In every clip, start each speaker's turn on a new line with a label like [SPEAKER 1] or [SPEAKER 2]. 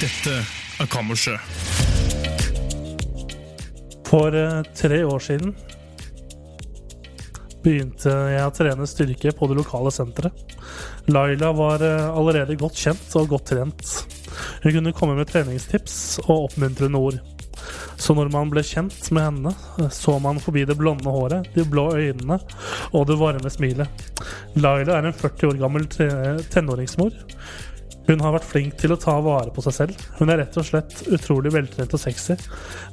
[SPEAKER 1] Dette er Kammerset.
[SPEAKER 2] For eh, tre år siden begynte jeg å trene styrke på det lokale senteret. Laila var eh, allerede godt kjent og godt trent. Hun kunne komme med treningstips og oppmuntrende ord. Så når man ble kjent med henne, eh, så man forbi det blonde håret, de blå øynene og det varme smilet. Laila er en 40 år gammel tre- eh, tenåringsmor. Hun har vært flink til å ta vare på seg selv. Hun er rett og slett utrolig veltrent og sexy,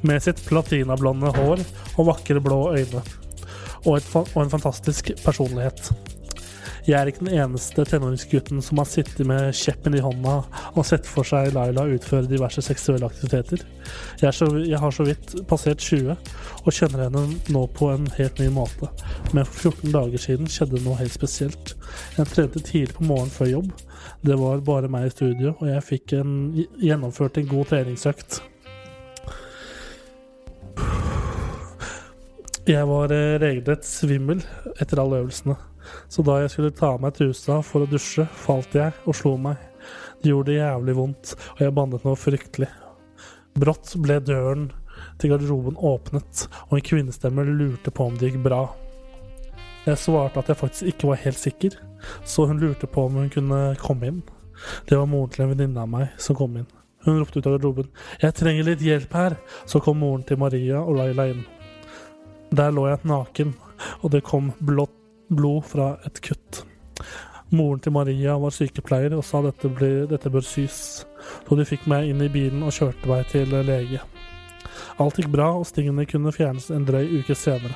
[SPEAKER 2] med sitt platinablonde hår og vakre blå øyne. Og, et, fa- og en fantastisk personlighet. Jeg er ikke den eneste tenåringsgutten som har sittet med kjeppen i hånda og sett for seg Laila utføre diverse seksuelle aktiviteter. Jeg, er så, jeg har så vidt passert 20 og kjenner henne nå på en helt ny måte. Men for 14 dager siden skjedde noe helt spesielt. Jeg trente tidlig på morgenen før jobb. Det var bare meg i studio, og jeg fikk en, gjennomført en god treningsøkt. Jeg var eh, regelrett svimmel etter alle øvelsene, så da jeg skulle ta av meg trusa for å dusje, falt jeg og slo meg. Det gjorde jævlig vondt, og jeg bannet noe fryktelig. Brått ble døren til garderoben åpnet, og en kvinnestemme lurte på om det gikk bra. Jeg svarte at jeg faktisk ikke var helt sikker, så hun lurte på om hun kunne komme inn. Det var moren til en venninne av meg som kom inn. Hun ropte ut av garderoben 'Jeg trenger litt hjelp her', så kom moren til Maria og Laila inn. Der lå jeg naken, og det kom blått blod fra et kutt. Moren til Maria var sykepleier og sa dette, blir, dette bør sys, så de fikk meg inn i bilen og kjørte meg til lege. Alt gikk bra, og stingene kunne fjernes en drøy uke senere.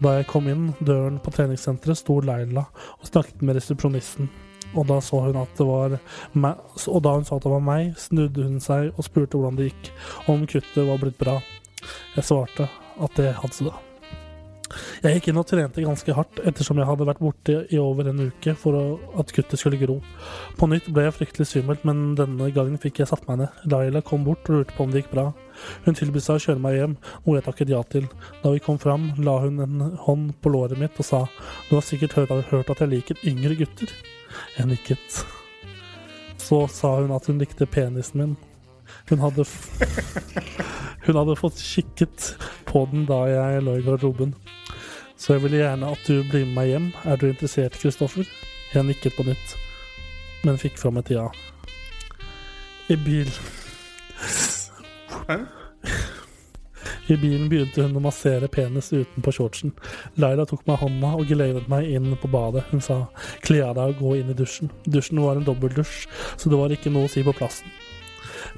[SPEAKER 2] Da jeg kom inn døren på treningssenteret, sto Laila og snakket med resepsjonisten. Og da, så hun at det var meg, og da hun så at det var meg, snudde hun seg og spurte hvordan det gikk, og om kuttet var blitt bra. Jeg svarte at det hadde det. Jeg gikk inn og trente ganske hardt ettersom jeg hadde vært borte i over en uke for å, at kuttet skulle gro. På nytt ble jeg fryktelig svimmel, men denne gangen fikk jeg satt meg ned. Laila kom bort og lurte på om det gikk bra. Hun tilbød seg å kjøre meg hjem, noe jeg takket ja til. Da vi kom fram, la hun en hånd på låret mitt og sa Du har sikkert hørt, hørt at jeg liker yngre gutter. Jeg nikket. Så sa hun at hun likte penisen min. Hun hadde, f hun hadde fått kikket på den da jeg lå i garderoben. Så jeg ville gjerne at du blir med meg hjem. Er du interessert, Kristoffer? Jeg nikket på nytt, men fikk fram et ja. I bil I bilen begynte hun å massere penis utenpå shortsen. Laila tok meg i hånda og geledet meg inn på badet. Hun sa 'kle av deg og gå inn i dusjen'. Dusjen var en dobbeltdusj, så det var ikke noe å si på plassen.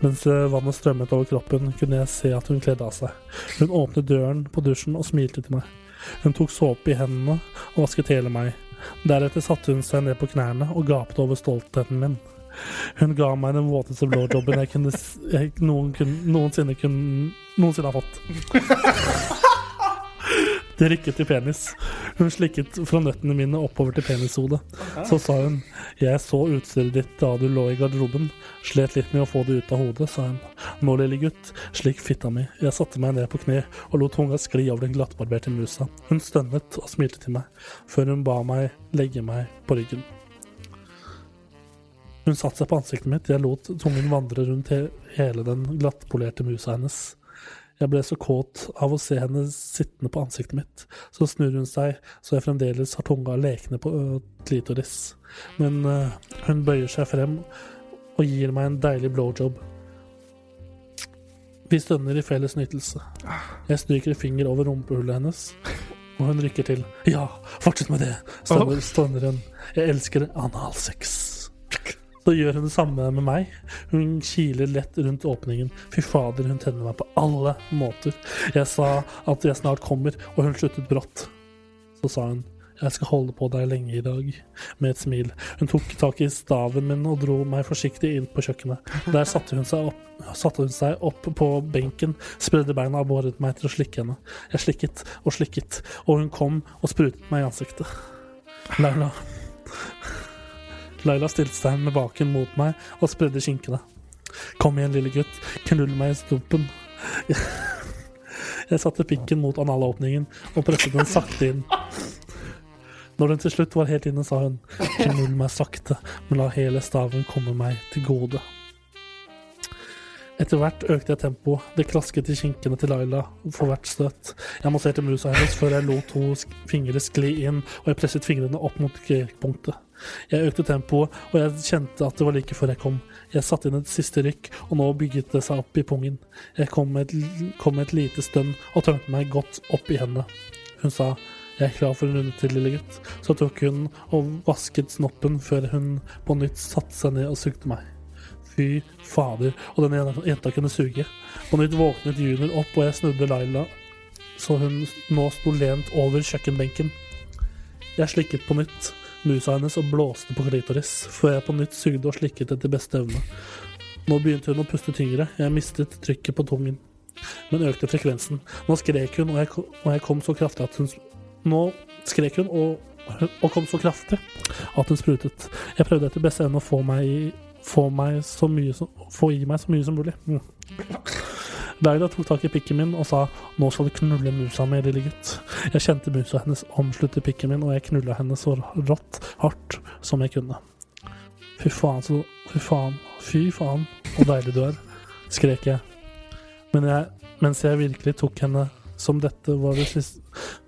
[SPEAKER 2] Mens eh, vannet strømmet over kroppen, kunne jeg se at hun kledde av seg. Hun åpnet døren på dusjen og smilte til meg. Hun tok såpe i hendene og vasket hele meg. Deretter satte hun seg ned på knærne og gapte over stoltheten min. Hun ga meg den våteste blowjobben jeg, kunne, s- jeg noen kun- noensinne, kunne, noensinne har fått. Det rykket i penis. Hun slikket fra nøttene mine oppover til penishodet. Så sa hun 'Jeg så utstyret ditt da du lå i garderoben. Slet litt med å få det ut av hodet', sa hun. 'Nå, lille gutt, slik fitta mi'. Jeg satte meg ned på kne og lot tunga skli over den glattbarberte musa. Hun stønnet og smilte til meg, før hun ba meg legge meg på ryggen. Hun satte seg på ansiktet mitt. Jeg lot tungen vandre rundt he hele den glattpolerte musa hennes. Jeg ble så kåt av å se henne sittende på ansiktet mitt. Så snur hun seg, så jeg fremdeles har tunga lekende på ø, klitoris. Men ø, hun bøyer seg frem og gir meg en deilig blowjob. Vi stønner i felles nytelse. Jeg stryker en finger over rumpehullet hennes, og hun rykker til. Ja, fortsett med det, stønner, stønner hun. Jeg elsker analsex. Så gjør hun det samme med meg. Hun kiler lett rundt åpningen. Fy fader, hun tenner meg på alle måter. Jeg sa at jeg snart kommer, og hun sluttet brått. Så sa hun Jeg skal holde på deg lenge i dag, med et smil. Hun tok tak i staven min og dro meg forsiktig inn på kjøkkenet. Der satte hun seg opp, satte hun seg opp på benken, spredde beina og båret meg til å slikke henne. Jeg slikket og slikket, og hun kom og sprutet meg i ansiktet. Laila Laila stilte seg med baken mot meg og spredde skinkene. Kom igjen, lille gutt, knull meg i stumpen. Jeg satte pikken mot analåpningen og presset den sakte inn. Når den til slutt var helt inne, sa hun knull meg sakte, men la hele staven komme meg til gode. Etter hvert økte jeg tempoet. Det klasket i kinkene til Laila for hvert støt. Jeg masserte musa hennes før jeg lot to sk- fingre skli inn, og jeg presset fingrene opp mot g-punktet. Jeg økte tempoet, og jeg kjente at det var like før jeg kom. Jeg satte inn et siste rykk, og nå bygget det seg opp i pungen. Jeg kom med et, l- kom med et lite stønn og tømte meg godt opp i hendene. Hun sa jeg er klar for en runde til, lille gutt. Så tok hun og vasket snoppen før hun på nytt satte seg ned og sugde meg. Fy fader, og den ene jenta kunne suge. På nytt våknet Junior opp, og jeg snudde Laila, så hun nå sto lent over kjøkkenbenken. Jeg slikket på nytt musa hennes og blåste på klitoris, før jeg på nytt sugde og slikket etter beste evne. Nå begynte hun å puste tyngre, jeg mistet trykket på tungen, men økte frekvensen. Nå skrek hun, og jeg, ko- og jeg kom så kraftig at hun s- Nå skrek hun, og, og kom så kraftig at hun sprutet. Jeg prøvde etter beste evne å få meg i få, meg så mye som, få i meg så mye som mulig. Mm. Laila tok tak i pikken min og sa 'nå skal du knulle musa mi, lille gutt'. Jeg kjente musa hennes omslutte pikken min, og jeg knulla henne så rått hardt som jeg kunne. Fy faen, så Fy faen. Fy faen, så deilig du er, skrek jeg. Men jeg mens jeg virkelig tok henne som dette var det siste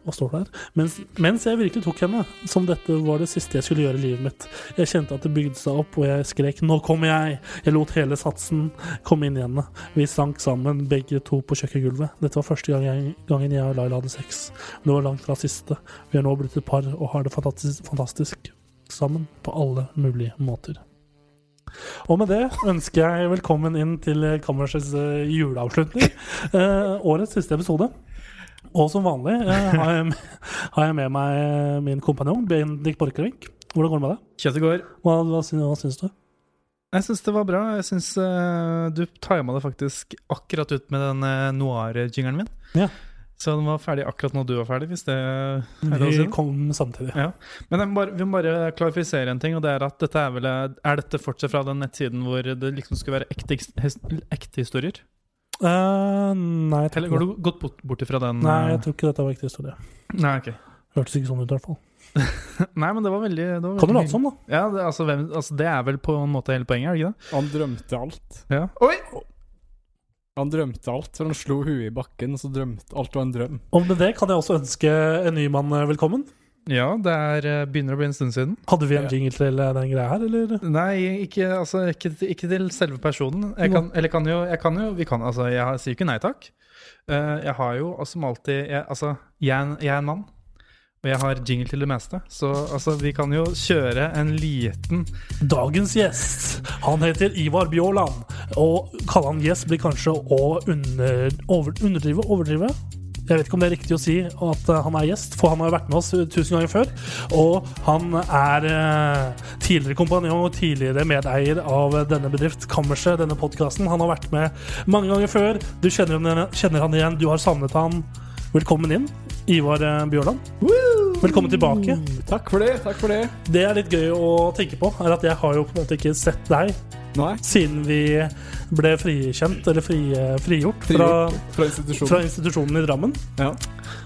[SPEAKER 2] Hva står det her? Mens, mens jeg virkelig tok henne som dette var det siste jeg skulle gjøre i livet mitt. Jeg kjente at det bygde seg opp, og jeg skrek 'nå kommer jeg'! Jeg lot hele satsen komme inn i henne. Vi sank sammen, begge to på kjøkkengulvet. Dette var første gang jeg, gangen jeg og Laila hadde sex. Men det var langt fra siste. Vi er nå blitt et par og har det fantastisk, fantastisk sammen på alle mulige måter. Og med det ønsker jeg velkommen inn til Kammersets eh, juleavslutning. Eh, årets siste episode. Og som vanlig eh, har, jeg, har jeg med meg eh, min kompanjong Bendik Borchgrevink. Hvordan går det med deg?
[SPEAKER 3] Kjøttegård.
[SPEAKER 2] Hva, hva, syns, hva syns du?
[SPEAKER 3] Jeg syns det var bra. Jeg syns du tima det faktisk akkurat ut med den uh, noir-jingeren min.
[SPEAKER 2] Ja.
[SPEAKER 3] Så den var ferdig akkurat når du var ferdig, hvis det er lov å si
[SPEAKER 2] Vi
[SPEAKER 3] det.
[SPEAKER 2] kom samtidig.
[SPEAKER 3] Men jeg må bare, vi må bare klarifisere en ting, og det er at dette er vel eh, Er dette fortsatt fra den nettsiden hvor det liksom skulle være ekte, his- ekte historier?
[SPEAKER 2] Eh, nei, jeg tror
[SPEAKER 3] Eller
[SPEAKER 2] ikke
[SPEAKER 3] har
[SPEAKER 2] det.
[SPEAKER 3] du gått bort, bort ifra den?
[SPEAKER 2] nei,
[SPEAKER 3] eh,
[SPEAKER 2] jeg tror ikke dette var ekte historie.
[SPEAKER 3] Nei, ok.
[SPEAKER 2] Hørtes ikke sånn ut, i hvert fall.
[SPEAKER 3] Nei, men det var veldig det var
[SPEAKER 2] Kan du
[SPEAKER 3] veldig-
[SPEAKER 2] late som, sånn, da?
[SPEAKER 3] Ja, det, altså, hvem, altså, det er vel på en måte hele poenget, er det ikke det?
[SPEAKER 4] Han drømte alt.
[SPEAKER 3] Ja. Oi!
[SPEAKER 4] Han drømte alt, for han slo huet i bakken, og så drømte alt var en drøm.
[SPEAKER 2] Og med det kan jeg også ønske en ny mann eh, velkommen.
[SPEAKER 3] Ja, det er, eh, begynner å bli en stund siden.
[SPEAKER 2] Hadde vi en
[SPEAKER 4] Ja.
[SPEAKER 2] jingle til eh, den greia her, eller?
[SPEAKER 3] Nei, ikke, altså, ikke, ikke til selve personen. Jeg kan, eller kan jo, jeg kan jo vi kan, altså, Jeg har- sier ikke nei takk. Eh, jeg har jo altså, som alltid jeg, Altså, jeg, er en- jeg er en mann, og jeg har jingle til det meste. Så altså, vi kan jo kjøre en liten
[SPEAKER 2] Dagens gjest, han heter Ivar Bjåland. Og kalle han gjest blir kanskje å under, over, underdrive, overdrive. Jeg vet ikke om det er riktig å si at eh, han er gjest, for han har jo vært med oss eh, tusen ganger før. Og han er eh, tidligere kompanjong og tidligere medeier av eh, denne bedrift, Kammerset, denne podkasten. Han har vært med mange ganger før. Du kjenner, han- kjenner han igjen, du har savnet han. Velkommen inn, Ivar eh, Bjåland. Velkommen tilbake.
[SPEAKER 4] Takk for det, takk for det.
[SPEAKER 2] Det er litt gøy å tenke på, er at jeg har jo på en måte ikke sett deg
[SPEAKER 4] Nei,
[SPEAKER 2] siden vi ble frikjent, eller fri, frigjort,
[SPEAKER 4] frigjort
[SPEAKER 2] Fra,
[SPEAKER 4] fra, institusjonen.
[SPEAKER 2] fra institusjonen i Drammen.
[SPEAKER 4] Ja.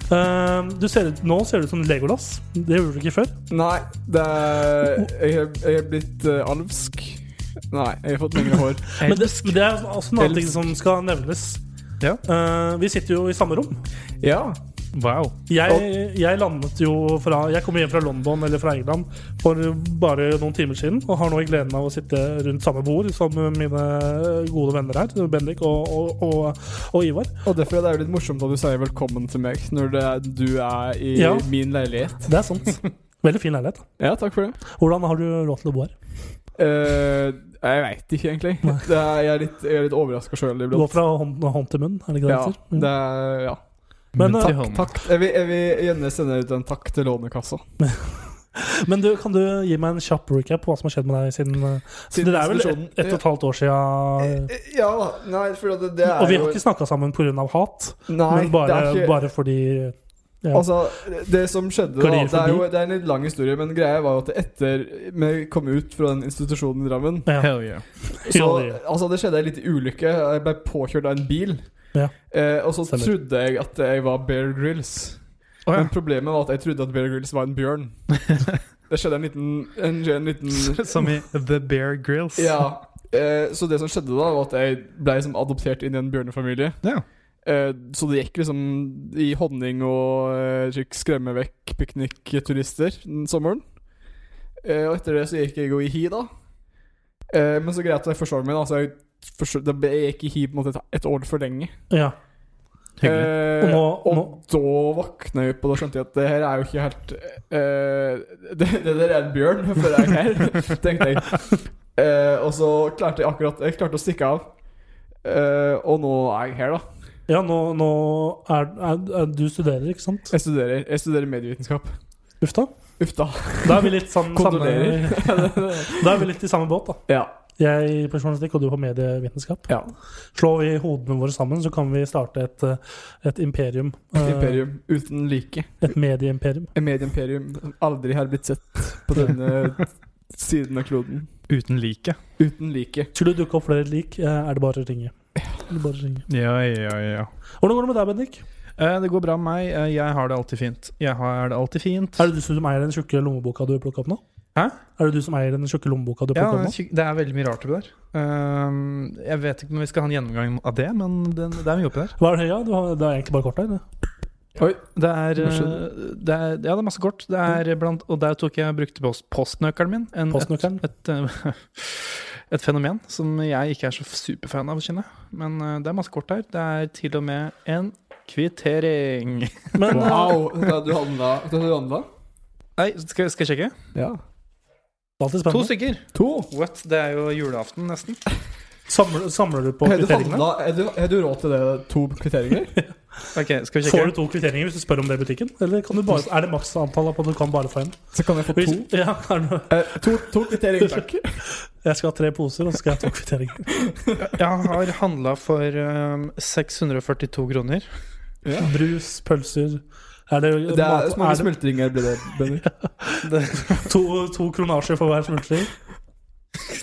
[SPEAKER 2] Eh, du ser ut, nå ser du ut som Legolas. Det gjorde du ikke før.
[SPEAKER 4] Nei, det er, jeg, er- jeg er blitt eh, alvsk. Nei, jeg har fått lengre hår.
[SPEAKER 2] Men det, men det er også en annen ting
[SPEAKER 4] Elsk.
[SPEAKER 2] som skal nevnes.
[SPEAKER 3] Ja.
[SPEAKER 2] Eh, vi sitter jo i samme rom.
[SPEAKER 4] Ja,
[SPEAKER 3] Wow.
[SPEAKER 2] Jeg, jeg landet jo fra Jeg kom hjem fra London eller fra England for bare noen timer siden, og har nå gleden av å sitte rundt samme bord som mine gode venner her, Bendik og, og, og, og Ivar.
[SPEAKER 4] og derfor er det jo litt morsomt at du sier velkommen til meg når det er, du er i
[SPEAKER 2] Ja.
[SPEAKER 4] min leilighet.
[SPEAKER 2] Det er sant. Veldig fin leilighet.
[SPEAKER 4] Ja, takk for det.
[SPEAKER 2] Hvordan har du råd til å bo her?
[SPEAKER 4] Eh, jeg veit ikke, egentlig. Det er, jeg er litt, jeg er litt overraska sjøl
[SPEAKER 2] Gå
[SPEAKER 4] iblant.
[SPEAKER 2] fra hånd, hånd til munn, er det ikke det
[SPEAKER 4] Ja,
[SPEAKER 2] det heter? Mm.
[SPEAKER 4] det er, ja.
[SPEAKER 2] Men,
[SPEAKER 3] Til
[SPEAKER 2] eh,
[SPEAKER 3] hånden.
[SPEAKER 4] Takk. Jeg vil, jeg vil gjerne sende ut en takk til Lånekassa.
[SPEAKER 2] men du, kan du gi meg en kjapp recap på hva som har skjedd med deg siden, eh,
[SPEAKER 4] Siden
[SPEAKER 2] Det er vel ett
[SPEAKER 4] diskusjonen-
[SPEAKER 2] et og et halvt år siden
[SPEAKER 4] Eh, Ja, nei, for det, det er
[SPEAKER 2] Og vi har
[SPEAKER 4] jo-
[SPEAKER 2] ikke snakka sammen pga. hat,
[SPEAKER 4] Nei,
[SPEAKER 2] men bare,
[SPEAKER 4] det er ikke,
[SPEAKER 2] bare fordi ja.
[SPEAKER 4] Altså, det som skjedde da,
[SPEAKER 2] Glir
[SPEAKER 4] det er jo
[SPEAKER 2] forbi.
[SPEAKER 4] det er en litt lang historie, men greia var jo at etter vi kom ut fra den institusjonen i Drammen
[SPEAKER 2] ja.
[SPEAKER 3] Hell yeah.
[SPEAKER 2] Ja,
[SPEAKER 4] Så,
[SPEAKER 2] det gjør.
[SPEAKER 4] altså det skjedde en liten ulykke. Jeg ble påkjørt av en bil.
[SPEAKER 2] Ja.
[SPEAKER 4] Eh, og så
[SPEAKER 2] Stemmer.
[SPEAKER 4] trodde jeg at jeg var Bear Grills.
[SPEAKER 3] Å, ja.
[SPEAKER 4] Men problemet var at jeg trodde at Bear Grills var en bjørn. det skjedde en liten, en, en liten
[SPEAKER 3] Som i The Bear Grills.
[SPEAKER 4] Ja. Eh, så det som skjedde da, var at jeg ble liksom adoptert inn i en bjørnefamilie.
[SPEAKER 3] Ja.
[SPEAKER 4] Eh, så det gikk liksom i honning og eh, fikk skremme vekk piknikturister den sommeren. Eh, og etter det så gikk jeg jo i hi, da. Eh, men så greia at jeg forsov meg, da. Så jeg, forsov, da ble- jeg gikk i hi på en måte et, et år for lenge.
[SPEAKER 2] ja.
[SPEAKER 3] Hyggelig.
[SPEAKER 4] Eh,
[SPEAKER 2] Og nå-
[SPEAKER 4] og
[SPEAKER 2] nå-
[SPEAKER 4] da våkna jeg opp, og da skjønte jeg at det her er jo ikke helt eh, det, det der er en bjørn, for jeg er her, tenkte jeg. Eh, og så klarte jeg akkurat Jeg klarte å stikke av. Eh, og nå er jeg her, da.
[SPEAKER 2] ja nå, nå er, er, er Du studerer, ikke sant?
[SPEAKER 4] Jeg studerer, jeg studerer medievitenskap.
[SPEAKER 2] Uff da.
[SPEAKER 4] Uff da.
[SPEAKER 2] Da er vi litt sammen,
[SPEAKER 4] Kondolerer.
[SPEAKER 2] samme, da er vi litt i samme båt, da.
[SPEAKER 4] Ja.
[SPEAKER 2] Jeg i pensjonistikk og du på medievitenskap.
[SPEAKER 4] ja.
[SPEAKER 2] Slår vi hodene våre sammen, så kan vi starte et, eh, et imperium. Eh,
[SPEAKER 4] Imperium uten like.
[SPEAKER 2] Et medieimperium.
[SPEAKER 4] Et medieimperium som aldri har blitt sett på denne siden av kloden.
[SPEAKER 3] Uten like.
[SPEAKER 4] Uten like.
[SPEAKER 2] Skulle det dukke opp flere lik, eh, er det bare å ringe. Er det bare å ringe.
[SPEAKER 3] Ja, ja, ja.
[SPEAKER 2] Hvordan går det med deg, Bendik?
[SPEAKER 3] Eh, det går bra med meg. Eh, jeg har det alltid fint. Jeg har det alltid fint.
[SPEAKER 2] Er det du som eier den tjukke lommeboka du plukka opp nå?
[SPEAKER 3] Hæ?
[SPEAKER 2] Er det du som eier den tjukke lommeboka du
[SPEAKER 3] Ja,
[SPEAKER 2] plukka opp nå?
[SPEAKER 3] det er veldig mye rart oppi der. Ehm, jeg vet ikke om vi skal ha en gjennomgang av det, men det, det er mye oppi der.
[SPEAKER 2] Hva er det, ja, du har, det er egentlig bare kort der. det.
[SPEAKER 4] Oi.
[SPEAKER 3] Det er,
[SPEAKER 4] Hva
[SPEAKER 3] eh, det er, ja, det er masse kort. Det er blant, og der tok jeg brukte post, postnøkkelen min. En,
[SPEAKER 2] Postnøkkelen?
[SPEAKER 3] Et, et, eh, et fenomen som jeg ikke er så superfan av, kjenner jeg. Men eh, det er masse kort her. Det er til og med en kvittering.
[SPEAKER 2] Men eh,
[SPEAKER 4] Wow. Du handla? Du handla?
[SPEAKER 3] Nei, skal, skal jeg sjekke?
[SPEAKER 4] Ja.
[SPEAKER 2] alltid
[SPEAKER 3] To
[SPEAKER 2] spennende.
[SPEAKER 3] stykker.
[SPEAKER 4] To.
[SPEAKER 3] What? Det er jo julaften, nesten.
[SPEAKER 2] Samler, samler du på
[SPEAKER 4] Har du,
[SPEAKER 2] kvitteringene?
[SPEAKER 4] handla, er, du, er du råd til det? To kvitteringer?
[SPEAKER 3] Ok, skal vi
[SPEAKER 2] Får
[SPEAKER 3] sjekke?
[SPEAKER 2] du to kvitteringer hvis du spør om det i butikken? Eller kan du bare, er det maks antall på at du kan bare få én?
[SPEAKER 4] Så kan jeg få
[SPEAKER 2] Hvis-
[SPEAKER 4] to.
[SPEAKER 2] Ja, er det noe?
[SPEAKER 4] Eh, to, to kvitteringer, takk.
[SPEAKER 2] jeg skal ha tre poser, og så skal jeg ha to kvitteringer.
[SPEAKER 3] Jeg har handla for ehm, 642 kroner.
[SPEAKER 2] Brus, pølser Er det,
[SPEAKER 4] Det er,
[SPEAKER 2] mat-
[SPEAKER 4] så mange
[SPEAKER 2] er det
[SPEAKER 4] smultringer blir det, Bendik.
[SPEAKER 2] to, to kronasjer for hver smultring?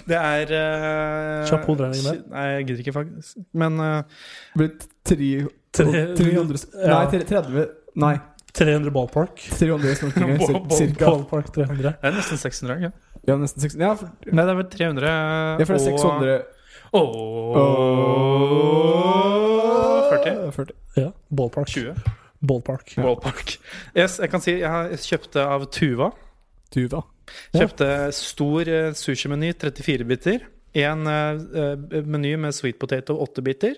[SPEAKER 3] Det er eh,
[SPEAKER 2] Kjapp hoderegning der.
[SPEAKER 3] Nei, jeg gidder ikke, faktisk. Men eh,
[SPEAKER 4] Det blir tre-
[SPEAKER 2] Tre-
[SPEAKER 4] 300 Nei,
[SPEAKER 2] ja.
[SPEAKER 4] tre- 30 Nei,
[SPEAKER 2] 300 ballpark.
[SPEAKER 4] 300 smultringer.
[SPEAKER 3] Ball-
[SPEAKER 4] cir-
[SPEAKER 3] ball-
[SPEAKER 4] Cirka.
[SPEAKER 2] Ballpark 300.
[SPEAKER 3] det er nesten 600. Ja.
[SPEAKER 4] Ja, nesten 600. Ja, for,
[SPEAKER 3] Nei, det er vel 300
[SPEAKER 4] ja, for det er 600
[SPEAKER 3] Og, og 40.
[SPEAKER 4] 40.
[SPEAKER 2] Ja, ballpark.
[SPEAKER 3] 20.
[SPEAKER 2] Ballpark.
[SPEAKER 3] Ballpark. Yes, jeg kan si jeg har- jeg kjøpte av Tuva.
[SPEAKER 4] Du, da.
[SPEAKER 2] Ja.
[SPEAKER 3] Kjøpte stor eh, sushimeny, 34 biter. En eh, eh, meny med sweet potato, 8 biter.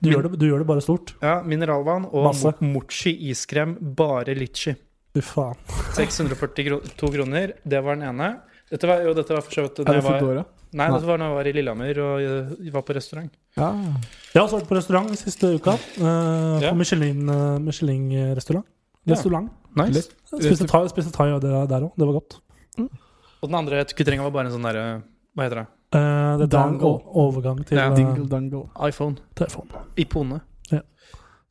[SPEAKER 2] Du gjør, det, du gjør det bare stort.
[SPEAKER 3] Ja, Mineralvann og
[SPEAKER 2] Masse.
[SPEAKER 3] mo- mochi iskrem, bare litchi.
[SPEAKER 2] Fy faen.
[SPEAKER 3] 642 kroner, det var den ene. Dette var, jo, dette var for så vidt
[SPEAKER 4] Er
[SPEAKER 3] når
[SPEAKER 4] det
[SPEAKER 3] jeg var,
[SPEAKER 4] Foodora?
[SPEAKER 3] nei, dette var når jeg var i Lillehammer og eh, var på restaurant.
[SPEAKER 4] Ja.
[SPEAKER 2] Jeg har også vært på restaurant siste uka. eh,
[SPEAKER 3] Ja.
[SPEAKER 2] På Michelin, eh, Michelin-restaurant.
[SPEAKER 3] Ja.
[SPEAKER 2] Restaurant.
[SPEAKER 3] Nice.
[SPEAKER 4] Litt.
[SPEAKER 2] Spiste thai, spiste thai og det der òg. Det var godt.
[SPEAKER 3] Og den andre kvitteringa var bare en sånn derre Hva heter det?
[SPEAKER 2] Eh, det er en
[SPEAKER 4] Dangle.
[SPEAKER 2] o- overgang til
[SPEAKER 3] Ja.
[SPEAKER 2] eh,
[SPEAKER 4] Dingle dangle.
[SPEAKER 3] iPhone.
[SPEAKER 2] telefon.
[SPEAKER 3] I pone.
[SPEAKER 2] Ja.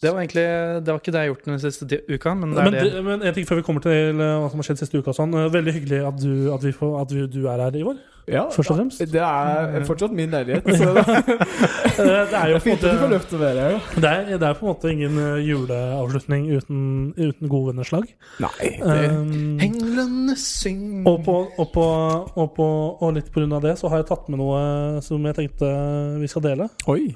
[SPEAKER 3] Det var egentlig Det var ikke det jeg har gjort den siste di- uka, men det
[SPEAKER 2] Men,
[SPEAKER 3] er det.
[SPEAKER 2] det- men en ting før vi kommer til eh, hva som har skjedd siste uka. og Sånn. eh, Veldig hyggelig at du, at vi får, at vi, du er her, Ivar.
[SPEAKER 4] Ja.
[SPEAKER 2] Først og fremst.
[SPEAKER 4] Det er fortsatt min leilighet, så det
[SPEAKER 2] Eh, Det er jo
[SPEAKER 4] er
[SPEAKER 2] på en
[SPEAKER 4] fint at du får
[SPEAKER 2] måte,
[SPEAKER 4] løfte med deg.
[SPEAKER 2] det er, det er på en måte ingen eh, juleavslutning uten, uten gode venneslag.
[SPEAKER 4] Nei,
[SPEAKER 2] Um,
[SPEAKER 3] Englene syng
[SPEAKER 2] Og, på, og, på, og, på, og litt pga. det så har jeg tatt med noe som jeg tenkte vi skal dele.
[SPEAKER 4] Oi.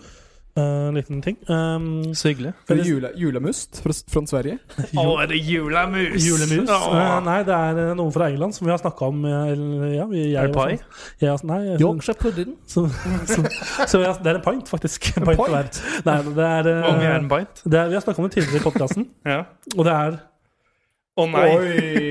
[SPEAKER 2] Eh, En liten ting. Um,
[SPEAKER 3] Så hyggelig.
[SPEAKER 4] Er det jule, julemust fra, fra Sverige?
[SPEAKER 2] Å,
[SPEAKER 3] er det julemus?
[SPEAKER 2] julemus. Eh, nei, det er eh, noe fra England som vi har snakka om. eh, eller, Ja, vi, jeg, sånn.
[SPEAKER 3] Er det pai?
[SPEAKER 2] Ja, altså, nei, jeg,
[SPEAKER 4] pudding.
[SPEAKER 2] så, så, så jeg, det er en pint, faktisk. En pint hver. Nei, men det er, eh,
[SPEAKER 3] Hvor mye er en bite?
[SPEAKER 2] det er Vi har snakka om det tidligere i podkasten,
[SPEAKER 3] Ja.
[SPEAKER 2] og det er
[SPEAKER 3] Å nei!
[SPEAKER 4] Oi.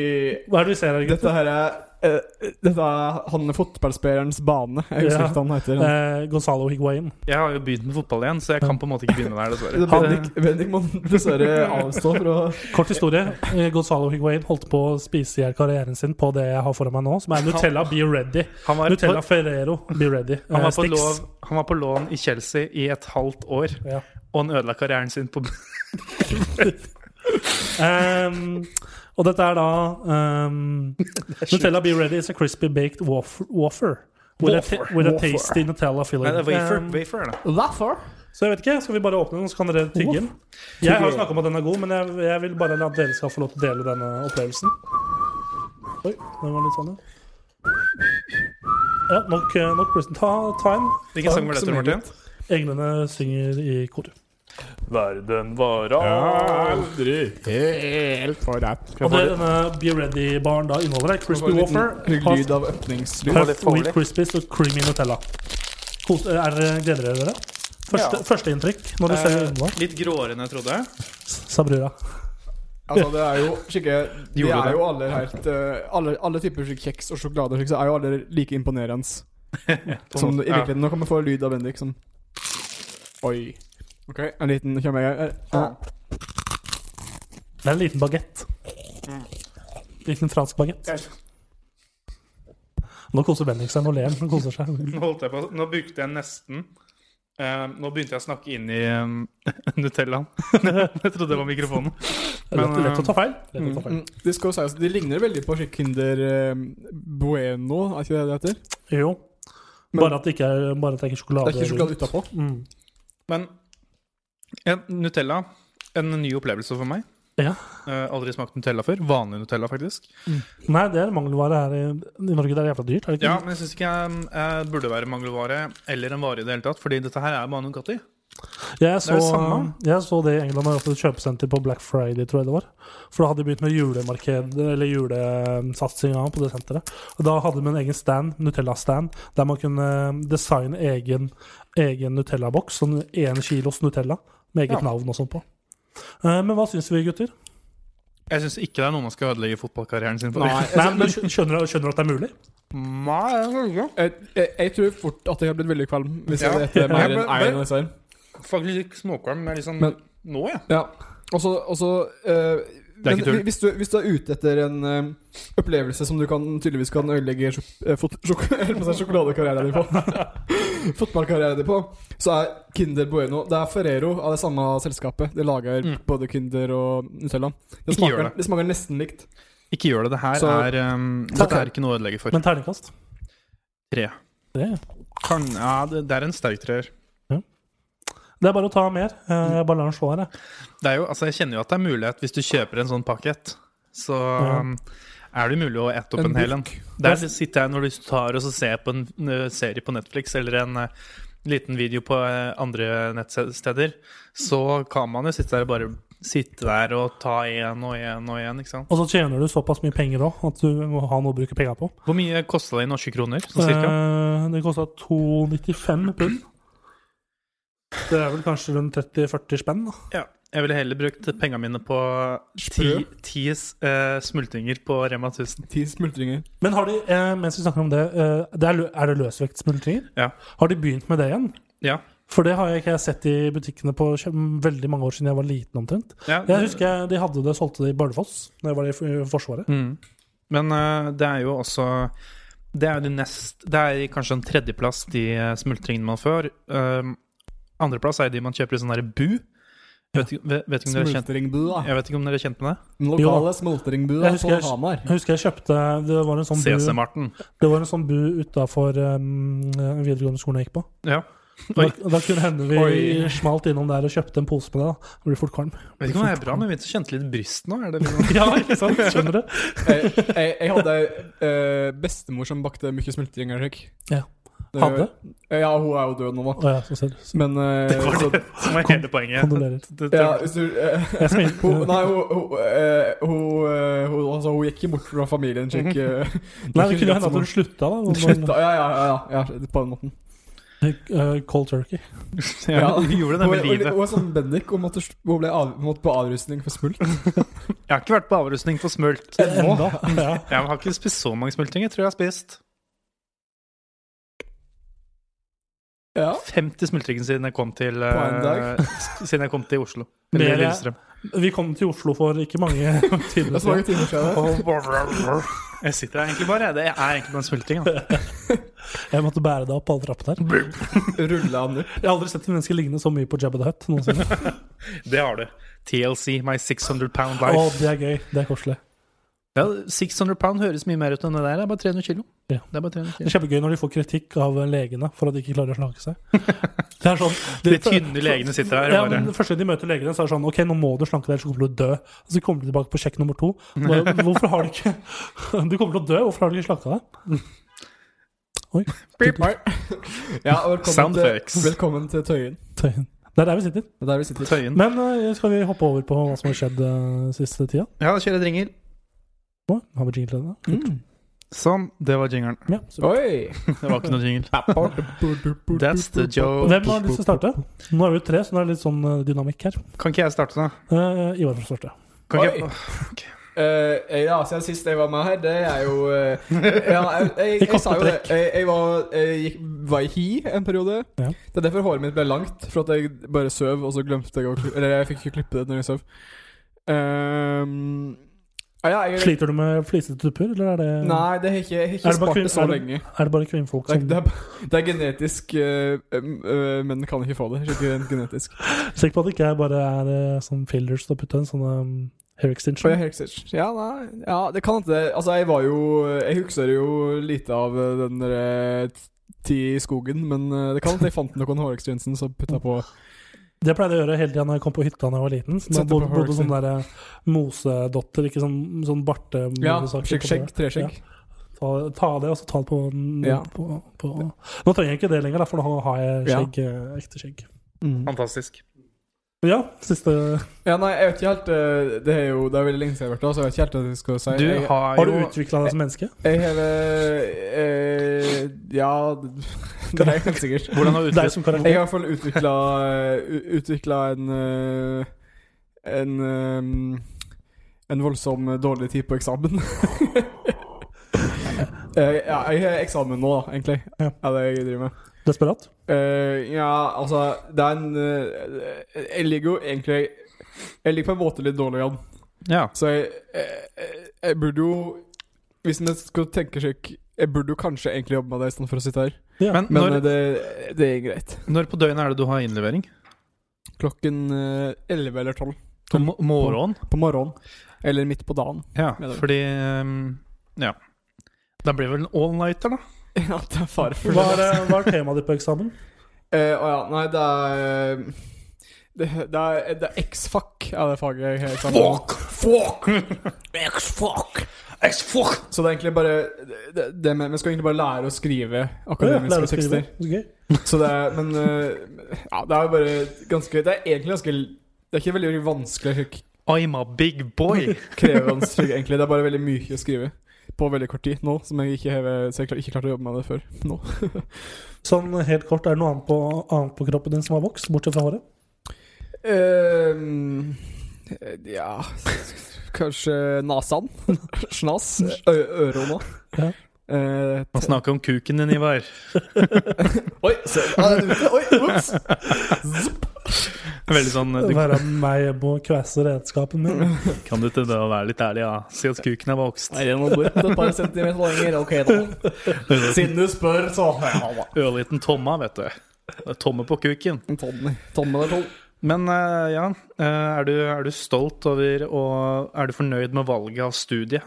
[SPEAKER 2] Hva er det vi ser her, gutter?
[SPEAKER 4] Dette her er eh, Dette er han fotballspillerens bane. Jeg husker
[SPEAKER 2] Ja.
[SPEAKER 4] ikke hva han heter.
[SPEAKER 2] Eh, Gonzalo Higuain.
[SPEAKER 3] Jeg har jo begynt med fotball igjen, så jeg kan på en måte ikke begynne der, dessverre.
[SPEAKER 4] Bendik, Bendik må dessverre avstå fra
[SPEAKER 2] Kort historie. Eh, Gonzalo Higuain holdt på å spise i hjel karrieren sin på det jeg har foran meg nå, som er Nutella Be Ready.
[SPEAKER 3] Han var, på,
[SPEAKER 2] Nutella Ferrero Be Ready.
[SPEAKER 3] han,
[SPEAKER 2] Eh,
[SPEAKER 3] var på
[SPEAKER 2] Stix.
[SPEAKER 3] lov, han var på lån i Chelsea i et halvt år,
[SPEAKER 2] Ja.
[SPEAKER 3] og han ødela karrieren sin på
[SPEAKER 2] Ehm, og dette er da ehm, Nutella Be Ready is a crispy baked wafer, wafer with, A, ta-
[SPEAKER 3] Wafer.
[SPEAKER 2] with a
[SPEAKER 4] Wafer.
[SPEAKER 2] tasty Nutella filling.
[SPEAKER 3] Nei, det er wafer,
[SPEAKER 2] Ehm,
[SPEAKER 3] wafer er det.
[SPEAKER 4] Derfor?
[SPEAKER 2] så jeg vet ikke, Skal vi bare åpne den, så kan dere tygge den? Jeg har snakka om at den er god, men jeg, jeg vil bare at dere skal få lov til å dele denne opplevelsen. Oi, den var litt sånn, ja. Ja, Nok, eh, nok Prison. Ta, ta en.
[SPEAKER 3] Hvilken sang var dette,
[SPEAKER 4] Takk så mye.
[SPEAKER 3] Martin?
[SPEAKER 2] Englene synger i kor.
[SPEAKER 1] Verden varer
[SPEAKER 4] Aldri helt for deg.
[SPEAKER 2] Og det denne Be Ready-baren da inneholder, er Crispy Wafer,
[SPEAKER 4] Hygg lyd av åpningslyd.
[SPEAKER 2] Puff with Crispies og creamy Nutella. Kos, eh, er, gleder dere dere? Første,
[SPEAKER 3] Ja.
[SPEAKER 2] Førsteinntrykk når du ser øynene?
[SPEAKER 3] Eh, litt gråere enn jeg trodde.
[SPEAKER 2] Sabrura.
[SPEAKER 4] Altså, det er jo skikkelig De
[SPEAKER 3] Gjorde
[SPEAKER 4] er
[SPEAKER 3] det.
[SPEAKER 4] jo alle helt eh, alle, alle typer slik kjeks og sjokolade og slik, så er jo alle like imponerende. Som i
[SPEAKER 3] Ja.
[SPEAKER 4] virkeligheten. Nå kan vi få lyd av Bendik som Oi. OK, en liten kommer jeg. eh, eh.
[SPEAKER 2] Det er en liten bagett.
[SPEAKER 4] Mm.
[SPEAKER 2] Liten fransk bagett. Nå koser Bendik seg. Nå ler han. Han koser seg.
[SPEAKER 3] Nå, holdt jeg på. Nå brukte jeg nesten eh, Nå begynte jeg å snakke inn i eh, Nutellaen. jeg trodde det var mikrofonen.
[SPEAKER 2] Det er lett, lett å ta feil. Lett å ta feil.
[SPEAKER 4] Mm, det skal jo sies at de ligner veldig på slik Kinder eh, Bueno, er ikke det det heter?
[SPEAKER 2] Jo.
[SPEAKER 4] Men-
[SPEAKER 2] Bare at det ikke er, bare at det ikke er sjokolade.
[SPEAKER 4] Det er ikke sjokolade utapå.
[SPEAKER 2] Mm.
[SPEAKER 3] Men ja, Nutella En ny opplevelse for meg.
[SPEAKER 2] Ja.
[SPEAKER 3] Eh, aldri smakt Nutella før. Vanlig Nutella, faktisk.
[SPEAKER 2] Nei, det er mangelvare her i, i Norge. Det er jævla dyrt. Er det ikke?
[SPEAKER 3] Ja, Men jeg syns ikke jeg eh, burde være mangelvare eller en vare i det hele tatt, fordi dette her er bare Nugatti.
[SPEAKER 2] Jeg så,
[SPEAKER 3] det samme.
[SPEAKER 2] jeg så det i England da jeg var på et kjøpesenter på Black Friday, tror jeg det var. For da hadde de begynt med julemarked, eller julesatsinga på det senteret. Og da hadde de en egen stand, Nutella-stand, der man kunne designe egen, egen Nutella-boks. Sånn én kilos Nutella med eget
[SPEAKER 3] Ja.
[SPEAKER 2] navn og sånt på. Eh, Men hva syns vi, gutter?
[SPEAKER 3] Jeg syns ikke det er noe man skal ødelegge fotballkarrieren sin for.
[SPEAKER 4] Nei, jeg,
[SPEAKER 2] Nei, men skj- skjønner du skjønner du at det er mulig?
[SPEAKER 3] Nei,
[SPEAKER 4] jeg, jeg, Eh, jeg tror fort at jeg har blitt veldig kvalm hvis jeg
[SPEAKER 3] Ja.
[SPEAKER 4] hadde spist mer
[SPEAKER 3] Ja,
[SPEAKER 4] enn
[SPEAKER 3] men-
[SPEAKER 4] én av disse. her.
[SPEAKER 3] Faktisk litt småkvalm. Jeg er litt sånn
[SPEAKER 4] Men-
[SPEAKER 3] Nå, ja.
[SPEAKER 4] Ja. Og så og så, eh,
[SPEAKER 3] Det er
[SPEAKER 4] men
[SPEAKER 3] ikke tull.
[SPEAKER 4] hvi- Hvis du, hvis du er ute etter en eh, opplevelse som du kan, tydeligvis kan ødelegge sjok eh, fot- sjok eller på seg sjokoladekarrieren din på, fotballkarrieren din på, så er Kinder Bueno Det er Ferrero av det samme selskapet. De lager
[SPEAKER 3] Mm.
[SPEAKER 4] både Kinder og Nutella. Det
[SPEAKER 3] Ikke gjør
[SPEAKER 4] smaker,
[SPEAKER 3] det.
[SPEAKER 4] det smaker nesten likt.
[SPEAKER 3] Ikke gjør det. Det her
[SPEAKER 4] Så-
[SPEAKER 3] er um,
[SPEAKER 2] Takk.
[SPEAKER 3] Dette er ikke noe å ødelegge for.
[SPEAKER 2] Men terningkast?
[SPEAKER 3] Tre.
[SPEAKER 2] Det,
[SPEAKER 3] Kan, ja, det, det er en sterk treer.
[SPEAKER 2] det er bare å ta mer. Eh, Jeg bare lar den slå her, jeg.
[SPEAKER 3] Det er jo, altså, jeg kjenner jo at det er mulighet hvis du kjøper en sånn pakket. Så
[SPEAKER 2] Ja.
[SPEAKER 3] um, er det mulig å ette opp en,
[SPEAKER 4] En
[SPEAKER 3] hel en. Der sitter jeg når du tar og så ser jeg på en ø, serie på Netflix eller en ø, liten video på ø, andre nettsteder, så kan man jo sitte der og bare sitte der og ta igjen og igjen og igjen. ikke sant?
[SPEAKER 2] Og så tjener du såpass mye penger òg at du må ha noe å bruke penga på.
[SPEAKER 3] Hvor mye kosta det i norske kroner? Sånn cirka?
[SPEAKER 2] Eh, Det kosta 2,95 pund. Det er vel kanskje rundt 30-40 spenn. da.
[SPEAKER 3] Ja. Jeg ville heller brukt pengene mine på ti,
[SPEAKER 4] Sprø.
[SPEAKER 3] ti eh, smultringer på Rema 1000.
[SPEAKER 4] Ti smultringer.
[SPEAKER 2] Men har de, eh, mens vi snakker om det, eh, det er, lø- er det løsvektsmultringer?
[SPEAKER 3] Ja.
[SPEAKER 2] Har de begynt med det igjen?
[SPEAKER 3] Ja.
[SPEAKER 2] For det har jeg ikke sett i butikkene på kjem- veldig mange år siden jeg var liten omtrent.
[SPEAKER 3] Ja,
[SPEAKER 2] Jeg husker jeg, de hadde det, solgte det i Bardufoss da jeg var i f- i Forsvaret.
[SPEAKER 3] Mm. Men eh, det er jo også Det er jo det nest Det er kanskje en tredjeplass de eh, smultringene man får. Um, andreplass er de man kjøper i sånn derre bu. Jeg vet, ikke- vet, vet ikke om dere er kjent
[SPEAKER 4] Smultringbua.
[SPEAKER 3] jeg vet ikke om dere er kjent med det?
[SPEAKER 4] Den lokale smultringbua
[SPEAKER 2] Jeg
[SPEAKER 4] på
[SPEAKER 2] husker-
[SPEAKER 4] Hamar.
[SPEAKER 2] Jeg husker jeg kjøpte Det var en sånn
[SPEAKER 3] CC
[SPEAKER 2] bu,
[SPEAKER 3] Marten.
[SPEAKER 2] det var en sånn bu utafor um, videregående skolen jeg gikk på.
[SPEAKER 3] Ja.
[SPEAKER 2] Da,
[SPEAKER 3] Oi.
[SPEAKER 2] da kunne hende vi
[SPEAKER 4] Oi.
[SPEAKER 2] smalt innom der og kjøpte en pose med det. da Det blir fort kvalm.
[SPEAKER 3] Vet ikke om det er bra, men vi kjente litt bryst nå. Er det liksom- litt
[SPEAKER 2] Ja, ikke sant? Skjønner du?
[SPEAKER 4] Jeg, jeg, jeg hadde eh, bestemor som bakte mye smultringer. slik.
[SPEAKER 2] Ja.
[SPEAKER 4] Det-
[SPEAKER 2] Hadde?
[SPEAKER 4] Ja, hun er jo død nå, da.
[SPEAKER 2] Å ja, så selv.
[SPEAKER 4] Men eh,
[SPEAKER 3] var
[SPEAKER 4] så,
[SPEAKER 3] som er hele poenget?
[SPEAKER 2] Kondolerer.
[SPEAKER 3] Det- det-
[SPEAKER 4] ja, hvis du, eh,
[SPEAKER 2] Jeg smilte.
[SPEAKER 4] hun, Nei, hun, hun, eh, hun, eh, hun, altså, hun gikk ikke bort fra familien. Slik, eh,
[SPEAKER 2] Nei, det kunne hende at hun slutta, da.
[SPEAKER 4] Slutta, ja, ja, ja, ja, ja, på den måten.
[SPEAKER 2] Eh, Cold turkey.
[SPEAKER 3] Ja, du gjorde det
[SPEAKER 4] Hun
[SPEAKER 3] med
[SPEAKER 4] hun-
[SPEAKER 3] livet.
[SPEAKER 4] hun er sånn Bendik og måtte, hun ble av, måtte på avrustning for smult.
[SPEAKER 3] Jeg har ikke vært på avrustning for smult nå.
[SPEAKER 2] Enda. Ja.
[SPEAKER 3] Jeg har ikke spist så mange smultinger. Jeg tror jeg har spist
[SPEAKER 4] Ja.
[SPEAKER 3] 50 smultringer siden jeg kom til eh,
[SPEAKER 4] På en dag.
[SPEAKER 3] s- Siden jeg kom til Oslo.
[SPEAKER 2] Mer,
[SPEAKER 3] Eller
[SPEAKER 2] ja.
[SPEAKER 3] Lillestrøm.
[SPEAKER 2] Vi kom til Oslo for ikke mange timer
[SPEAKER 4] Det er så mange
[SPEAKER 2] siden.
[SPEAKER 4] timer siden. det.
[SPEAKER 3] Jeg sitter her egentlig bare. jeg. Det er egentlig bare en smultring. Da.
[SPEAKER 2] Jeg måtte bære deg opp alle trappene her.
[SPEAKER 4] Rulla han opp.
[SPEAKER 2] Jeg har aldri sett et menneske ligne så mye på Jabba the Hutt noensinne.
[SPEAKER 3] Det har du. TLC, My 600 Pound
[SPEAKER 2] Å,
[SPEAKER 3] Life.
[SPEAKER 2] det er gøy. Det er koselig.
[SPEAKER 3] Ja, 600 pound høres mye mer ut enn det der. Det er bare 300 kilo.
[SPEAKER 2] Ja.
[SPEAKER 3] Det er bare 300
[SPEAKER 2] Det er
[SPEAKER 3] kilo.
[SPEAKER 2] kjempegøy når de får kritikk av legene for at de ikke klarer å slanke seg. Det er sånn
[SPEAKER 3] De tynne legene sitter her
[SPEAKER 2] Ja,
[SPEAKER 3] og
[SPEAKER 2] men
[SPEAKER 3] bare
[SPEAKER 2] Første gang de møter legene, så er det sånn Ok, nå må du slanke deg, ellers så kommer du til å dø. Og så kommer de tilbake på sjekk nummer to. Så Bare, hvorfor har du ikke Du kommer til å dø, hvorfor har du ikke slanka deg? Oi.
[SPEAKER 4] Beep. Ja, og velkommen
[SPEAKER 3] Sound
[SPEAKER 4] til,
[SPEAKER 3] effects.
[SPEAKER 4] velkommen til Tøyen.
[SPEAKER 2] Tøyen. Det er der vi sitter.
[SPEAKER 4] Det er der vi sitter.
[SPEAKER 3] Tøyen.
[SPEAKER 2] Men eh, skal vi hoppe over på hva som har skjedd eh, siste tida?
[SPEAKER 3] Ja, kjører jeg ringer.
[SPEAKER 2] Nå har vi jingle til det.
[SPEAKER 4] Mm.
[SPEAKER 3] Sånn. Det var jingeren.
[SPEAKER 2] Ja, super.
[SPEAKER 4] Oi!
[SPEAKER 3] Det var ikke noe jingle. That's the joke.
[SPEAKER 2] Hvem har lyst til å starte? Nå er vi jo tre, så nå er det litt sånn eh, dynamikk her.
[SPEAKER 3] Kan ikke jeg starte, da?
[SPEAKER 2] Eh, Ivar får starte.
[SPEAKER 3] Kan ikke
[SPEAKER 4] Oi.
[SPEAKER 3] jeg...
[SPEAKER 4] Eh, ja, siden sist jeg var med her, det er jo eh, ja, jeg, jeg, jeg,
[SPEAKER 2] Vi kom
[SPEAKER 4] sa
[SPEAKER 2] på
[SPEAKER 4] jo det. Jeg, jeg, var, jeg gikk, var i hi en periode.
[SPEAKER 2] Ja.
[SPEAKER 4] Det er derfor håret mitt ble langt. For at jeg bare søv, og så glemte jeg å klippe Eller jeg fikk ikke klippe det når jeg søv. Ehm, ja, jeg,
[SPEAKER 2] Sliter du med flisete tupper, eller er det,
[SPEAKER 4] Nei, det har ikke, jeg
[SPEAKER 2] Er
[SPEAKER 4] har ikke
[SPEAKER 2] det bare
[SPEAKER 4] spart det så
[SPEAKER 2] kvin- er det-
[SPEAKER 4] lenge.
[SPEAKER 2] er det bare kvinnfolk
[SPEAKER 4] Det er,
[SPEAKER 2] som
[SPEAKER 4] det er, det er genetisk, eh, em, eh, men kan ikke få det. Skikkelig rent genetisk.
[SPEAKER 2] Sikker på at det ikke er bare er eh, sånn fillers til å putte en sånn um, hair
[SPEAKER 4] For jeg
[SPEAKER 2] extension?
[SPEAKER 4] er helt sikker. Ja, nei, ja, det kan hende det- Altså, jeg var jo Jeg husker jo lite av eh, den derre tid i skogen, men eh, det kan hende jeg fant noen hårekstrinsen som putta på
[SPEAKER 2] Det pleide jeg å gjøre hele tida når jeg kom på hytta da jeg var liten. Så da
[SPEAKER 4] Sette på
[SPEAKER 2] bodde,
[SPEAKER 4] hair
[SPEAKER 2] bodde sånne der eh, mosedotter, ikke sånn, sånn
[SPEAKER 4] Ja,
[SPEAKER 2] bartemosaker.
[SPEAKER 4] skjegg, skjegg, treskjegg.
[SPEAKER 2] Ta, ta det, og så ta det på, den-
[SPEAKER 4] Ja.
[SPEAKER 2] på, på Nå trenger jeg ikke det lenger, da, for nå har jeg skjegg, eh, ekte skjegg.
[SPEAKER 4] Mm.
[SPEAKER 3] Fantastisk.
[SPEAKER 2] Ja, siste
[SPEAKER 4] Ja, nei, jeg vet ikke helt eh, Det er jo Det er veldig lenge siden jeg har vært der, så jeg vet ikke helt hva jeg skal si.
[SPEAKER 3] Du
[SPEAKER 4] jeg,
[SPEAKER 3] har
[SPEAKER 2] Har du
[SPEAKER 3] jo
[SPEAKER 2] utvikla deg som menneske?
[SPEAKER 4] jeg har eh, eh, Ja Det er jeg helt sikkert.
[SPEAKER 3] Hvordan har du
[SPEAKER 2] Deg
[SPEAKER 3] utviklet
[SPEAKER 2] som
[SPEAKER 4] Jeg har i
[SPEAKER 2] karakter?
[SPEAKER 4] hvert fall utvikla Utvikla en eh, En eh, En voldsom dårlig tid på eksamen. Eh, ja, jeg har eksamen nå, da, egentlig.
[SPEAKER 2] Ja.
[SPEAKER 4] Er det jeg driver med.
[SPEAKER 2] Desperat?
[SPEAKER 4] Eh, ja, altså Det er en eh, Jeg ligger jo egentlig Jeg ligger på en måte litt dårlig an,
[SPEAKER 3] Ja.
[SPEAKER 4] så jeg, jeg, jeg burde jo Hvis man skal tenke seg Jeg burde jo kanskje egentlig jobbe med det istedenfor å sitte her.
[SPEAKER 2] Ja.
[SPEAKER 3] Men eh,
[SPEAKER 4] Men
[SPEAKER 3] når,
[SPEAKER 4] eh, det, det er greit.
[SPEAKER 3] når på døgnet er det du har innlevering?
[SPEAKER 4] Klokken eh, 11 eller 12
[SPEAKER 3] Om mo- morgenen?
[SPEAKER 4] på morgenen. Eller midt på dagen.
[SPEAKER 3] Ja,
[SPEAKER 4] Middag.
[SPEAKER 3] fordi um, Ja. Da blir det vel en all-nighter, da.
[SPEAKER 4] ja, det er fare for
[SPEAKER 2] Hva er,
[SPEAKER 4] det.
[SPEAKER 2] eh, hva er temaet ditt på eksamen?
[SPEAKER 4] Eh, å ja, nei, det er eh, Det, det er, det er X-fuck er det faget jeg har eksamen om.
[SPEAKER 3] Fuck! X-fuck! X-fuck!
[SPEAKER 4] Så det er egentlig bare det, det med, Vi skal egentlig bare lære å skrive akademiske
[SPEAKER 2] Lære å skrive.
[SPEAKER 4] tekster.
[SPEAKER 2] Så gøy.
[SPEAKER 4] Så det er, Men eh, ja, det er jo bare ganske Det er egentlig ganske Det er ikke veldig vanskelig k-
[SPEAKER 3] I'm a big boy.
[SPEAKER 4] krevende, egentlig. Det er bare veldig mye å skrive på veldig kort tid nå, som jeg ikke, har- så jeg klar, ikke klarte å jobbe med det før nå.
[SPEAKER 2] Sånn helt kort, er det noe annet på, annet på kroppen din som har vokst, bortsett fra håret?
[SPEAKER 4] Ehm, ja Kanskje nasan? Snas? Ø- Ørona?
[SPEAKER 2] Ja.
[SPEAKER 4] Eh,
[SPEAKER 3] Man snakker om kuken din, Ivar.
[SPEAKER 4] oi, se, ja, det er ute. oi, ups!
[SPEAKER 3] Veldig sånn du,
[SPEAKER 2] Være meg hjemme og kvesse redskapen min.
[SPEAKER 3] Kan du ikke da være litt ærlig, ja? Si at kuken er vokst.
[SPEAKER 4] Nei, den var blitt et par centimeter lenger. Ok, da. Siden du spør, så ja da.
[SPEAKER 3] Ørliten Tomma, vet du. Det er Tomme på kuken.
[SPEAKER 4] Tommy, Tommy er tolv.
[SPEAKER 3] Men eh, ja, eh, er du, er du stolt over og er du fornøyd med valget av studiet?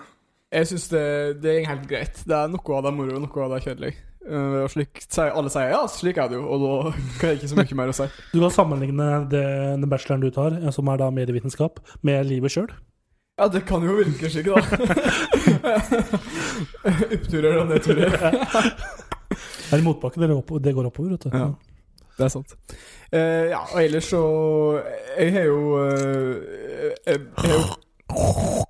[SPEAKER 4] Jeg syns det, det er helt greit. Det er noe av det er moro, noe av det er kjedelig. Eh, og slik, sier- alle sier ja, slik er det jo, og da kan jeg ikke så mye mer å si.
[SPEAKER 2] Du kan sammenligne det, den bacheloren du tar, eh, som er da medievitenskap, med livet sjøl.
[SPEAKER 4] Ja, det kan jo virke slik, da. Oppturer og nedturer.
[SPEAKER 2] Er det motbakke det, går opp, det går oppover, vet du.
[SPEAKER 4] Ja. Det er sant. Eh, ja, og ellers så Jeg har jo eh, Jeg jeg har jo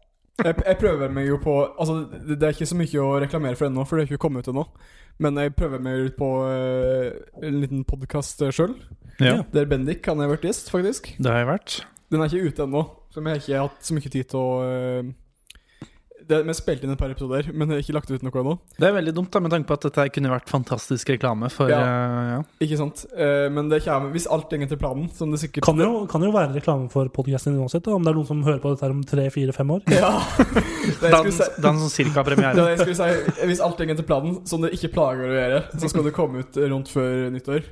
[SPEAKER 4] Jeg, jeg prøver meg jo på Altså, det, det er ikke så mye å reklamere for ennå, for det er ikke kommet ut ennå. Men jeg prøver meg ut på eh, en liten podkast sjøl,
[SPEAKER 3] Ja,
[SPEAKER 4] der Bendik han er vært gjest, faktisk.
[SPEAKER 3] det har jeg vært.
[SPEAKER 4] Den er ikke ute ennå, så vi har ikke hatt så mye tid til å eh, det, Vi spilte inn et par episoder, men jeg har ikke lagt ut noe ennå.
[SPEAKER 3] Det er veldig dumt, da, med tanke på at dette her kunne vært fantastisk reklame for
[SPEAKER 4] Ja.
[SPEAKER 3] eh, ja.
[SPEAKER 4] Ikke sant? Eh, men det kommer, hvis alt går etter planen, som det sikkert
[SPEAKER 2] Kan jo, kan jo være reklame for podkasten din uansett, da, om det er noen som hører på dette her om tre-fire-fem år.
[SPEAKER 4] Ja! Det jeg skulle
[SPEAKER 3] Dans,
[SPEAKER 4] si-
[SPEAKER 3] dans som
[SPEAKER 4] Det
[SPEAKER 3] cirka-premiere.
[SPEAKER 4] var det jeg skulle si. Hvis alt går etter planen, som det ikke plager å gjøre, så skal det komme ut rundt før nyttår.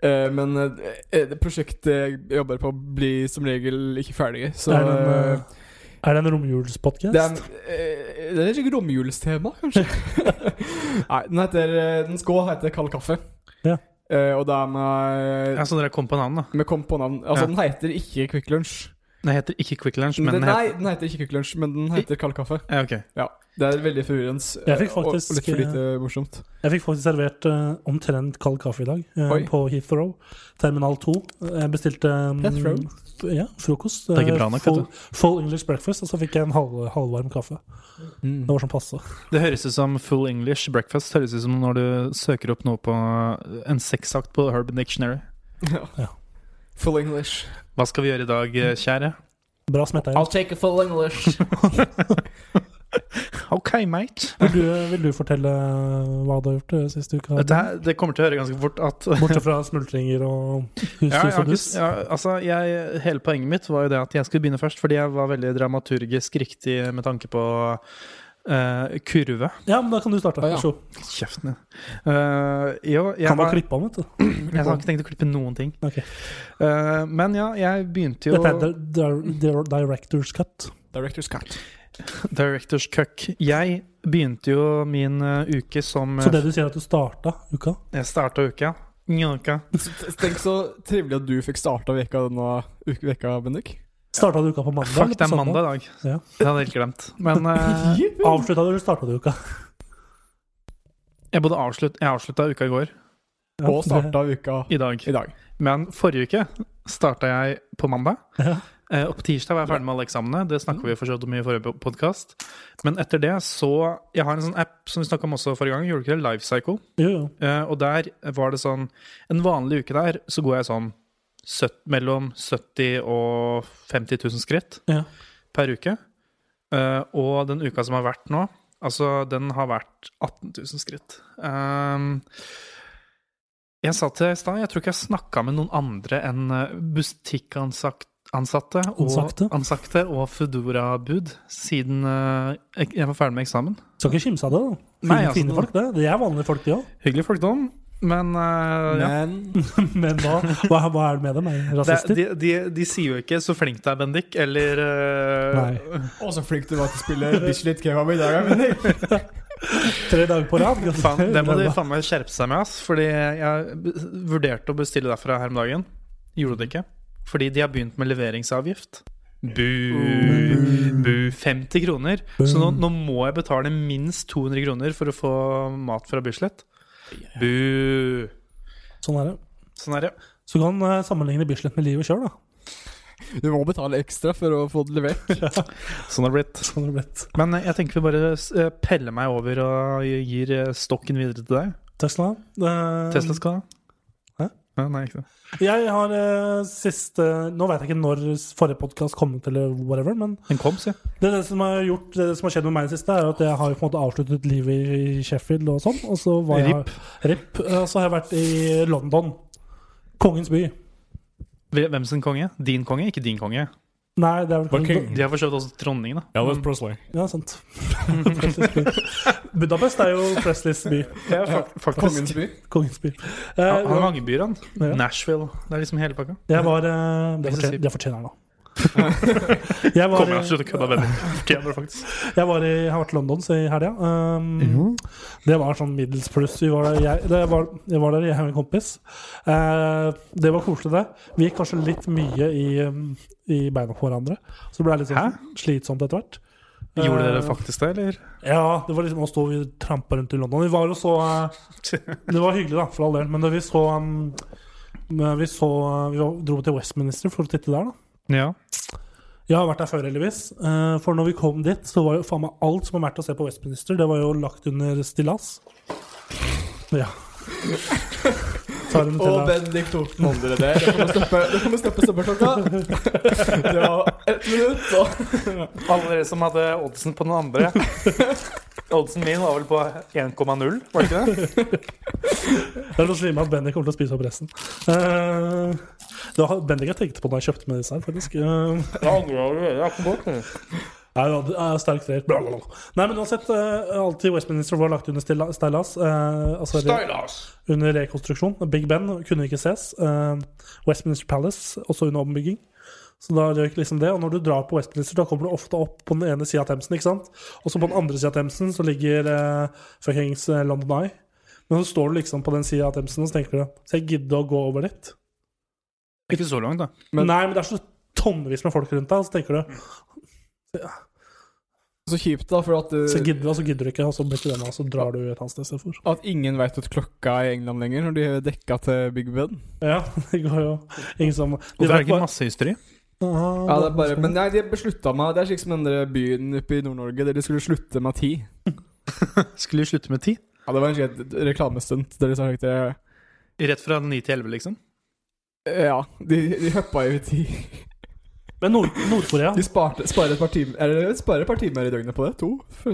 [SPEAKER 4] Eh, Men eh, det prosjektet jeg jobber på, blir som regel ikke ferdig. Så
[SPEAKER 2] er det en,
[SPEAKER 4] eh,
[SPEAKER 2] eh, er det en
[SPEAKER 4] det er,
[SPEAKER 2] romjulspodkast?
[SPEAKER 4] eh, det er sikkert romjulstema, kanskje. Nei, den heter eh, Den skal hete Kald kaffe.
[SPEAKER 2] Ja.
[SPEAKER 4] Eh, Og det er med
[SPEAKER 3] Ja, så dere kom på navn, da.
[SPEAKER 4] Vi kom på navn. Altså,
[SPEAKER 3] Ja.
[SPEAKER 4] den heter ikke Quick Lunch.
[SPEAKER 3] Den heter ikke Quick Lunch, men
[SPEAKER 4] Den,
[SPEAKER 3] den heter
[SPEAKER 4] nei, den heter ikke Quick Lunch, men den heter Kald kaffe.
[SPEAKER 3] ja, ok.
[SPEAKER 4] Ja, Det er veldig forvirrende
[SPEAKER 2] Jeg
[SPEAKER 4] eh,
[SPEAKER 2] fikk
[SPEAKER 4] og, og
[SPEAKER 2] faktisk,
[SPEAKER 4] litt for
[SPEAKER 2] eh,
[SPEAKER 4] lite morsomt.
[SPEAKER 2] Jeg fikk faktisk servert eh, omtrent kald kaffe i dag eh,
[SPEAKER 4] Oi.
[SPEAKER 2] på Heathrow, terminal 2. Jeg bestilte eh,
[SPEAKER 4] Heathrow?
[SPEAKER 2] f- Ja, frokost.
[SPEAKER 3] er ikke
[SPEAKER 2] eh,
[SPEAKER 3] bra nok,
[SPEAKER 2] full,
[SPEAKER 3] vet
[SPEAKER 2] full English breakfast, og så fikk jeg en halv, halvvarm kaffe. Det var sånn passe.
[SPEAKER 3] Det høres ut som full English breakfast. Høres ut som når du søker opp noe på en sexakt på Urban Dictionary.
[SPEAKER 2] Ja.
[SPEAKER 4] Full English.
[SPEAKER 3] Hva skal vi gjøre i dag, eh, kjære?
[SPEAKER 2] Bra smetta inn.
[SPEAKER 4] take a full English.
[SPEAKER 3] OK, mate.
[SPEAKER 2] Vil du, vil du fortelle hva du har gjort eh, siste uka?
[SPEAKER 3] Dette her, det kommer til å høre ganske fort at
[SPEAKER 2] Bortsett fra smultringer og hus, hus
[SPEAKER 3] ja, jeg, har
[SPEAKER 2] og
[SPEAKER 3] ikke-
[SPEAKER 2] dus.
[SPEAKER 3] ja, altså, jeg, hele poenget mitt var jo det at jeg skulle begynne først, fordi jeg var veldig dramaturgisk riktig med tanke på eh, kurve.
[SPEAKER 2] Ja, men da kan du starte.
[SPEAKER 4] Å, ja.
[SPEAKER 2] Vær så god.
[SPEAKER 3] Kjeften din. Eh, jo, jeg
[SPEAKER 2] Kan bare
[SPEAKER 3] har,
[SPEAKER 2] klippe av, vet du.
[SPEAKER 3] jeg har ikke tenkt å klippe noen ting.
[SPEAKER 2] Ok.
[SPEAKER 3] Eh, men ja, jeg begynte jo
[SPEAKER 2] Dette er di- di- di- director's cut.
[SPEAKER 4] Director's cut.
[SPEAKER 3] Directors Cuck. Jeg begynte jo min eh, uke som eh,
[SPEAKER 2] Så det du sier er at du starta uka?
[SPEAKER 3] Jeg starta uka. Nja, uka.
[SPEAKER 4] Tenk så trivelig at du fikk starta veka denne uke, veka, Bendik.
[SPEAKER 2] Starta du uka på mandag?
[SPEAKER 3] Fuck,
[SPEAKER 2] eller
[SPEAKER 3] det
[SPEAKER 2] på
[SPEAKER 3] er
[SPEAKER 2] søndag?
[SPEAKER 3] mandag i dag.
[SPEAKER 2] Ja.
[SPEAKER 3] Det hadde jeg helt glemt. Men eh,
[SPEAKER 2] Avslutta du, eller starta du uka?
[SPEAKER 3] jeg, både avslutt, jeg avslutta uka i går.
[SPEAKER 2] Ja,
[SPEAKER 4] Og
[SPEAKER 2] det-
[SPEAKER 4] starta uka
[SPEAKER 3] I dag.
[SPEAKER 4] i dag.
[SPEAKER 3] Men forrige uke starta jeg på mandag.
[SPEAKER 2] Ja.
[SPEAKER 3] Eh, og på tirsdag var jeg ferdig med alle eksamene. Det snakka vi for så vidt om i forrige podkast. Men etter det så Jeg har en sånn app som vi snakka om også forrige gang. Gjorde du ikke det? Lifecycle.
[SPEAKER 2] Jo, jo.
[SPEAKER 3] Eh, og der var det sånn En vanlig uke der så går jeg sånn søtt- mellom 70 og 50 000 skritt
[SPEAKER 2] Ja.
[SPEAKER 3] per uke. Eh, og den uka som har vært nå, altså den har vært 18 000 skritt. Ehm, jeg sa til deg i stad, jeg tror ikke jeg snakka med noen andre enn eh, butikkansatt Ansatte og,
[SPEAKER 2] Ansakte.
[SPEAKER 3] ansakte og Foodora-bud siden eh, jeg jeg var ferdig med eksamen.
[SPEAKER 2] Skal ikke kimse av det, da. Fine,
[SPEAKER 3] Nei, altså,
[SPEAKER 2] fine folk, det. De er vanlige folk, de òg.
[SPEAKER 3] Hyggelige folk, da, men eh, ja.
[SPEAKER 4] Men
[SPEAKER 2] Men hva, hva, hva er det med dem? Er de
[SPEAKER 3] Det,
[SPEAKER 2] rasister?
[SPEAKER 3] de, de, de sier jo ikke 'så flink du er, Bendik', eller eh,
[SPEAKER 4] Å, så flink du var til å spille Bislett Kebab i dag, ja, Bendik.
[SPEAKER 2] Tre dager på rad?
[SPEAKER 3] faen, Det må de faen meg skjerpe seg med, ass. Fordi jeg b- vurderte å bestille derfra her om dagen. Gjorde det ikke. Fordi de har begynt med leveringsavgift. Bu, bu 50 kroner. Så nå, nå må jeg betale minst 200 kroner for å få mat fra Bislett. Bu.
[SPEAKER 2] Sånn er det.
[SPEAKER 3] Sånn er det.
[SPEAKER 2] Så du kan eh, sammenligne Bislett med livet sjøl, da.
[SPEAKER 4] Du må betale ekstra for å få det levert.
[SPEAKER 3] Sånn har det blitt.
[SPEAKER 2] Sånn har det blitt.
[SPEAKER 3] Men jeg tenker vi bare eh, peller meg over og gir eh, stokken videre til deg.
[SPEAKER 2] Tesla. eh,
[SPEAKER 3] Tesla skal ha.
[SPEAKER 2] Hæ?
[SPEAKER 3] Ja, Nei, ikke det.
[SPEAKER 2] Jeg har eh, siste Nå veit jeg ikke når forrige podkast kom ut, eller whatever, men
[SPEAKER 3] Den kom, si.
[SPEAKER 2] det, det, som har gjort, det som har skjedd med meg i det siste, er jo at jeg har jo på en måte avsluttet livet i Sheffield og sånn. Og så var jeg,
[SPEAKER 3] Rip.
[SPEAKER 2] Rip. eh, Så har jeg vært i London. Kongens by.
[SPEAKER 3] Hvem sin konge? Din konge, ikke din konge.
[SPEAKER 2] Nei, det er vel
[SPEAKER 5] Var King.
[SPEAKER 3] De har forstått også dronningen, da.
[SPEAKER 5] Elvis Presley.
[SPEAKER 2] Ja, sant. Presleys by. Budapest er jo Presleys by.
[SPEAKER 4] Kongens by.
[SPEAKER 2] Kongens by. Eh,
[SPEAKER 3] Han han har mange byer, han.
[SPEAKER 2] Ja.
[SPEAKER 3] Nashville. Det er liksom hele pakka.
[SPEAKER 2] jeg var eh, Det fortjener, det fortjener han, da. Jeg var,
[SPEAKER 3] Kommer jeg slutt å kødde med det. faktisk.
[SPEAKER 2] jeg var i, jeg har vært i London så i helga. Um, det var sånn middels pluss. Vi var der, jeg, det var, jeg var der jeg og en kompis. Eh, det var koselig, det. Vi gikk kanskje litt mye i, um, i beina på hverandre. Så det ble litt sånn slitsomt etter hvert.
[SPEAKER 3] Gjorde
[SPEAKER 2] Eh,
[SPEAKER 3] dere faktisk det, eller?
[SPEAKER 2] Ja, det var liksom å stå og trampe rundt i London. Vi var jo så eh, Det var hyggelig, da, for all del. Men det vi så um, eh, men Vi så Vi var- dro til Westminster for å titte der, da.
[SPEAKER 3] Ja.
[SPEAKER 2] Jeg har vært der før, heldigvis. Eh, For når vi kom dit, så var jo faen meg alt som var verdt å se på Westminster, det var jo lagt under stillas. Ja. Tar en
[SPEAKER 4] Og
[SPEAKER 2] til
[SPEAKER 4] Bendik Thorsen andre der. Det kommer stoppe, det kommer stoppe stoppeklokka. Det var ett minutt, og
[SPEAKER 1] Alle dere som hadde oddsen på den andre. Oddsen min var vel på 1,0, var det ikke det?
[SPEAKER 2] Det er så slime at Bendik kommer til å spise opp resten. Eh, det var, Bendik jeg tenkte på da jeg kjøpte med disse her, faktisk. Eh,
[SPEAKER 1] Jeg angrer jeg
[SPEAKER 2] Nei, ja, det er sterkt rett. Bla, bla, bla. Nei, men uansett, eh, alt i Westminster var lagt under stilla- stillas. eh, altså re under rekonstruksjon. Big Ben kunne ikke ses. eh, Westminster Palace, også under ombygging. Så da røyk liksom det. Og når du drar på Westminster, da kommer du ofte opp på den ene sida av Themsen. ikke sant? Og så på den andre sida av Themsen så ligger eh, fuckings eh, London Eye. Men så står du liksom på den sida av Themsen, og så tenker du Så jeg gidder å gå over dit.
[SPEAKER 3] Ikke så langt, da.
[SPEAKER 4] Men-
[SPEAKER 2] Nei, men det er så tonnevis med folk rundt deg, og så tenker du
[SPEAKER 4] Så kjipt, da, for at,
[SPEAKER 2] Så jeg
[SPEAKER 4] uh,
[SPEAKER 2] gidder du, og så gidder du ikke, og så blir ikke det med, og så drar du et annet sted istedenfor.
[SPEAKER 4] at ingen veit at klokka er i England lenger, når de er dekka til Big Ben.
[SPEAKER 2] Ja, det går jo ingen som
[SPEAKER 3] Og det er
[SPEAKER 2] vet
[SPEAKER 3] ikke
[SPEAKER 2] bare-
[SPEAKER 3] masse hysteri.
[SPEAKER 2] Ah,
[SPEAKER 4] Ja, det er bare, men nei, de beslutta meg Det er slik som den der byen oppe i Nord-Norge, der de skulle slutte med ti.
[SPEAKER 3] Skulle slutte med ti.
[SPEAKER 4] Ja, det var en slik reklamestunt der de sa slik det
[SPEAKER 3] Rett fra ni til elleve, liksom.
[SPEAKER 4] Ja, de, de hoppa jo i ti.
[SPEAKER 2] Men Nord- Nord-Korea,
[SPEAKER 4] De sparte, sparer et par timer Eller sparer et par timer i døgnet på det. To. for-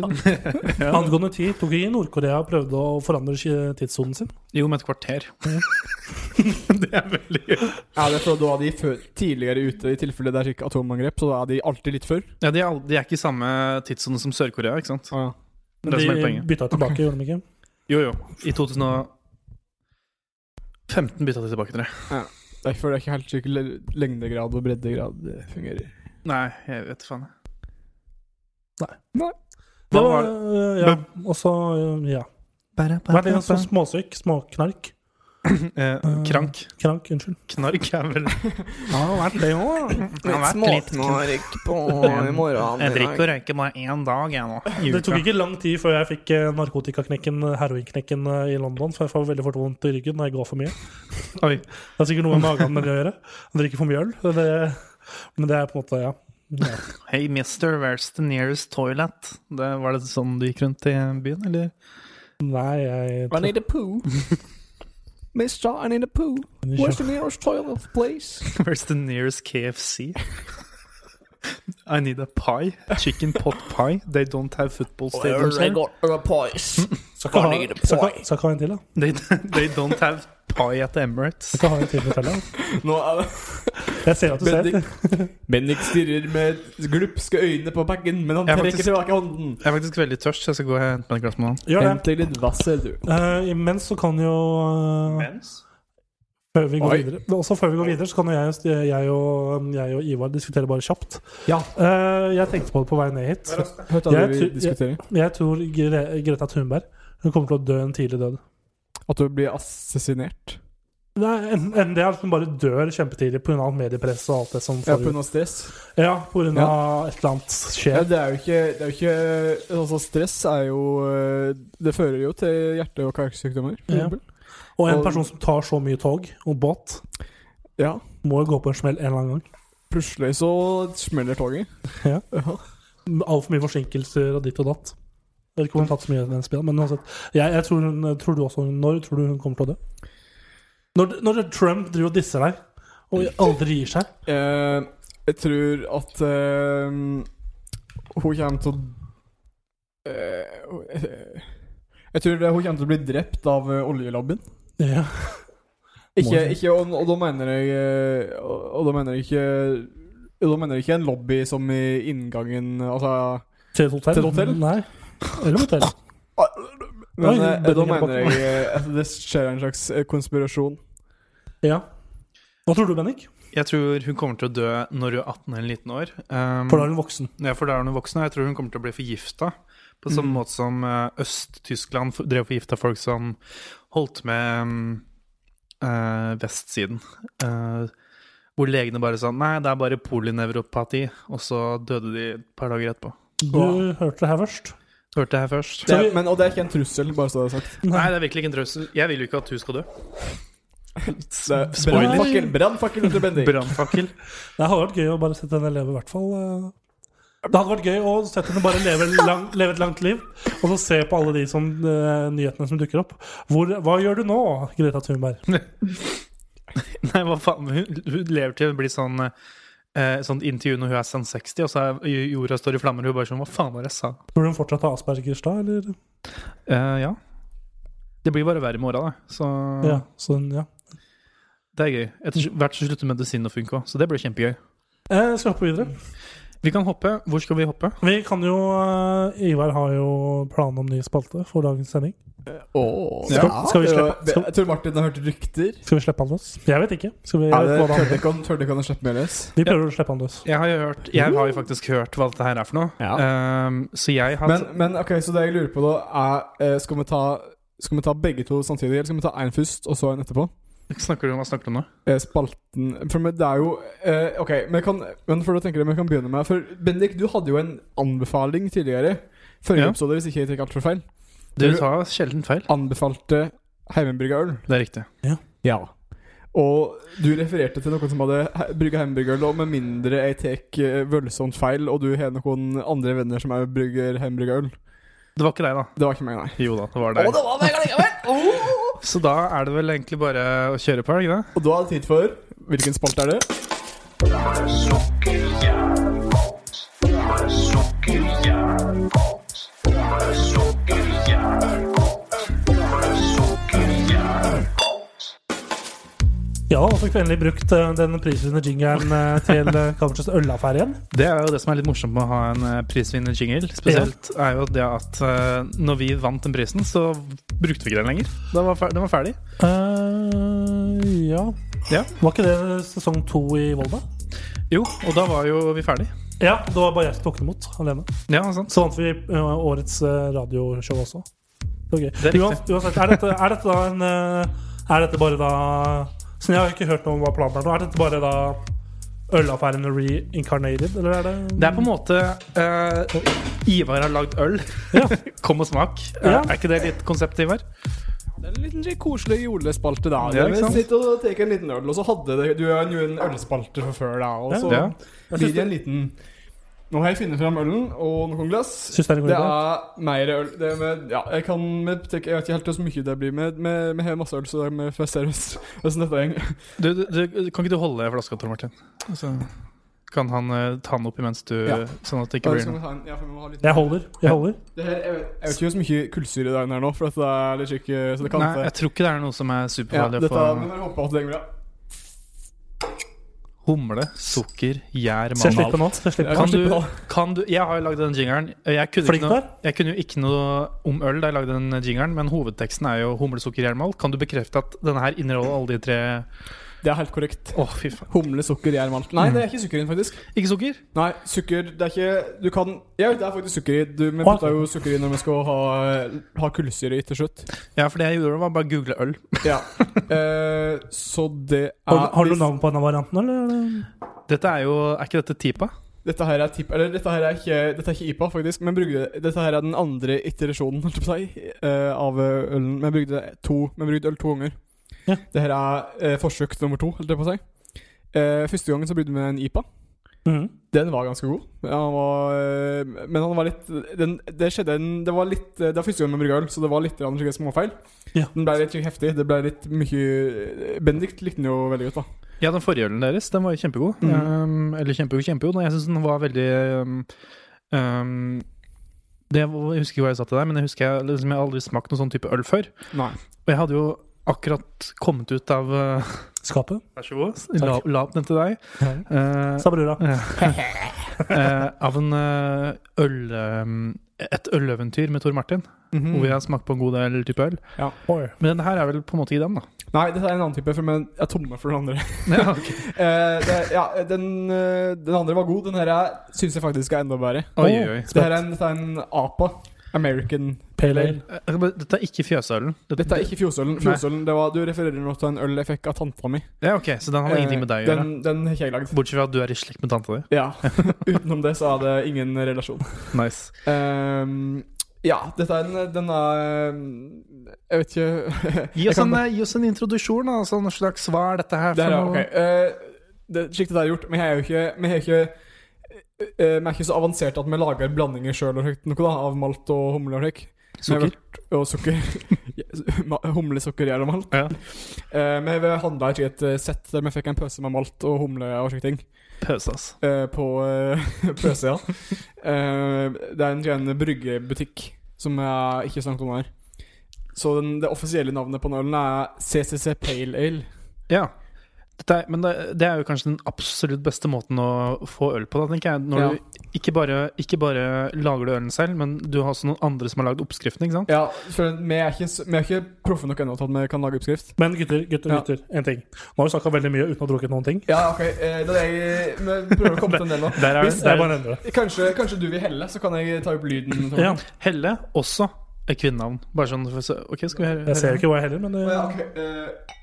[SPEAKER 2] angående tid, tok ikke Nord-Korea og prøvde å forandre ski- tidssonen sin?
[SPEAKER 3] Jo, med et kvarter. det er veldig
[SPEAKER 4] Ja, det er for da er de før, tidligere ute i tilfelle det er slik atomangrep, så da er de alltid litt før.
[SPEAKER 3] Ja, de er, al- de er ikke i samme tidssone som Sør-Korea, ikke sant?
[SPEAKER 4] Ah,
[SPEAKER 3] Det
[SPEAKER 2] Men
[SPEAKER 3] er det som er
[SPEAKER 2] de
[SPEAKER 3] poenget.
[SPEAKER 2] bytta tilbake, gjorde de ikke?
[SPEAKER 3] Jo, jo. I 2015 bytta de tilbake til det.
[SPEAKER 4] ja. Derfor er det ikke helt slik le- lengdegrad og breddegrad eh, fungerer.
[SPEAKER 3] Nei, jeg vet faen. jeg.
[SPEAKER 2] Det
[SPEAKER 3] Hva
[SPEAKER 2] var,
[SPEAKER 3] var
[SPEAKER 2] øh, ja, og så øh, ja. Hva er det så småsyk, småknark?
[SPEAKER 3] Eh, krank.
[SPEAKER 2] Krank, unnskyld.
[SPEAKER 3] Knark er vel
[SPEAKER 4] på
[SPEAKER 3] i
[SPEAKER 4] morgenen.
[SPEAKER 3] Jeg drikker og røyker bare én dag, jeg nå. i
[SPEAKER 2] Det tok
[SPEAKER 3] uka.
[SPEAKER 2] ikke lang tid før jeg fikk eh, narkotikaknekken, eh, heroinknekken, eh, i London. For jeg får veldig fort vondt i ryggen når jeg går for mye.
[SPEAKER 3] Oi.
[SPEAKER 2] Det er sikkert noe med magen med det å gjøre. Jeg drikker for mye øl. Det, men det er på en måte, ja. ja.
[SPEAKER 3] Hey mister, where's the nearest toilet? Det, var det sånn du gikk rundt i byen, eller?
[SPEAKER 2] Nei, jeg
[SPEAKER 4] I need a poo. Mister, I need a poo. Where's the nearest toilet, please?
[SPEAKER 3] Where's the nearest KFC? I need a pie. Chicken pot pie. They don't have football stadiums here.
[SPEAKER 2] Skal ikke ha- skal ikke ha- skal ikke ha en til, da.
[SPEAKER 3] They, they don't have pie at the Emirates.
[SPEAKER 2] Skal ikke ha en til på hotellet.
[SPEAKER 4] Nå er det
[SPEAKER 2] Jeg ser at du ser.
[SPEAKER 4] Bendik, Bendik stirrer med glupske øyne på bagen, men han
[SPEAKER 3] Jeg
[SPEAKER 4] trekker
[SPEAKER 3] faktisk-
[SPEAKER 4] tilbake hånden.
[SPEAKER 3] Jeg er faktisk veldig tørst, så jeg skal gå og hente meg et glass med vann.
[SPEAKER 2] Gjør det.
[SPEAKER 4] Hent deg litt vass, ser du.
[SPEAKER 2] Eh, imens så kan jo eh, Før vi går
[SPEAKER 4] Oi.
[SPEAKER 2] videre Også før vi går videre, så kan jo jeg, jeg, og, um, jeg og Ivar diskutere bare kjapt.
[SPEAKER 4] Ja.
[SPEAKER 2] Eh, jeg tenkte på det på vei ned hit.
[SPEAKER 4] Hørte
[SPEAKER 2] Jeg
[SPEAKER 4] du vi
[SPEAKER 2] tror-
[SPEAKER 4] diskuterer?
[SPEAKER 2] Jeg tror Gre Greta Thunberg Hun kommer til å dø en tidlig død.
[SPEAKER 4] At du blir assassinert?
[SPEAKER 2] Nei, en- Enten det er at hun bare dør kjempetidlig pga. mediepress og alt det som
[SPEAKER 4] Ja, på
[SPEAKER 2] foregår.
[SPEAKER 4] grunn av stress?
[SPEAKER 2] Ja, pga. av et eller annet
[SPEAKER 4] Ja,
[SPEAKER 2] skjer.
[SPEAKER 4] det er jo ikke, det er jo ikke Altså, stress er jo eh, Det fører jo til hjerte- og karsykdommer. for
[SPEAKER 2] Ja.
[SPEAKER 4] eksempel.
[SPEAKER 2] Og en
[SPEAKER 4] og-
[SPEAKER 2] person som tar så mye tog og båt,
[SPEAKER 4] ja.
[SPEAKER 2] må jo gå på en smell en eller annen gang.
[SPEAKER 4] Plutselig så smeller toget.
[SPEAKER 2] Ja.
[SPEAKER 4] Ja.
[SPEAKER 2] altfor mye forsinkelser og ditt og datt. Jeg vet ikke om hun har tatt så mye i den spillen, men uansett. Jeg, jeg tror, hun, tror du også, når tror du hun kommer til å dø? Når, når Trump driver og disser deg, og aldri gir seg
[SPEAKER 4] Eh, jeg tror at eh, hun kommer til å eh, hun- eh, Jeg tror det- hun kommer til å bli drept av eh, oljelabben.
[SPEAKER 2] ja.
[SPEAKER 4] Ikke,
[SPEAKER 2] Må-
[SPEAKER 4] ikke, og, og da mener jeg eh, Og, og da mener jeg ikke og da mener jeg ikke en lobby som i inngangen Altså
[SPEAKER 2] Til et hotell?
[SPEAKER 4] Til et hotell?
[SPEAKER 2] Nei. Eller hotell.
[SPEAKER 4] Men
[SPEAKER 2] Oi,
[SPEAKER 4] eh, da
[SPEAKER 2] bedringen på
[SPEAKER 4] mener jeg eh, at det skjer en slags eh, konspirasjon.
[SPEAKER 2] Ja. Hva tror du, Bennik?
[SPEAKER 3] Jeg tror hun kommer til å dø når hun er 18 eller 19 år. Um,
[SPEAKER 2] For da er hun Mm. voksen.
[SPEAKER 3] Ja, for da er hun voksen, og jeg tror hun kommer til å bli forgifta. På samme måte som eh, Øst-Tyskland for- drev og forgifta folk som holdt med mm, eh, vestsiden. Eh, hvor legene bare sa nei, det er bare polinevropati, og så døde de et par dager etterpå.
[SPEAKER 2] Du hørte det her først.
[SPEAKER 3] Hørte jeg her først?
[SPEAKER 4] Det
[SPEAKER 2] Så
[SPEAKER 4] er,
[SPEAKER 2] vi-
[SPEAKER 4] men, og det er ikke en trussel, bare så det er sagt.
[SPEAKER 3] Nei, det er virkelig ikke en trussel. Jeg vil jo ikke at hun skal dø. Spoiler.
[SPEAKER 4] Brannfakkel, brannfakkel til Bendik.
[SPEAKER 1] Brannfakkel.
[SPEAKER 2] Det hadde vært gøy å bare sette henne leve, i hvert fall. eh. Det hadde vært gøy å sette henne bare leve, lang, leve et langt liv, og så se på alle de som, eh, nyhetene som dukker opp. Hvor, hva gjør du nå, Greta Thunberg?
[SPEAKER 3] Nei, hva faen. Hun, hun lever til hun blir sånn eh, Sånn intervju når hun er sånn 60, og så er jorda står i flammer, og hun bare sånn Hva faen var det jeg sa?
[SPEAKER 2] Burde hun fortsatt ha aspergers da, eller?
[SPEAKER 3] Eh, ja. Det blir bare verre med åra, da. Så
[SPEAKER 2] Ja, sånn, ja.
[SPEAKER 3] det er gøy. Etter hvert så slutter medisinen å funke òg, så det blir kjempegøy.
[SPEAKER 2] Eh, Jeg skal hoppe videre.
[SPEAKER 3] Vi kan hoppe. Hvor skal vi hoppe?
[SPEAKER 2] Vi kan jo eh, Ivar har jo planen om ny spalte for dagens sending.
[SPEAKER 4] Åh,
[SPEAKER 2] Skal- skal vi
[SPEAKER 4] det
[SPEAKER 2] slippe-
[SPEAKER 4] var- det- Jeg tror Martin har hørt rykter.
[SPEAKER 2] Skal vi slippe han løs? Jeg vet ikke. Skal vi,
[SPEAKER 4] Ja,
[SPEAKER 2] jeg vet
[SPEAKER 4] det
[SPEAKER 2] ikke hva han-
[SPEAKER 4] tørde ikke han- tørde ikke han å slippe meg løs.
[SPEAKER 2] vi prøver å slippe han løs.
[SPEAKER 3] Jeg har jo hørt Jeg har jo faktisk hørt hva dette her er for noe. Ehm, så jeg har
[SPEAKER 4] Men, men ok, så det jeg lurer på da, er eh, Skal vi ta, skal vi ta begge to samtidig, eller skal vi ta én først, og så en etterpå?
[SPEAKER 3] Snakker du om hva snakker du om nå?
[SPEAKER 4] Eh, Spalten For men det er jo eh, Ok, men, jeg kan, men for å tenke det, vi kan begynne med For Bendik, du hadde jo en anbefaling tidligere. Forrige
[SPEAKER 3] Ja.
[SPEAKER 4] episode, hvis ikke jeg tar altfor feil,
[SPEAKER 3] Du
[SPEAKER 4] Du-
[SPEAKER 3] tar sjelden feil.
[SPEAKER 4] anbefalte hjemmebrygga øl.
[SPEAKER 3] Det er riktig.
[SPEAKER 4] Ja. Og du refererte til noen som hadde brygga hamburgerøl, og med mindre jeg tar voldsomt feil, og du har noen andre venner som òg brygger hamburgerøl
[SPEAKER 3] Det var ikke deg, da.
[SPEAKER 4] Det var ikke meg, nei.
[SPEAKER 3] Jo da, det var deg.
[SPEAKER 4] Å, det var meg likevel! Åh!
[SPEAKER 3] Så da er det vel egentlig bare å kjøre på, er det ikke det?
[SPEAKER 4] Og da er det tid for Hvilken spalte er det?
[SPEAKER 2] Ja, og fikk vi endelig brukt eh, den prisvinnende jingeren eh, til eh, Kammersens ølaffære igjen.
[SPEAKER 3] Det er jo det som er litt morsomt med å ha en eh, prisvinnende jingle. Spesielt er jo det at eh, når vi vant den prisen, så brukte vi ikke den lenger. Den var, fer den var ferdig.
[SPEAKER 2] eh ja.
[SPEAKER 3] Ja.
[SPEAKER 2] Var ikke det sesong to i Volda?
[SPEAKER 3] Jo, og da var jo vi ferdig.
[SPEAKER 2] Ja, det var bare jeg som tok den imot alene.
[SPEAKER 3] Ja, sant.
[SPEAKER 2] Så vant vi eh, årets eh, radioshow også. Det var gøy.
[SPEAKER 3] Det er riktig.
[SPEAKER 2] Uans- Uansett, er dette, er dette da en eh, Er dette bare da Siden jeg har ikke hørt noe om hva planen er nå, er dette bare da ølaffæren reincarnated, eller er det
[SPEAKER 3] Det er på en måte eh, Ivar har lagd øl.
[SPEAKER 2] Ja.
[SPEAKER 3] Kom og smak.
[SPEAKER 2] Ja.
[SPEAKER 3] Er ikke det litt konsept, Ivar?
[SPEAKER 4] Det er en liten sånn koselig julespalte liksom. der.
[SPEAKER 3] Ja, ikke
[SPEAKER 4] vi
[SPEAKER 3] sant?
[SPEAKER 4] sitter og tar en liten øl, og så hadde det, du har jo en ølspalte fra før, da. Og så
[SPEAKER 3] Ja.
[SPEAKER 4] blir det en liten Nå har jeg funnet fram ølen og noen glass.
[SPEAKER 2] Syns det er en god
[SPEAKER 4] Det
[SPEAKER 2] idé.
[SPEAKER 4] er mer øl. Det er med, ja, jeg, kan, med, tenke- jeg vet ikke helt hvor mye det blir med, med, med her masse øl, så det er med for seriøst. Hvordan dette henger.
[SPEAKER 3] Du, du, du, kan ikke du holde flaska, Tor Martin? Så kan han eh, ta den opp imens du
[SPEAKER 4] Ja.
[SPEAKER 3] Sånn at det ikke
[SPEAKER 4] Ja,
[SPEAKER 3] blir
[SPEAKER 4] skal vi
[SPEAKER 3] noe.
[SPEAKER 4] ta en- ja, for vi må ha litt-
[SPEAKER 2] Jeg holder. Jeg holder.
[SPEAKER 4] Det her- Jeg vet jeg vet ikke hvor mye kullsyre det er her nå, for at det er litt slik, eh, så det kan
[SPEAKER 3] Nei, jeg tror ikke det er noe som er
[SPEAKER 4] ja,
[SPEAKER 3] superfarlig
[SPEAKER 4] dette,
[SPEAKER 3] for
[SPEAKER 4] men jeg håper at det går bra.
[SPEAKER 3] humle, sukker, gjær,
[SPEAKER 2] Så jeg
[SPEAKER 3] manal.
[SPEAKER 2] slipper nå. Så jeg slipper.
[SPEAKER 4] Jeg
[SPEAKER 3] Kan
[SPEAKER 4] kan
[SPEAKER 3] du,
[SPEAKER 4] slippe nå.
[SPEAKER 3] kan du Jeg har jo lagd den jingeren. Jeg kunne,
[SPEAKER 2] Flink
[SPEAKER 3] ikke noe,
[SPEAKER 2] der.
[SPEAKER 3] jeg kunne jo ikke noe om øl da jeg lagde den jingeren, men hovedteksten er jo humle, sukker, gjær, mal. Kan du bekrefte at denne her inneholder alle de tre Å,
[SPEAKER 4] Det er helt korrekt.
[SPEAKER 3] fy faen.
[SPEAKER 4] Humle, sukker, gjær, malt.
[SPEAKER 3] Mm.
[SPEAKER 4] Nei, det er ikke sukker i den, faktisk.
[SPEAKER 3] Ikke sukker?
[SPEAKER 4] Nei, sukker Det er ikke Du kan Jeg vet det er faktisk sukker i. Du,
[SPEAKER 2] Å,
[SPEAKER 4] vi putter jo sukker i når vi skal ha, ha kullsyre i til slutt.
[SPEAKER 3] Ja, for det jeg gjorde, var bare å google øl.
[SPEAKER 4] Ja. Eh, så det er
[SPEAKER 2] Har, har du navn på en av variantene, eller? er det-
[SPEAKER 3] Dette er jo Er ikke dette Tipa?
[SPEAKER 4] Dette her er tipp Eller dette her er ikke Dette er ikke IPA, faktisk, men brygde, dette her er den andre iterasjonen holdt jeg på å si, eh, av eh, ølen. Vi brygde, to, vi brygde øl to ganger.
[SPEAKER 2] Ja.
[SPEAKER 4] Dette her er eh, forsøk nummer to, holdt jeg på å si. Eh, første gangen så brygde vi en IPA.
[SPEAKER 2] Mhm.
[SPEAKER 4] Den var ganske god. Han var, øh, men han var litt den, Det skjedde en Det var litt eh, Det var første gang med brygga øl, så det var litt grann slike småfeil.
[SPEAKER 2] Ja.
[SPEAKER 4] Den ble litt heftig. Det ble litt mye Bendik likte den jo veldig godt, da.
[SPEAKER 3] Ja, den forrige ølen deres, den var jo kjempegod. Um, eller kjempegod, kjempegod. Nei, Jeg syns den var veldig um, um, det, var- Jeg husker ikke hva jeg sa til deg, men jeg husker jeg, liksom, jeg har aldri smakt noen sånn type øl før.
[SPEAKER 4] Nei.
[SPEAKER 3] Og jeg hadde jo akkurat kommet ut av uh,
[SPEAKER 2] Skapet?
[SPEAKER 3] Vær så god. La, la opp den til deg. Uh,
[SPEAKER 2] Sa brura.
[SPEAKER 3] eh, av en eh, øl... Um, et øleventyr med Tor Martin, hvor
[SPEAKER 4] Mm.
[SPEAKER 3] vi har smakt på en god del type øl.
[SPEAKER 2] Oi.
[SPEAKER 3] Men denne her er vel på en måte ikke den, da.
[SPEAKER 4] Nei, dette er en annen type, for men jeg er tomme for den andre.
[SPEAKER 3] Ja, ok.
[SPEAKER 4] Eh, det, ja, den, øh, den andre var god. Den her er- syns jeg faktisk er enda bedre.
[SPEAKER 3] Oi, oi, oi.
[SPEAKER 4] Det her er en, dette er en APA. American
[SPEAKER 2] Pale ale.
[SPEAKER 3] Jeg kan bare- eh, Dette er ikke fjøsølen.
[SPEAKER 4] Dette er ikke Fjosølen. Fjosølen det var, du refererer nå til en øl jeg fikk av tanta mi.
[SPEAKER 3] Ja, ok, Så den har ingenting med deg å gjøre?
[SPEAKER 4] Eh, Den, den har ikke jeg lagd.
[SPEAKER 3] Bortsett fra at du er i slekt med tanta di.
[SPEAKER 4] Ja. Utenom det så er det ingen relasjon.
[SPEAKER 3] Nice.
[SPEAKER 4] Ehm, ja, dette er en Den er Jeg vet ikke
[SPEAKER 3] Gi
[SPEAKER 4] Jeg
[SPEAKER 3] oss,
[SPEAKER 4] kan
[SPEAKER 3] en,
[SPEAKER 4] bare-
[SPEAKER 3] eh, gi oss en introduksjon, da. Altså, en slags hva er dette her
[SPEAKER 4] Der,
[SPEAKER 3] for
[SPEAKER 4] ja,
[SPEAKER 3] noe?
[SPEAKER 4] ok. Eh, det sjiktet der er gjort, men jeg er jo ikke Vi er ikke eh, vi er ikke så avanserte at vi lager blandinger sjøl av malt og humle og slik. Men
[SPEAKER 3] Sukker?
[SPEAKER 4] jeg vet- Og sukker. Ma- Humlesukker gjør det malt.
[SPEAKER 3] Ja.
[SPEAKER 4] Eh, men vi handla ikke et eh, sett der vi fikk en pøse med malt og humle og slike ting.
[SPEAKER 3] Pøse, altså. ass.
[SPEAKER 4] eh, på eh, pøse, ja. Eh, det er en ren bryggebutikk som jeg ikke snakket om her. Så den, det offisielle navnet på den ølen er CCC Pale Ale.
[SPEAKER 3] Ja. Dette er, men det, det er jo kanskje den absolutt beste måten å få øl på, da, tenker jeg. Når
[SPEAKER 4] Ja.
[SPEAKER 3] du ikke bare, ikke bare lager du ølen selv, men du har også noen andre som har lagd oppskriften, ikke sant?
[SPEAKER 4] Ja, for vi er ikke, s- vi er ikke proffe nok ennå til at vi kan lage oppskrift.
[SPEAKER 2] Men gutter, gutter,
[SPEAKER 4] Ja.
[SPEAKER 2] gutter, en ting. Nå har vi snakka veldig mye uten å ha drukket noen ting.
[SPEAKER 4] Ja, ok, eh, da er jeg, vi prøver å komme til en del nå.
[SPEAKER 3] Der er,
[SPEAKER 4] Hvis-
[SPEAKER 2] Jeg
[SPEAKER 3] der,
[SPEAKER 2] bare nevner det.
[SPEAKER 4] Kanskje, kanskje du vil helle, så kan jeg ta opp lyden. Tom.
[SPEAKER 2] Ja,
[SPEAKER 3] Helle også er kvinnenavn. Bare sånn for, å se- OK, skal vi høre
[SPEAKER 2] jeg ser jo ikke hva jeg heller, men
[SPEAKER 4] Å
[SPEAKER 2] eh,
[SPEAKER 4] ja, ok, eh,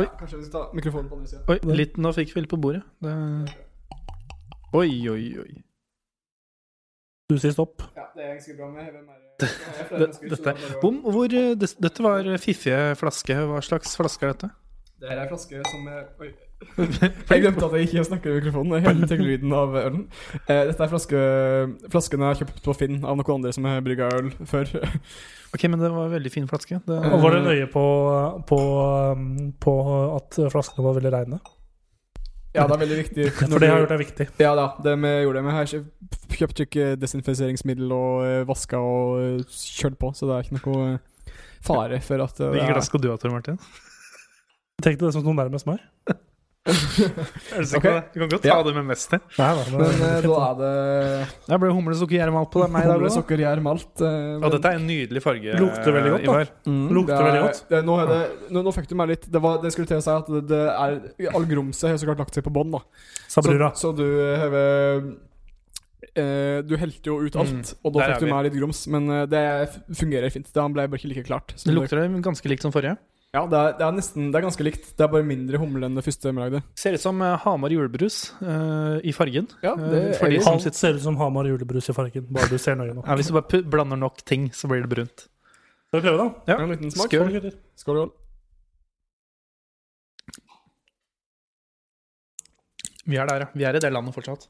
[SPEAKER 3] Oi.
[SPEAKER 4] Kanskje vi skal ta mikrofonen på andre sida.
[SPEAKER 3] Oi, litt, nå fikk vi litt på bordet. Det... Oi, oi, oi.
[SPEAKER 2] du sier stopp.
[SPEAKER 4] Ja, det er ganske bra med hvem er
[SPEAKER 3] Det, dette, bom, hvor, eh, des- dette var fiffige flaske. Hva slags flaske er dette?
[SPEAKER 4] Det her er en flaske som er Oi. Jeg glemte at jeg ikke snakker i mikrofonen. Jeg hele tenker lyden av ølen. Eh, dette er flaske, flasken jeg har kjøpt på Finn av noen andre som har brygga øl før.
[SPEAKER 3] Ok, men det var en veldig fin flaske. Det,
[SPEAKER 2] Og var det nøye på, på, um, på at flaskene var veldig reine?
[SPEAKER 4] Ja, det er veldig viktig.
[SPEAKER 2] For det har gjort deg viktig.
[SPEAKER 4] Ja da, det vi gjorde det. Vi har ikke kjøpt ikke desinfiseringsmiddel og eh, vaska og eh, kjørt på, så det er ikke noe eh, fare for at eh, det
[SPEAKER 3] Hvilket
[SPEAKER 4] er-
[SPEAKER 3] glass skal du ha, Tor Martin?
[SPEAKER 2] Tenkte det som noe nærmest meg.
[SPEAKER 3] Er du
[SPEAKER 4] sikker på
[SPEAKER 3] Du kan godt
[SPEAKER 4] ta
[SPEAKER 3] ta det med mest til.
[SPEAKER 2] Nei, nei,
[SPEAKER 4] Men
[SPEAKER 2] men,
[SPEAKER 4] eh, da er det
[SPEAKER 3] Der ble humlesukkerjermalt på deg, meg i dag også.
[SPEAKER 4] humlesukker, gjær, malt. eh,
[SPEAKER 3] Og dette er en nydelig farge.
[SPEAKER 2] Lukter veldig godt, da.
[SPEAKER 3] Ivar.
[SPEAKER 4] Mm,
[SPEAKER 2] Lukter
[SPEAKER 4] det er-
[SPEAKER 2] veldig godt.
[SPEAKER 4] Det, nå, er det, nå, nå fikk du meg litt Det, var, det skulle til å si at det, det er All grumset har så klart lagt seg på bånn, da.
[SPEAKER 2] sa
[SPEAKER 4] Så,
[SPEAKER 2] brura.
[SPEAKER 4] så du har eh, Du helte jo ut alt, og
[SPEAKER 3] Mm, Der
[SPEAKER 4] da
[SPEAKER 3] er
[SPEAKER 4] fikk du
[SPEAKER 3] vi.
[SPEAKER 4] meg litt grums. Men eh, det f- fungerer fint. Det han ble bare ikke like klart. som
[SPEAKER 3] Det lukter det ganske likt som forrige.
[SPEAKER 4] det- ja, det er, det er nesten Det er ganske likt. Det er bare mindre humle enn det første vi lagde.
[SPEAKER 3] Ser ut som eh, Hamar julebrus eh, i fargen.
[SPEAKER 4] Ja, det
[SPEAKER 3] Eh, for
[SPEAKER 4] er
[SPEAKER 3] de
[SPEAKER 4] jo-
[SPEAKER 3] som
[SPEAKER 2] Alt
[SPEAKER 3] sitter
[SPEAKER 2] ser ut som Hamar julebrus i fargen, bare du ser nøye nå.
[SPEAKER 3] ja, Hvis du bare pu- blander nok ting, så blir det brunt.
[SPEAKER 2] Skal vi prøve, da?
[SPEAKER 3] Ja.
[SPEAKER 4] En liten smak.
[SPEAKER 3] Skål.
[SPEAKER 2] Skål, gutter.
[SPEAKER 4] Skål. Joel.
[SPEAKER 3] Vi er der, ja. Vi er i det landet fortsatt.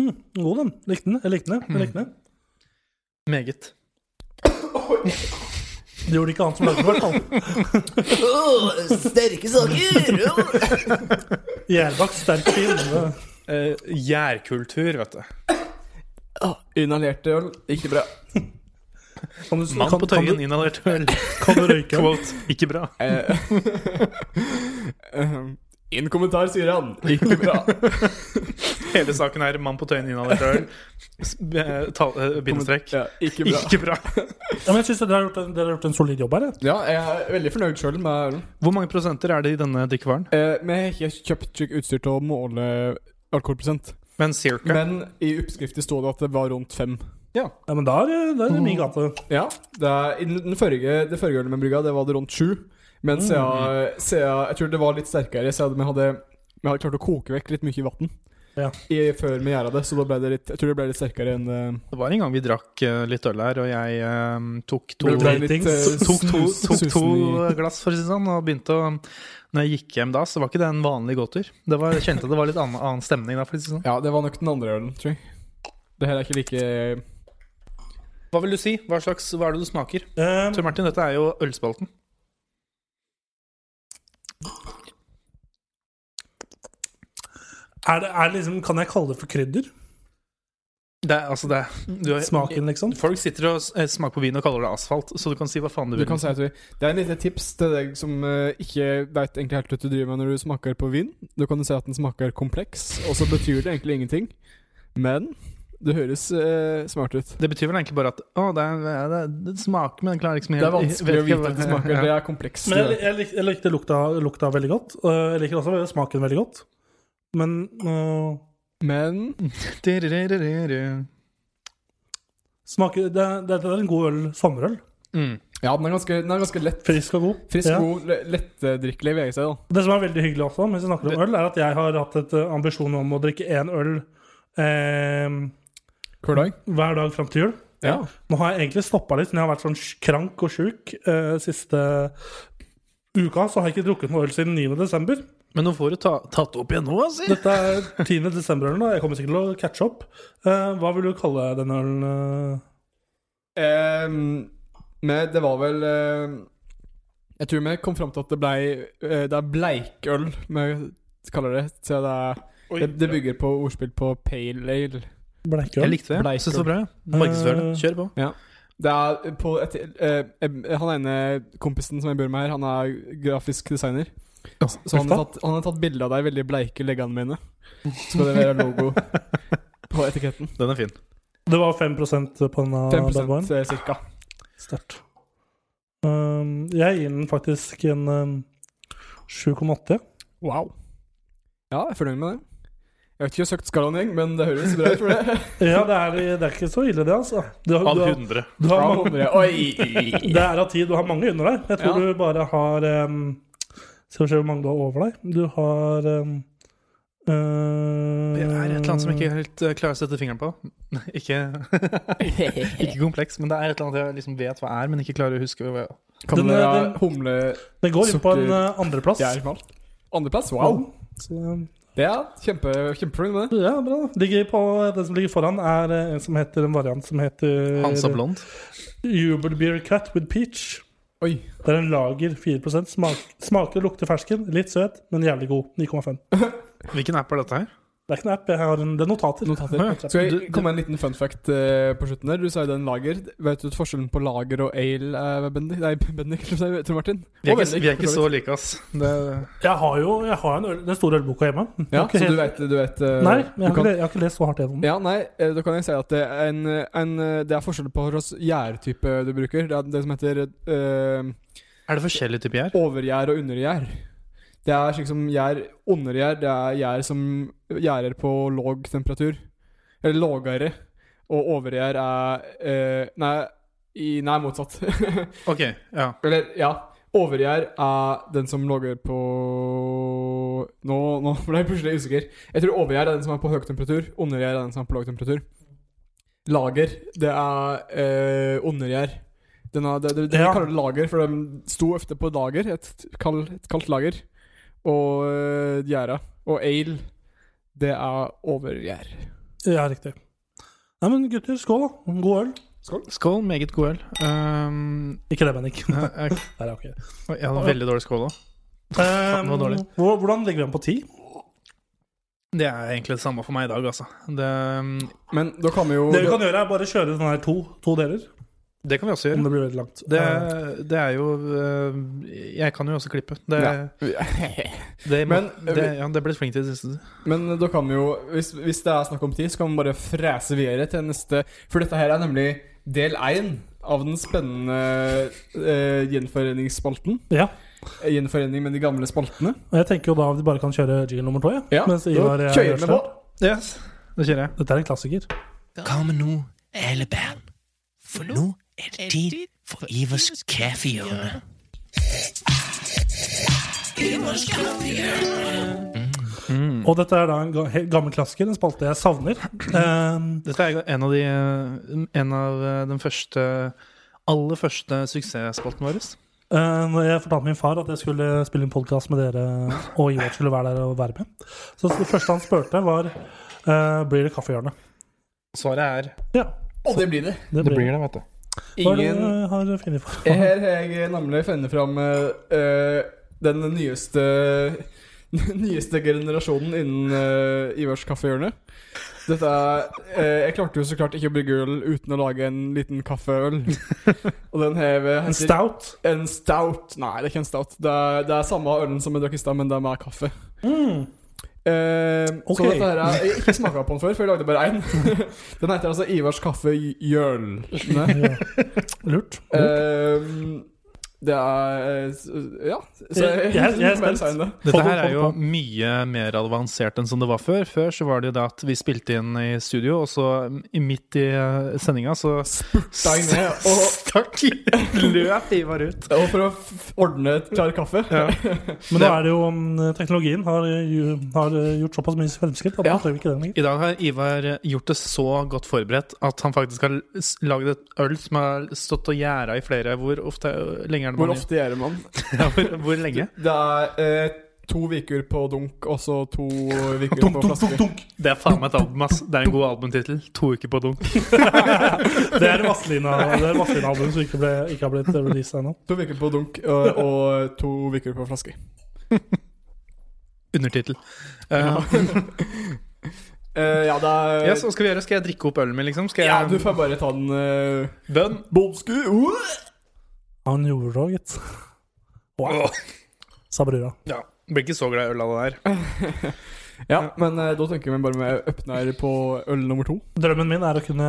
[SPEAKER 2] Mm, god, den. Likte den. Jeg likte den. Jeg likte den.
[SPEAKER 3] Mm. Meget.
[SPEAKER 2] Det gjorde ikke han som lagde den, i hvert fall.
[SPEAKER 5] Åh, sterke saker! Åh.
[SPEAKER 2] Gjærbakk sterk vin. det-
[SPEAKER 3] Eh, Gjærkultur, vet du.
[SPEAKER 4] Inhalerte øl. Ikke bra.
[SPEAKER 2] Kan du,
[SPEAKER 3] Mann
[SPEAKER 2] kan,
[SPEAKER 3] på
[SPEAKER 2] kan du,
[SPEAKER 3] Tøyen inhalerte øl.
[SPEAKER 2] kan du røyke?
[SPEAKER 3] Quote. Ikke bra.
[SPEAKER 4] Eh, eh, Inn kommentar, sier han. Ikke bra.
[SPEAKER 3] Hele saken er mann på Tøyen inhalerte øl. S- eh, ta- eh, Bindestrek.
[SPEAKER 4] Ja, ikke bra.
[SPEAKER 3] Ikke bra.
[SPEAKER 2] Ja, men jeg synes dere, har gjort en- dere har gjort en solid jobb her. jeg.
[SPEAKER 4] Ja, jeg er veldig fornøyd sjøl med ølen.
[SPEAKER 3] Hvor mange prosenter er det i denne drikkevaren?
[SPEAKER 4] Eh, vi har ikke kjøpt slik utstyr til å måle alkoholprosent,
[SPEAKER 3] Men circa.
[SPEAKER 4] men i oppskriften sto det at det var rundt fem.
[SPEAKER 2] Ja, men da er det- da er det min
[SPEAKER 3] Mm.
[SPEAKER 2] gate.
[SPEAKER 4] Ja, det, er, i den den forrige, det forrige ølet vi brygga, det var det rundt sju. Men siden, siden Jeg tror det var litt sterkere, siden vi hadde, vi hadde klart å koke vekk litt mye vann
[SPEAKER 2] Ja.
[SPEAKER 4] i, før vi gjorde det, så da ble det litt, jeg tror det ble litt sterkere enn eh, det
[SPEAKER 3] Det var en gang vi drakk eh, litt øl her, og jeg eh, tok to
[SPEAKER 4] det ble litt, eh,
[SPEAKER 2] Ratings.
[SPEAKER 3] Tok to,
[SPEAKER 4] sus-
[SPEAKER 3] tok to
[SPEAKER 4] susen i-
[SPEAKER 3] glass, for å si det sånn, og begynte å Når jeg gikk hjem da, så var ikke det en vanlig gåtur. Det var, jeg kjente at det var litt annen, annen stemning da, for å si det sånn.
[SPEAKER 4] Ja, det var nok den andre ølen, tror jeg. Det her er ikke like
[SPEAKER 3] Hva vil du si? Hva slags, hva er det du smaker?
[SPEAKER 2] Eh,
[SPEAKER 3] Tor Martin, dette er jo ølspalten.
[SPEAKER 2] er det, er det liksom, kan jeg kalle det for krydder?
[SPEAKER 3] Det er altså det du,
[SPEAKER 2] Smaken, liksom?
[SPEAKER 3] Folk sitter og s- eh, smaker på vin og kaller det asfalt, så du kan si hva faen du
[SPEAKER 4] Du
[SPEAKER 3] vil.
[SPEAKER 4] kan si at vi, Det er en liten tips til deg som eh, ikke veit egentlig helt hva du driver med når du smaker på vin. Du kan jo si at den smaker kompleks, og så betyr det egentlig ingenting. Men det høres eh, smart ut.
[SPEAKER 3] Det betyr vel egentlig bare at å, det, er, det, er, det smaker, men jeg klarer liksom
[SPEAKER 4] Det er
[SPEAKER 3] vet
[SPEAKER 4] vanskelig å
[SPEAKER 3] ikke
[SPEAKER 4] vite
[SPEAKER 3] hva-
[SPEAKER 4] at det smaker.
[SPEAKER 3] Ja.
[SPEAKER 4] Det er komplekst.
[SPEAKER 2] Men jeg, jeg, lik- jeg likte lukta, lukta veldig godt. og Jeg liker også smaken veldig godt. Men øh,
[SPEAKER 4] Men
[SPEAKER 3] Diririririririr.
[SPEAKER 2] smaker, det, det, det er en god øl. Sommerøl.
[SPEAKER 3] Mm.
[SPEAKER 4] ja, den er ganske, den er ganske lett.
[SPEAKER 2] Frisk og god.
[SPEAKER 4] Frisk,
[SPEAKER 2] Ja.
[SPEAKER 4] god, le- lettdrikkelig, vil jeg si. da
[SPEAKER 2] Det som er veldig hyggelig også, mens vi snakker om øl, er at jeg har hatt et øh, ambisjon om å drikke én øl eh,
[SPEAKER 4] Hver dag.
[SPEAKER 2] hver dag fram til jul.
[SPEAKER 4] Ja.
[SPEAKER 2] Nå har jeg egentlig stoppa litt, men jeg har vært sånn krank og sjuk eh, siste uka. Så har jeg ikke drukket noe øl siden 9. desember.
[SPEAKER 3] Men nå får du ta, tatt opp igjen nå, altså.
[SPEAKER 2] Dette er 10. desember nå, jeg kommer sikkert til å catche opp. Eh, hva vil du kalle denne ølen? eh?
[SPEAKER 4] Ehm, men det var vel ehm, Jeg tror vi kom fram til at det blei eh, Det er bleikøl vi kaller det. Så det, er, det, det bygger på ordspill på pale ale.
[SPEAKER 3] Jeg
[SPEAKER 2] Bleikøl?
[SPEAKER 3] likte det. Jeg synes det var bra. Eh, Markedsfør det.
[SPEAKER 2] Markedsføring.
[SPEAKER 3] Kjør på.
[SPEAKER 4] Det er på et, eh, eh, Han ene kompisen som jeg bor med her, han er grafisk designer. Så han har tatt, han har tatt bilde av de veldig bleike leggene mine. Så skal det være logo på etiketten.
[SPEAKER 3] Den er fin.
[SPEAKER 2] Det var 5 på denne
[SPEAKER 4] 5
[SPEAKER 2] bad boyen.
[SPEAKER 4] eh, cirka.
[SPEAKER 2] Sterkt. Um, jeg gir den faktisk en um, 7,8.
[SPEAKER 4] Wow. Ja, jeg er fornøyd med det. Jeg vet ikke om jeg har søkt skalaen, jeg, men det høres bra ut for det.
[SPEAKER 2] Ja, det er, det er ikke så ille, det, altså. Du, har-
[SPEAKER 1] Av
[SPEAKER 2] du, har-
[SPEAKER 1] 100.
[SPEAKER 2] du har
[SPEAKER 4] Fra
[SPEAKER 2] mange,
[SPEAKER 4] 100. Oi!
[SPEAKER 2] det er av tid. Du har mange under deg. Jeg tror
[SPEAKER 4] Ja.
[SPEAKER 2] du bare har um, Skal vi se hvor mange du har over deg. Du har um,
[SPEAKER 3] Det er et eller annet som jeg ikke helt eh, klarer å sette fingeren på. ikke, ikke kompleks, men det er et eller annet jeg liksom vet hva er, men ikke klarer å huske hva
[SPEAKER 4] Kan
[SPEAKER 2] Den- eh,
[SPEAKER 4] det være
[SPEAKER 2] den-
[SPEAKER 4] humle
[SPEAKER 2] Den går inn på en
[SPEAKER 4] Sukker-
[SPEAKER 2] uh, andreplass.
[SPEAKER 4] Fjærfall? Andreplass? Wow.
[SPEAKER 2] Så, um,
[SPEAKER 4] Det er kjempe, kjempefornøyd med det.
[SPEAKER 2] ja, bra. Ligger på, den som ligger foran, er uh, en som heter en variant som heter
[SPEAKER 3] Hansa Blond.
[SPEAKER 2] Jubel Beer Cat with Peach.
[SPEAKER 4] Oi.
[SPEAKER 2] Det er en lager 4 smak, Smaker og lukter fersken. Litt søt, men jævlig god. 9,5.
[SPEAKER 3] Hvilken app er dette her?
[SPEAKER 2] Det er ikke en app, jeg har en, det er notater.
[SPEAKER 4] Skal jeg komme med en liten fun fact eh, på slutten der? Du sa jo den lager. Vet du forskjellen på lager og ale, eh, Bendik? Nei, Bendik, jeg tror jeg- Tor Martin.
[SPEAKER 3] Vi er
[SPEAKER 4] Og
[SPEAKER 3] ikke,
[SPEAKER 4] Bendik,
[SPEAKER 3] vi er ikke
[SPEAKER 4] for
[SPEAKER 3] så
[SPEAKER 4] vidt.
[SPEAKER 3] like, ass. Det,
[SPEAKER 2] Jeg har jo jeg har en øl, den store ølboka hjemme.
[SPEAKER 4] Ja,
[SPEAKER 2] Ikke
[SPEAKER 4] så du
[SPEAKER 2] helt-
[SPEAKER 4] vet, du vet eh,
[SPEAKER 2] Nei, men jeg
[SPEAKER 4] du
[SPEAKER 2] har,
[SPEAKER 4] kan-
[SPEAKER 2] ikke, le- jeg har ikke lest så hardt gjennom den.
[SPEAKER 4] Ja, nei, eh, da kan jeg si at det er, en, en, eh, det er forskjell på hvilken gjærtype du bruker. Det er det som heter eh,
[SPEAKER 3] er det forskjellige typer gjær?
[SPEAKER 4] overgjær og undergjær. Det er slik som gjær Undergjær, det er gjær som gjærer på låg temperatur. Eller lågere. Og overgjær er eh, Nei, i, nei motsatt.
[SPEAKER 3] Ok, ja.
[SPEAKER 4] Eller, ja. Overgjær er den som logger på Nå, nå ble jeg plutselig usikker. Jeg tror overgjær er den som er på høy temperatur. Undergjær er den som er på lav temperatur. Lager, det er eh, undergjær. Den er, det, det, det,
[SPEAKER 2] Ja.
[SPEAKER 4] Vi kaller det lager, for de sto ofte på et lager. Et, kald, et kaldt lager. Og eh, gjæra. Og ale, det er overgjær.
[SPEAKER 2] Ja, riktig. Nei, men gutter, skål, da. God øl.
[SPEAKER 3] Skål, meget god øl. Um,
[SPEAKER 2] Ikke det, Bennik. Ehm,
[SPEAKER 3] jeg, jeg,
[SPEAKER 2] Der er ok.
[SPEAKER 3] jeg hadde veldig dårlig skål òg.
[SPEAKER 2] Ehm,
[SPEAKER 3] det var dårlig.
[SPEAKER 2] hvor- hvordan ligger vi an på ti?
[SPEAKER 3] Det er egentlig det samme for meg i dag, altså. Det,
[SPEAKER 4] Men da kan vi jo
[SPEAKER 2] Det vi kan gjøre, er bare kjøre den her to, to deler.
[SPEAKER 3] det kan vi også
[SPEAKER 2] Om
[SPEAKER 3] gjøre.
[SPEAKER 2] det blir veldig langt.
[SPEAKER 3] Det,
[SPEAKER 2] Eh,
[SPEAKER 3] det er jo øh, Jeg kan jo også klippe. Det,
[SPEAKER 4] Ja.
[SPEAKER 3] det,
[SPEAKER 4] Men,
[SPEAKER 3] det, ja, det ble jeg flink til i det siste.
[SPEAKER 4] Men da kan vi jo, hvis, hvis det er snakk om tid, så kan vi bare frese videre til neste For dette her er nemlig del én av den spennende eh, gjenforeningsspalten.
[SPEAKER 2] ja.
[SPEAKER 4] Eh, Gjenforening med de gamle spaltene.
[SPEAKER 2] Og jeg tenker jo da at vi bare kan kjøre jingle nummer to, jeg.
[SPEAKER 4] Ja,
[SPEAKER 2] Mens Ivar
[SPEAKER 4] da
[SPEAKER 2] eh,
[SPEAKER 4] kjører
[SPEAKER 2] gjør
[SPEAKER 4] vi
[SPEAKER 2] slutt.
[SPEAKER 4] på.
[SPEAKER 3] Yes, det kjører jeg.
[SPEAKER 2] Dette er en klassiker.
[SPEAKER 6] Kom nu, alle børn. For nu er det tid for Ivers kaffehjørne.
[SPEAKER 2] Mm. Og dette er da en ga- helt gammel klassiker, en spalte jeg savner. Ehm,
[SPEAKER 3] Dette er en av de eh, En av eh, den første aller første suksessspalten vår.
[SPEAKER 2] eh, Når jeg fortalte min far at jeg skulle spille en podkast med dere, og Ivar skulle være der og være med, så det første han spurte, var eh, Blir det kaffehjørne.
[SPEAKER 3] Svaret er
[SPEAKER 2] Ja,
[SPEAKER 4] Og det blir det.
[SPEAKER 2] det blir det.
[SPEAKER 3] det, vet du.
[SPEAKER 2] Hva er det
[SPEAKER 4] Ingen
[SPEAKER 2] du har funnet for?
[SPEAKER 4] Her har jeg nemlig funnet fram eh, eh, den nyeste Nyeste generasjonen innen eh, Ivars kaffehjørne. Dette er eh, Jeg klarte jo så klart ikke å brygge øl uten å lage en liten kaffeøl. Og den heter
[SPEAKER 2] En stout.
[SPEAKER 4] En stout Nei, det er ikke en stout. Det er, det er samme ølen som jeg drakk i stad, men det er mer kaffe. Eh,
[SPEAKER 2] Mm. Ok.
[SPEAKER 4] Så dette her er, jeg har ikke smaka på den før, for jeg lagde bare én. den heter altså Ivars kaffe Jølne.
[SPEAKER 2] Ja. Lurt.
[SPEAKER 4] Eh, Det er eh, s- Ja. Så
[SPEAKER 2] Jeg- jeg er- jeg er
[SPEAKER 4] mer
[SPEAKER 2] spent.
[SPEAKER 4] sa enn det.
[SPEAKER 3] Dette
[SPEAKER 2] Få det
[SPEAKER 3] her er
[SPEAKER 2] på-
[SPEAKER 3] jo mye mer avansert enn som det var før. Før så var det jo det at vi spilte inn i studio, og så mm, i- midt i eh, sendinga så
[SPEAKER 4] Da er jeg ned, og-
[SPEAKER 3] stakk løp Ivar ut.
[SPEAKER 4] Og for å f- ordne et klar kaffe.
[SPEAKER 2] Men nå er det jo mm, teknologien har, jo- har eh, gjort såpass mye fremskritt at
[SPEAKER 4] Ja.
[SPEAKER 2] man trenger ikke den lenger.
[SPEAKER 3] I dag har Ivar gjort det så godt forberedt at han faktisk har s- laget et øl som har stått og gjæra i flere Hvor ofte eh, lenge er det
[SPEAKER 4] Hvor
[SPEAKER 3] man
[SPEAKER 4] ofte gjør man
[SPEAKER 3] Ja, hvor, hvor lenge?
[SPEAKER 4] Det er eh, to uker på dunk, og så to uker
[SPEAKER 2] Dunk,
[SPEAKER 4] på
[SPEAKER 2] dunk,
[SPEAKER 4] flaske.
[SPEAKER 2] dunk, dunk!
[SPEAKER 3] Det er faen meg et album, ass. Det er en god albumtittel. To uker på dunk.
[SPEAKER 2] Det er Vazelina-albumet som ikke, ble, ikke har blitt eh, released ennå.
[SPEAKER 4] To uker på dunk og, og to uker på flaske.
[SPEAKER 3] Undertittel. Uh,
[SPEAKER 4] Eh, ja, det er
[SPEAKER 3] yes, hva skal vi gjøre? Skal jeg drikke opp ølen min, liksom? Skal
[SPEAKER 4] Ja, du
[SPEAKER 3] jeg
[SPEAKER 4] får bare ta den uh,
[SPEAKER 3] Bønn?
[SPEAKER 4] Bomsku! Uh!
[SPEAKER 2] Han gjorde det òg, gitt. Wow. Sa brura.
[SPEAKER 3] Ja. Blir ikke så glad i øl av det der.
[SPEAKER 4] Ja, men eh, da tenker vi bare med åpner på øl nummer to.
[SPEAKER 2] Drømmen min er å kunne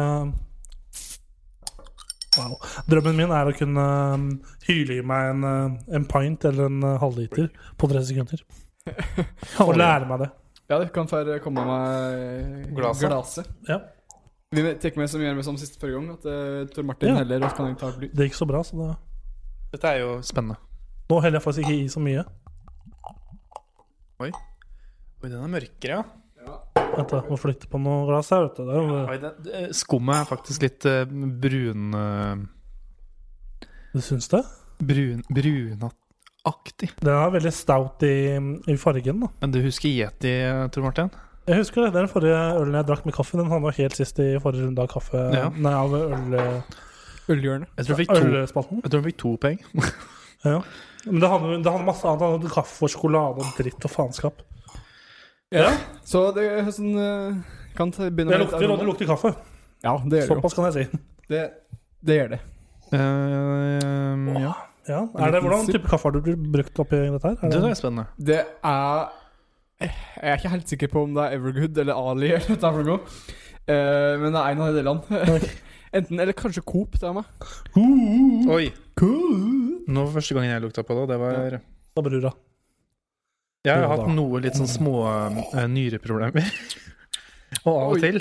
[SPEAKER 2] Wow. Drømmen min er å kunne um, hyle i meg en, uh, en pint eller en uh, halvliter på tre sekunder. Og lære meg det.
[SPEAKER 4] Ja, det kan få komme med
[SPEAKER 3] Glaset.
[SPEAKER 4] glaset.
[SPEAKER 2] Ja.
[SPEAKER 4] Vi tar med som gjør vi som sist forrige gang, at eh, Tor Martin
[SPEAKER 2] Ja.
[SPEAKER 4] heller og så kan jeg ta bly.
[SPEAKER 2] Det gikk så bra, så det
[SPEAKER 3] Dette er jo spennende.
[SPEAKER 2] Nå heller jeg faktisk ikke i så mye.
[SPEAKER 3] Oi, den er mørkere, ja.
[SPEAKER 2] Vent, da. Må flytte på noen glass her, vet du. Det er jo-
[SPEAKER 3] Oi, den, eh, skummet er faktisk litt eh, brun... eh,
[SPEAKER 2] Du syns det?
[SPEAKER 3] brun brunaktig.
[SPEAKER 2] Den er veldig stout i, i fargen, da.
[SPEAKER 3] Men du husker Yeti, Tor Martin?
[SPEAKER 2] Jeg husker det, den forrige ølen jeg drakk med kaffe, den havna helt sist i forrige runde av kaffe
[SPEAKER 3] Ja.
[SPEAKER 2] Nei, av øl,
[SPEAKER 4] Ølhjørnet.
[SPEAKER 3] Jeg tror han fikk to,
[SPEAKER 2] ølspalten.
[SPEAKER 3] jeg tror han fikk to poeng.
[SPEAKER 2] Men det handler det handler masse annet. Det handler om kaffe og sjokolade og dritt og faenskap.
[SPEAKER 4] Så det er sånn eh, Kan ta- begynne
[SPEAKER 2] Det
[SPEAKER 4] med litt
[SPEAKER 2] lukter, og det
[SPEAKER 4] aroma.
[SPEAKER 2] lukter kaffe.
[SPEAKER 4] Ja, det gjør det jo.
[SPEAKER 2] Såpass kan jeg si.
[SPEAKER 4] Det, det gjør det.
[SPEAKER 3] Eh, ja.
[SPEAKER 2] Ja, er det, Hvordan type kaffe har du brukt oppi dette her?
[SPEAKER 3] Det
[SPEAKER 2] Er
[SPEAKER 3] er
[SPEAKER 2] det,
[SPEAKER 3] spennende.
[SPEAKER 4] Det er eh, Jeg er ikke helt sikker på om det er Evergood eller Ali eller hva det er for noe. Eh, men det er en av de delene. Enten Eller kanskje Coop. Det er meg.
[SPEAKER 3] Oi. Nå var første gangen jeg lukta på det. Det var
[SPEAKER 2] Da brura.
[SPEAKER 3] Jeg har
[SPEAKER 2] Ja,
[SPEAKER 3] hatt
[SPEAKER 2] da.
[SPEAKER 3] noe litt sånn små eh, nyreproblemer. Og av
[SPEAKER 4] Oi.
[SPEAKER 3] og til.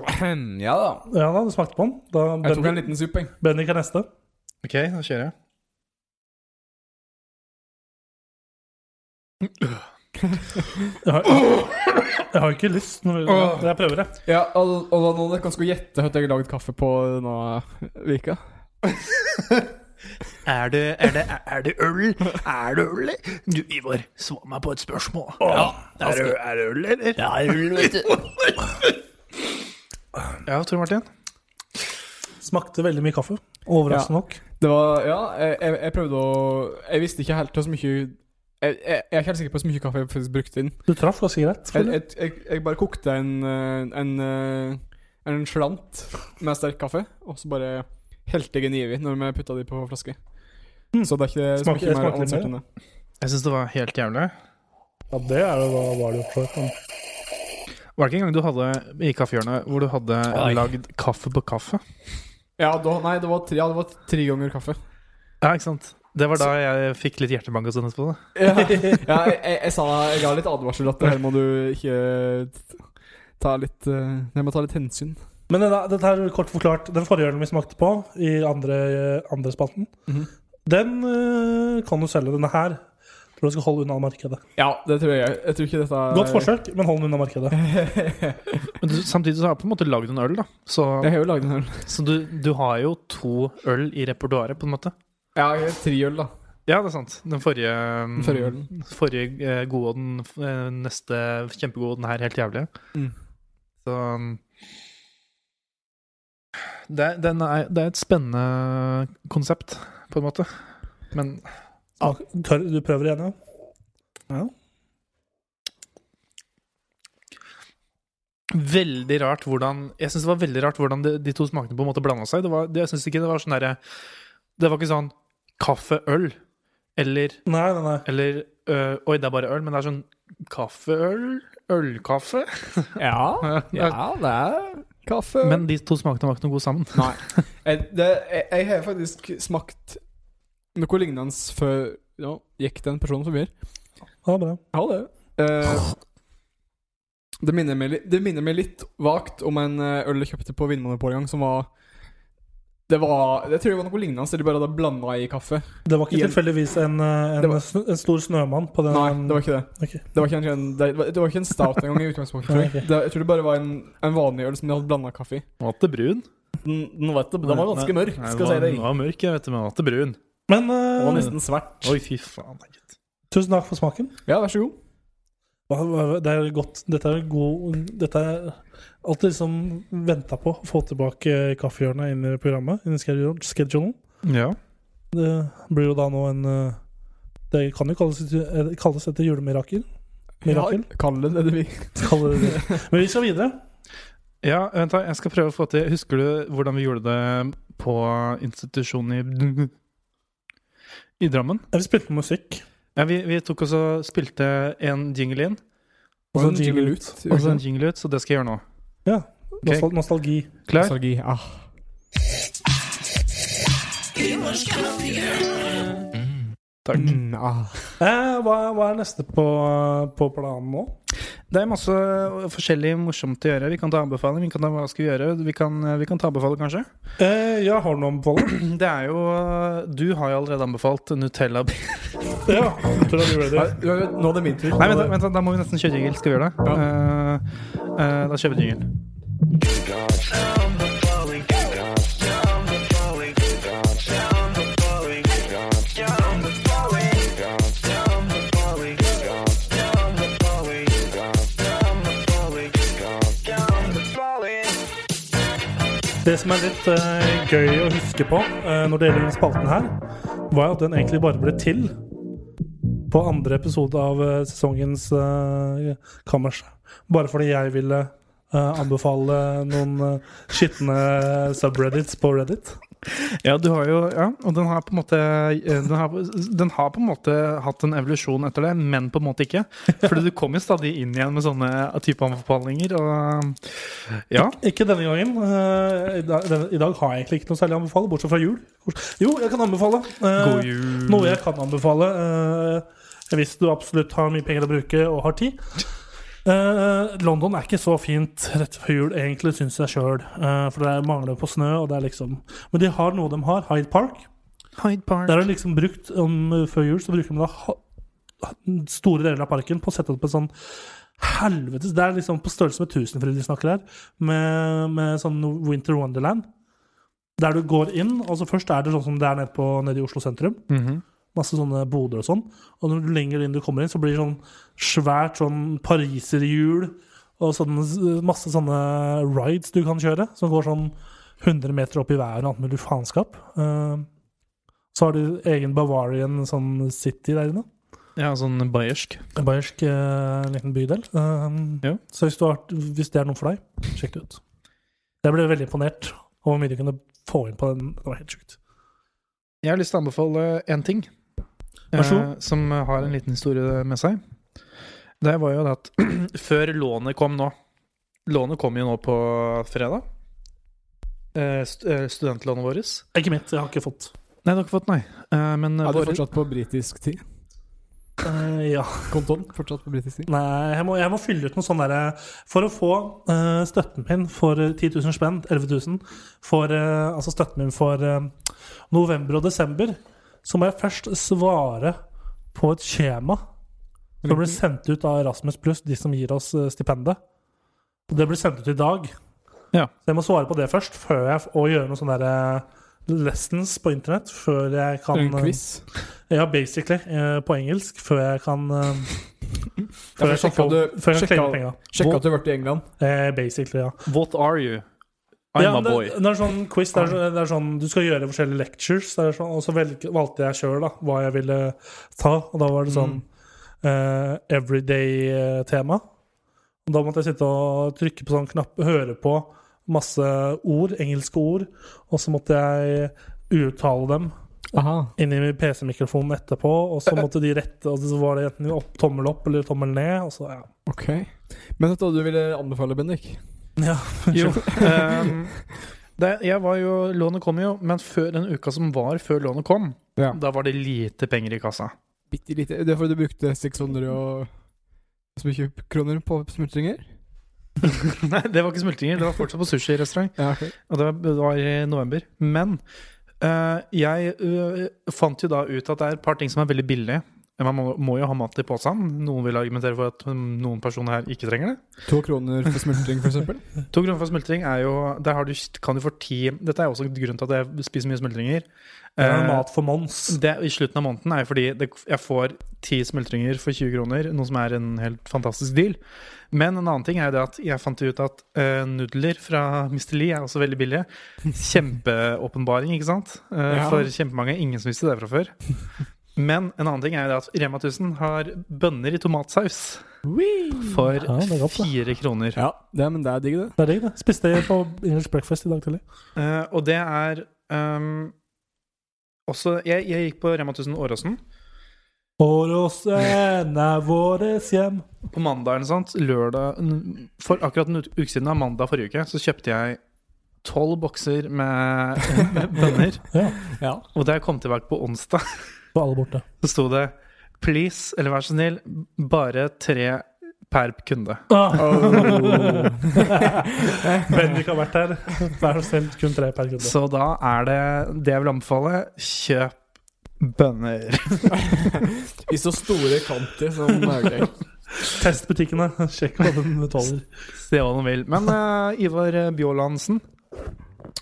[SPEAKER 4] Ja da.
[SPEAKER 2] Ja da, du smakte på den. Da
[SPEAKER 4] Jeg tok en
[SPEAKER 2] Bendik,
[SPEAKER 4] liten supp, jeg.
[SPEAKER 2] Bendik er neste.
[SPEAKER 3] OK, da kjører jeg.
[SPEAKER 2] Jeg har, jeg har ikke lyst. Nå,
[SPEAKER 3] Åh.
[SPEAKER 2] jeg prøver det.
[SPEAKER 4] Ja, og, og da nå dere kan skulle gjette hva jeg har lagd kaffe på denne vika
[SPEAKER 6] Er det, er det, er det øl? Er det øl? Du, Ivar, svar meg på et spørsmål. ja, er, det, er det øl, eller? Ja, øl, vet du.
[SPEAKER 3] Ja, Tor Martin?
[SPEAKER 2] Smakte veldig mye kaffe. Overraskende nok.
[SPEAKER 4] Det var Ja, jeg, jeg, jeg prøvde å Jeg visste ikke helt hvor mye jeg, jeg, jeg er ikke helt sikker på hvor mye kaffe jeg faktisk brukte inn.
[SPEAKER 2] Du traff ganske greit.
[SPEAKER 4] Jeg,
[SPEAKER 2] føler jeg.
[SPEAKER 4] jeg, jeg, jeg bare kokte en eh, En, eh, en slant med sterk kaffe, og så bare helte jeg en Ivi når vi putta de på flaske. Så det er ikke
[SPEAKER 2] Hmm. Smaker-
[SPEAKER 4] så mye mer
[SPEAKER 2] smaker litt
[SPEAKER 4] avansert
[SPEAKER 2] mer,
[SPEAKER 4] enn det.
[SPEAKER 3] Jeg syns det var helt jævlig.
[SPEAKER 2] Ja, det er jo hva var det jo for. men-
[SPEAKER 3] Var det ikke en gang du hadde i kaffehjørnet hvor du hadde lagd kaffe på kaffe?
[SPEAKER 4] Ja, da, nei, det var, tre, ja, det var tre ganger kaffe.
[SPEAKER 3] Ja, ikke sant? Det var da jeg fikk litt hjertebank og sånn etterpå. da.
[SPEAKER 4] Ja, jeg, jeg, jeg sa jeg ga litt advarsel at det her må du ikke ta litt eh, Jeg må ta litt hensyn.
[SPEAKER 2] Men denne, dette her er kort forklart Den forrige ølen vi smakte på i andre, andre spalten,
[SPEAKER 4] Mhm.
[SPEAKER 2] den eh, kan du selge. Denne her tror jeg skal holde unna markedet.
[SPEAKER 4] Ja, det tror jeg. Jeg tror ikke dette er
[SPEAKER 2] Godt forsøk, men hold den unna markedet.
[SPEAKER 3] Men du, samtidig så har jeg på en måte lagd en øl, da. Så,
[SPEAKER 4] Jeg har jo lagd en øl.
[SPEAKER 3] så du, du har jo to øl i repertoaret, på en måte.
[SPEAKER 4] Ja, jeg har tre øl, da.
[SPEAKER 3] Ja, det er sant. Den forrige, um,
[SPEAKER 4] Den forrige ølen.
[SPEAKER 3] forrige, eh, gode og den f- eh, neste kjempegode, og den her helt jævlige.
[SPEAKER 4] Mm.
[SPEAKER 3] Så um, det, er- den er, det er et spennende konsept, på en måte. Men
[SPEAKER 2] Tør, du prøver igjen, ja?
[SPEAKER 3] veldig rart hvordan Jeg synes det var veldig rart hvordan de, de to smakene på en måte blanda seg. Det var, det, jeg synes ikke det var sånn derre Det var ikke sånn kaffeøl eller,
[SPEAKER 2] Nei, nei, nei.
[SPEAKER 3] eller øh, Oi, det er bare øl, men det er sånn kaffeøl? Ølkaffe?
[SPEAKER 4] Ja, ja, det er kaffe. Eh,
[SPEAKER 3] Men de to smakene var ikke noe gode sammen.
[SPEAKER 4] Nei. Jeg, det, jeg, jeg har faktisk smakt Noe lignende før ja, gikk den personen forbi her.
[SPEAKER 2] Ja, bra.
[SPEAKER 4] Ja, det. Eh, det, minner meg, li- det minner meg litt vagt om en eh, øl jeg kjøpte på Vinmonopolet en gang, som var Det var, jeg tror det var noe lignende, så de bare hadde blanda i kaffe.
[SPEAKER 2] Det var ikke
[SPEAKER 4] Igjen.
[SPEAKER 2] tilfeldigvis en, eh,
[SPEAKER 4] Det
[SPEAKER 2] en,
[SPEAKER 4] var-
[SPEAKER 2] sn- en stor snømann på den
[SPEAKER 4] Nei, det var ikke det.
[SPEAKER 2] Um, Ok.
[SPEAKER 4] Det var ikke en, ren- det, var- det var ikke en stout engang i utgangspunktet. tror jeg.
[SPEAKER 2] Nei, ok.
[SPEAKER 4] Det, jeg tror det bare var en, en vanlig øl som de hadde blanda kaffe i.
[SPEAKER 3] Var det brun?
[SPEAKER 4] Den, den, var, den var ganske mørk,
[SPEAKER 3] Nei,
[SPEAKER 4] skal jeg si
[SPEAKER 3] den
[SPEAKER 4] deg.
[SPEAKER 3] var mørk, jeg vet det, men den var til brun.
[SPEAKER 2] Men
[SPEAKER 4] Den var
[SPEAKER 2] eh,
[SPEAKER 4] nesten svart.
[SPEAKER 3] Oi, fy faen. nei, gitt.
[SPEAKER 2] tusen takk for smaken.
[SPEAKER 4] Ja, vær så god.
[SPEAKER 2] Hva- hva- Det er godt. Dette er god Dette er alt jeg liksom venta på. Få tilbake kaffehjørnet inn i programmet. Inn i schedule- schedulen.
[SPEAKER 3] Ja.
[SPEAKER 2] Det blir jo da nå en eh, Det kan jo kalles, et- eh, kalles et julemirakel. Mirakel.
[SPEAKER 4] Ja, kall det det du vil.
[SPEAKER 2] Kaller det det. Men vi skal videre.
[SPEAKER 3] ja, vent da, jeg skal prøve å få til Husker du hvordan vi gjorde det på institusjonen i I Drammen?
[SPEAKER 2] Ja, Vi spilte på musikk.
[SPEAKER 3] Ja, vi, vi tok også spilte en jingle inn,
[SPEAKER 4] Og
[SPEAKER 2] så
[SPEAKER 4] en jingle ut.
[SPEAKER 3] og så en jingle ut, så det skal jeg gjøre nå.
[SPEAKER 2] Nostal Nostalgi.
[SPEAKER 3] Klar?
[SPEAKER 4] Nostalgi. Ah.
[SPEAKER 3] Takk.
[SPEAKER 4] Mm, ah.
[SPEAKER 2] Eh, hva, hva er neste på, på planen nå?
[SPEAKER 3] Det er masse forskjellig morsomt å gjøre. Vi kan ta anbefaling, vi kan ta hva skal vi gjøre. Vi kan, vi kan ta anbefaling, kanskje.
[SPEAKER 2] Eh, jeg har noe å anbefale.
[SPEAKER 3] Det er jo Du har jo allerede anbefalt Nutella. Nei,
[SPEAKER 2] Ja, tror jeg vi gjorde det.
[SPEAKER 4] Ja, Nå er det min tur.
[SPEAKER 3] vent, da, vent da, da må vi nesten kjøre jingle. Skal vi gjøre det? Eh, eh, da kjører vi jingle.
[SPEAKER 2] Det som er litt eh, gøy å huske på eh, når det gjelder den spalten her, var jo at den egentlig bare ble til på andre episode av eh, sesongens eh, Kammers. Bare fordi jeg ville eh, anbefale noen eh, skitne subreddits på Reddit.
[SPEAKER 3] Ja, du har jo Ja, og den har på en måte eh, Den har, den har på en måte hatt en evolusjon etter det, men på en måte ikke. Fordi du kommer jo stadig inn igjen med sånne type anbefalinger, og Ja.
[SPEAKER 2] Ikke denne gangen. eh, i, dag, denne, I dag har jeg egentlig ikke noe særlig å anbefale, bortsett fra jul. Jo, jeg kan anbefale. eh,
[SPEAKER 3] God jul.
[SPEAKER 2] Noe jeg kan anbefale eh, hvis du absolutt har mye penger å bruke og har tid. Eh, London er ikke så fint rett før jul, egentlig, syns jeg sjøl. for det er- mangler på snø, og det er liksom Men de har noe de har. Hyde Park.
[SPEAKER 3] Hyde Park.
[SPEAKER 2] Der har de liksom brukt om, eh, Før jul så bruker de da ha- store deler av parken på å sette opp en sånn helvetes Det er liksom på størrelse med Tusenfryd vi snakker her, med, med sånn Winter Wonderland. Der du går inn, og så først er det sånn som det er nede, på, nede i Oslo sentrum.
[SPEAKER 3] Mhm.
[SPEAKER 2] Masse sånne boder og sånn. Og når du lenger inn du kommer inn, så blir det sånn svært sånn pariserhjul og sånn masse sånne rides du kan kjøre, som går sånn 100 meter opp i været og alt mulig faenskap. Eh, Så har de egen Bavarian sånn city der inne.
[SPEAKER 3] Ja, sånn bayersk.
[SPEAKER 2] En bayersk eh, liten bydel. Eh,
[SPEAKER 3] Ja.
[SPEAKER 2] Så hvis, du har, hvis det er noe for deg, sjekk det ut. Jeg ble veldig imponert over hvor mye de kunne få inn på den. Det var helt sjukt.
[SPEAKER 3] Jeg har lyst til å anbefale én ting.
[SPEAKER 2] Vær så
[SPEAKER 3] eh, som har en liten historie med seg. Det var jo det at før lånet kom nå Lånet kom jo nå på fredag. Eh, st eh, studentlånet vårt.
[SPEAKER 2] Ikke mitt, jeg har ikke fått.
[SPEAKER 3] Nei, det har ikke fått, nei. Eh, men
[SPEAKER 4] Er det
[SPEAKER 3] våre-
[SPEAKER 4] fortsatt på britisk tid?
[SPEAKER 2] Eh, ja.
[SPEAKER 4] Kontoen fortsatt på britisk tid?
[SPEAKER 2] Nei, jeg må, jeg må fylle ut noe sånn derre For å få eh, støtten min for eh, 10 000 spenn, 11 000 for, eh, Altså støtten min for eh, november og desember, så må jeg først svare på et skjema som ble sendt ut av Erasmus pluss, de som gir oss eh, stipendet. Og det ble sendt ut i dag.
[SPEAKER 3] Ja.
[SPEAKER 2] Så jeg må svare på det først, før jeg f- og gjøre noen sånne der, eh, lessons på internett. Før jeg kan
[SPEAKER 4] En
[SPEAKER 2] eh,
[SPEAKER 4] quiz?
[SPEAKER 2] ja, basically. eh, På engelsk. Før jeg kan eh,
[SPEAKER 4] for
[SPEAKER 2] Før jeg kan
[SPEAKER 4] sjekka
[SPEAKER 2] få Før
[SPEAKER 4] du-
[SPEAKER 2] jeg kan
[SPEAKER 4] sjekka-
[SPEAKER 2] claime penga.
[SPEAKER 4] Sjekk at du har vært i England.
[SPEAKER 2] Eh, Basically, ja.
[SPEAKER 3] What are you? I'm
[SPEAKER 2] ja
[SPEAKER 3] a
[SPEAKER 2] men
[SPEAKER 3] boy.
[SPEAKER 2] det, det er sånn quiz. Det er, så- det er sånn, du skal gjøre forskjellige lectures, det er sånn, og så velg, valgte jeg sjøl hva jeg ville ta. Og da var det sånn
[SPEAKER 3] Mm.
[SPEAKER 2] eh, everyday-tema. Og Da måtte jeg sitte og trykke på sånn knapp, høre på masse ord, engelske ord, og så måtte jeg uttale dem
[SPEAKER 4] Aha.
[SPEAKER 2] inn i PC-mikrofonen etterpå, og så måtte de rette, og så var det enten opp, tommel opp eller tommel ned, og så ja.
[SPEAKER 4] Ok. Men dette du ville anbefale, Bendik?
[SPEAKER 2] ja.
[SPEAKER 3] Jo. ehm, Det, jeg var jo, lånet kom jo, men før den uka som var før lånet kom,
[SPEAKER 4] Ja.
[SPEAKER 3] da var det lite penger i kassa.
[SPEAKER 4] Bitte lite. Det er fordi du brukte 600 og så mye kroner på smultringer?
[SPEAKER 3] Nei, det var ikke smultringer, det var fortsatt på sushirestaurant.
[SPEAKER 4] Ja, ok.
[SPEAKER 3] Og det var, det var i november. Men eh, jeg eh, fant jo da ut at det er et par ting som er veldig billige. Man må, må jo ha mat i posen. Noen vil argumentere for at mm, noen personer her ikke trenger det.
[SPEAKER 4] To kroner for smultring, for eksempel.
[SPEAKER 3] To kroner for smultring er jo Der har du, kan du få ti Dette er jo også grunnen til at jeg spiser mye smultringer.
[SPEAKER 2] Det er
[SPEAKER 3] Eh,
[SPEAKER 2] mat for Mons.
[SPEAKER 3] det, I slutten av måneden er jo fordi det, jeg får ti smultringer for 20 kroner, noe som er en helt fantastisk deal. Men en annen ting er jo det at jeg fant ut at eh, nudler fra Mr. Lee er også veldig billige. Kjempeåpenbaring, ikke sant? Eh,
[SPEAKER 4] Ja.
[SPEAKER 3] For kjempemange. Ingen som visste det fra før. Men en annen ting er jo det at Rema 1000 har bønner i tomatsaus for
[SPEAKER 2] Ja, det er godt, det.
[SPEAKER 3] fire kroner.
[SPEAKER 4] Ja, det, men det er digg, det.
[SPEAKER 2] Det er digg, det. Spiste jeg på English breakfast i dag tidlig.
[SPEAKER 3] Eh, og det er ehm, også jeg, jeg gikk på Rema 1000 Åråsen.
[SPEAKER 2] Åråsen er våres hjem.
[SPEAKER 3] På mandag eller sånt, lørdag n- For akkurat en ut- uke siden av mandag forrige uke, så kjøpte jeg tolv bokser med, med bønner.
[SPEAKER 2] Ja.
[SPEAKER 4] Ja.
[SPEAKER 3] Og da jeg kom tilbake på onsdag,
[SPEAKER 2] Så alle borte.
[SPEAKER 3] så sto det 'Please, eller vær så snill, bare tre per kunde'.
[SPEAKER 2] Ah. Oh. Bendik har vært her. Vær så snill, kun tre per kunde.
[SPEAKER 3] Så da er det det jeg vil anbefale. Kjøp bønner.
[SPEAKER 4] I så store kanter som mulig.
[SPEAKER 2] Test butikkene. Sjekk hva den tåler.
[SPEAKER 3] Se hva du vil. Men eh, Ivar Bjålandsen,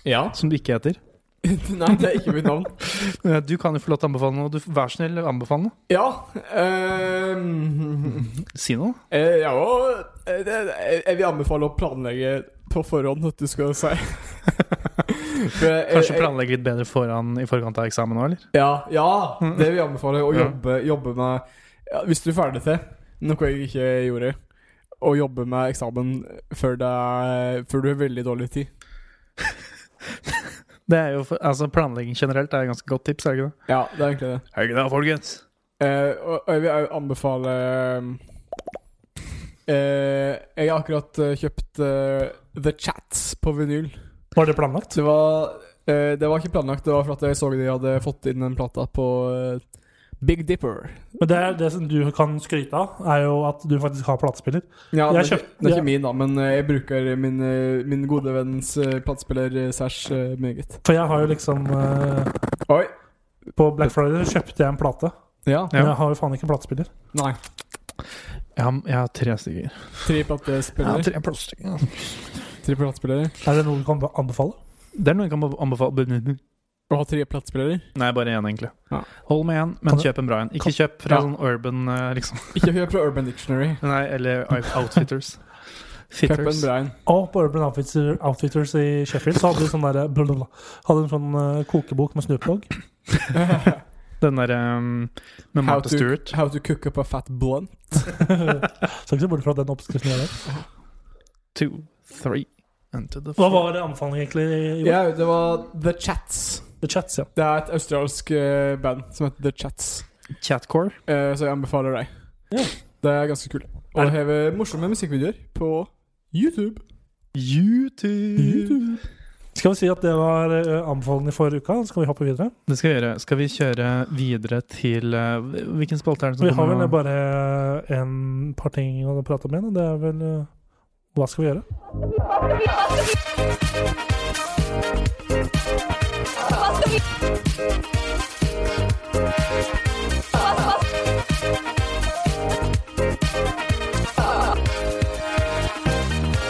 [SPEAKER 4] Ja.
[SPEAKER 3] som du ikke heter
[SPEAKER 4] Nei, det er ikke mitt navn.
[SPEAKER 3] Eh, Du kan jo få lov til å anbefale noe. Du, vær så snill, anbefale noe.
[SPEAKER 4] Ja ehm,
[SPEAKER 3] Si noe.
[SPEAKER 4] eh, Ja, og, eh, det- jeg jeg vil anbefale å planlegge på forhånd at du skal si. For jeg-
[SPEAKER 3] Kanskje
[SPEAKER 4] jeg-
[SPEAKER 3] planlegge litt bedre foran i forkant av eksamen òg, eller?
[SPEAKER 4] Ja, Mm. ja, det vil jeg anbefale. Å
[SPEAKER 3] Ja.
[SPEAKER 4] jobbe, jobbe med ja, Hvis du er ferdig til, noe jeg ikke gjorde, å jobbe med eksamen før, det er, før du har veldig dårlig tid.
[SPEAKER 3] Det er jo, for- altså Planlegging generelt er et ganske godt tips, er det ikke det?
[SPEAKER 4] Ja, det er egentlig det.
[SPEAKER 3] Er det ikke det, folkens?
[SPEAKER 4] Eh, og og jeg vil også anbefale eh, Jeg har akkurat eh, kjøpt eh, The Chats på vinyl.
[SPEAKER 2] Var det planlagt?
[SPEAKER 4] Det var, eh, det var ikke planlagt, det var for at jeg så de hadde fått inn den plata på eh, Big Dipper.
[SPEAKER 2] Men det, er, det som du kan skryte av, er jo at du faktisk har platespiller.
[SPEAKER 4] Ja,
[SPEAKER 2] Jeg
[SPEAKER 4] det, er
[SPEAKER 2] kjøpt-
[SPEAKER 4] ikke- det er
[SPEAKER 2] ja.
[SPEAKER 4] ikke min, da, men eh, jeg bruker min, eh, min gode venns eh, platespiller eh, Sash eh, meget.
[SPEAKER 2] For jeg har jo liksom eh,
[SPEAKER 4] Oi!
[SPEAKER 2] På Black Friday så kjøpte jeg en plate,
[SPEAKER 4] Ja.
[SPEAKER 2] men
[SPEAKER 3] Ja.
[SPEAKER 2] jeg har jo faen ikke platespiller.
[SPEAKER 4] Nei.
[SPEAKER 3] Jeg har, jeg har tre stykker.
[SPEAKER 4] Tre
[SPEAKER 3] Jeg har
[SPEAKER 4] platespillere.
[SPEAKER 3] tre plaststykker.
[SPEAKER 4] Tre platespillere.
[SPEAKER 2] Er det noe du kan anbefale?
[SPEAKER 3] Det er noe jeg kan anbefale.
[SPEAKER 4] Å ha tre platespillere.
[SPEAKER 3] Nei, bare én, egentlig.
[SPEAKER 4] Ja.
[SPEAKER 3] Hold med én,
[SPEAKER 2] Kan
[SPEAKER 3] men
[SPEAKER 2] du-
[SPEAKER 3] kjøp en bra en. Ikke
[SPEAKER 2] kan-
[SPEAKER 3] kjøp fra
[SPEAKER 4] Ja.
[SPEAKER 3] sånn Urban, eh, liksom.
[SPEAKER 4] Ikke hør på Urban Dictionary.
[SPEAKER 3] Nei, eller Outfitters.
[SPEAKER 4] Cup and
[SPEAKER 3] Fitters.
[SPEAKER 4] Brian.
[SPEAKER 2] Og på Urban Outfitter- Outfitters i Sheffield så hadde de sånn der, blablabla, hadde en sånn eh, kokebok med Snoop Dogg.
[SPEAKER 3] Den derre um, med
[SPEAKER 4] How
[SPEAKER 3] Martha
[SPEAKER 4] to-
[SPEAKER 3] Stewart.
[SPEAKER 4] How to cook up a fat blunt.
[SPEAKER 2] Skal ikke se bort fra den oppskriften jeg har.
[SPEAKER 3] Two, three, and to the
[SPEAKER 2] Hva
[SPEAKER 3] four.
[SPEAKER 2] var anbefalingen egentlig? Jon?
[SPEAKER 4] Ja, det var The Chats.
[SPEAKER 2] The Chats, ja.
[SPEAKER 4] Det er et australsk eh, band som heter The Chats.
[SPEAKER 3] Catcore.
[SPEAKER 4] Eh, så jeg anbefaler deg.
[SPEAKER 2] Ja.
[SPEAKER 4] Det er ganske kult. Og
[SPEAKER 3] Er det-
[SPEAKER 4] det har morsomme musikkvideoer på YouTube.
[SPEAKER 3] YouTube.
[SPEAKER 2] Skal vi si at det var eh, anbefalingen for uka? Så skal vi hoppe videre.
[SPEAKER 3] Det skal vi gjøre. Skal vi kjøre videre til eh, Hvilken spalte er det som
[SPEAKER 2] Vi har vel
[SPEAKER 3] nå?
[SPEAKER 2] bare eh, en par ting å prate om igjen, og det er vel eh, Hva skal vi gjøre?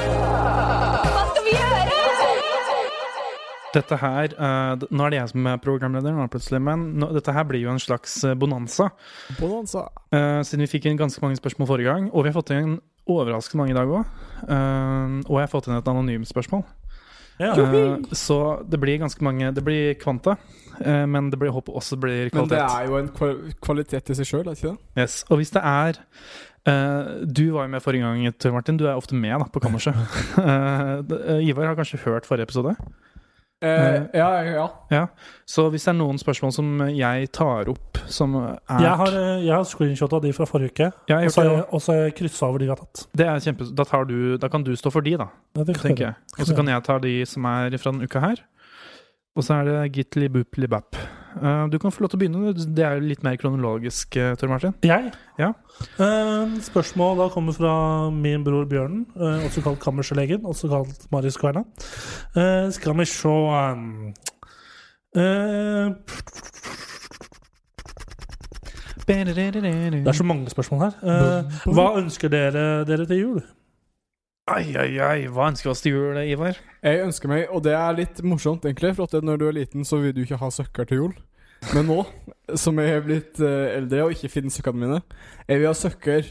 [SPEAKER 7] Hva skal vi gjøre?
[SPEAKER 3] Dette her eh, d- Nå er det jeg som er programleder, nå plutselig, men nå, dette her blir jo en slags eh, bonanza.
[SPEAKER 4] Bonanza.
[SPEAKER 3] Eh, siden vi fikk inn ganske mange spørsmål forrige gang, og vi har fått inn overraskende mange i dag òg. og jeg har fått inn et anonymt spørsmål.
[SPEAKER 2] Ja.
[SPEAKER 3] Eh, så det blir ganske mange Det blir kvanta, eh, men det blir, jeg håper også det blir
[SPEAKER 4] Men det
[SPEAKER 3] kvalitet.
[SPEAKER 4] er jo en kval kvalitet i seg sjøl, er det ikke det?
[SPEAKER 3] Yes. Og hvis det er eh, Du var jo med forrige gang, Tor Martin. Du er ofte med da, på kammerset. Eh, d- eh, Ivar har kanskje hørt forrige episode?
[SPEAKER 4] Eh, ja, ja, ja.
[SPEAKER 3] Så hvis det er noen spørsmål som jeg tar opp, som er
[SPEAKER 2] Jeg har, eh, jeg har screenshot av de fra forrige uke,
[SPEAKER 3] Ja,
[SPEAKER 2] og
[SPEAKER 3] jeg har
[SPEAKER 2] så
[SPEAKER 3] gjort
[SPEAKER 2] har
[SPEAKER 3] det,
[SPEAKER 2] jeg, og så har jeg kryssa over de vi har tatt.
[SPEAKER 3] det er kjempe, da, tar du, da kan du stå for de, da,
[SPEAKER 2] Ja, det kan
[SPEAKER 3] tenker
[SPEAKER 2] jeg.
[SPEAKER 3] jeg. Og så kan jeg ta de som er fra denne uka her. Og så er det Gitli Bupli Bap. Eh, Du kan få lov til å begynne. du. Det er jo litt mer kronologisk, eh, Tor Martin.
[SPEAKER 2] Jeg?
[SPEAKER 3] Ja.
[SPEAKER 2] Eh, spørsmål da kommer fra min bror Bjørnen, eh, også kalt kammerslegen, også kalt Marius Kverna. Eh, skal vi se um, eh, Det er så mange spørsmål her. Eh, hva ønsker dere dere til jul?
[SPEAKER 3] Ai, ai, ai. Hva ønsker vi oss til jul, Ivar?
[SPEAKER 4] Jeg ønsker meg, og det er litt morsomt egentlig, for at når du er liten, så vil du ikke ha søkker til jul. Men nå, som jeg er blitt eh, eldre og ikke finner søkkene mine, jeg vil ha søkker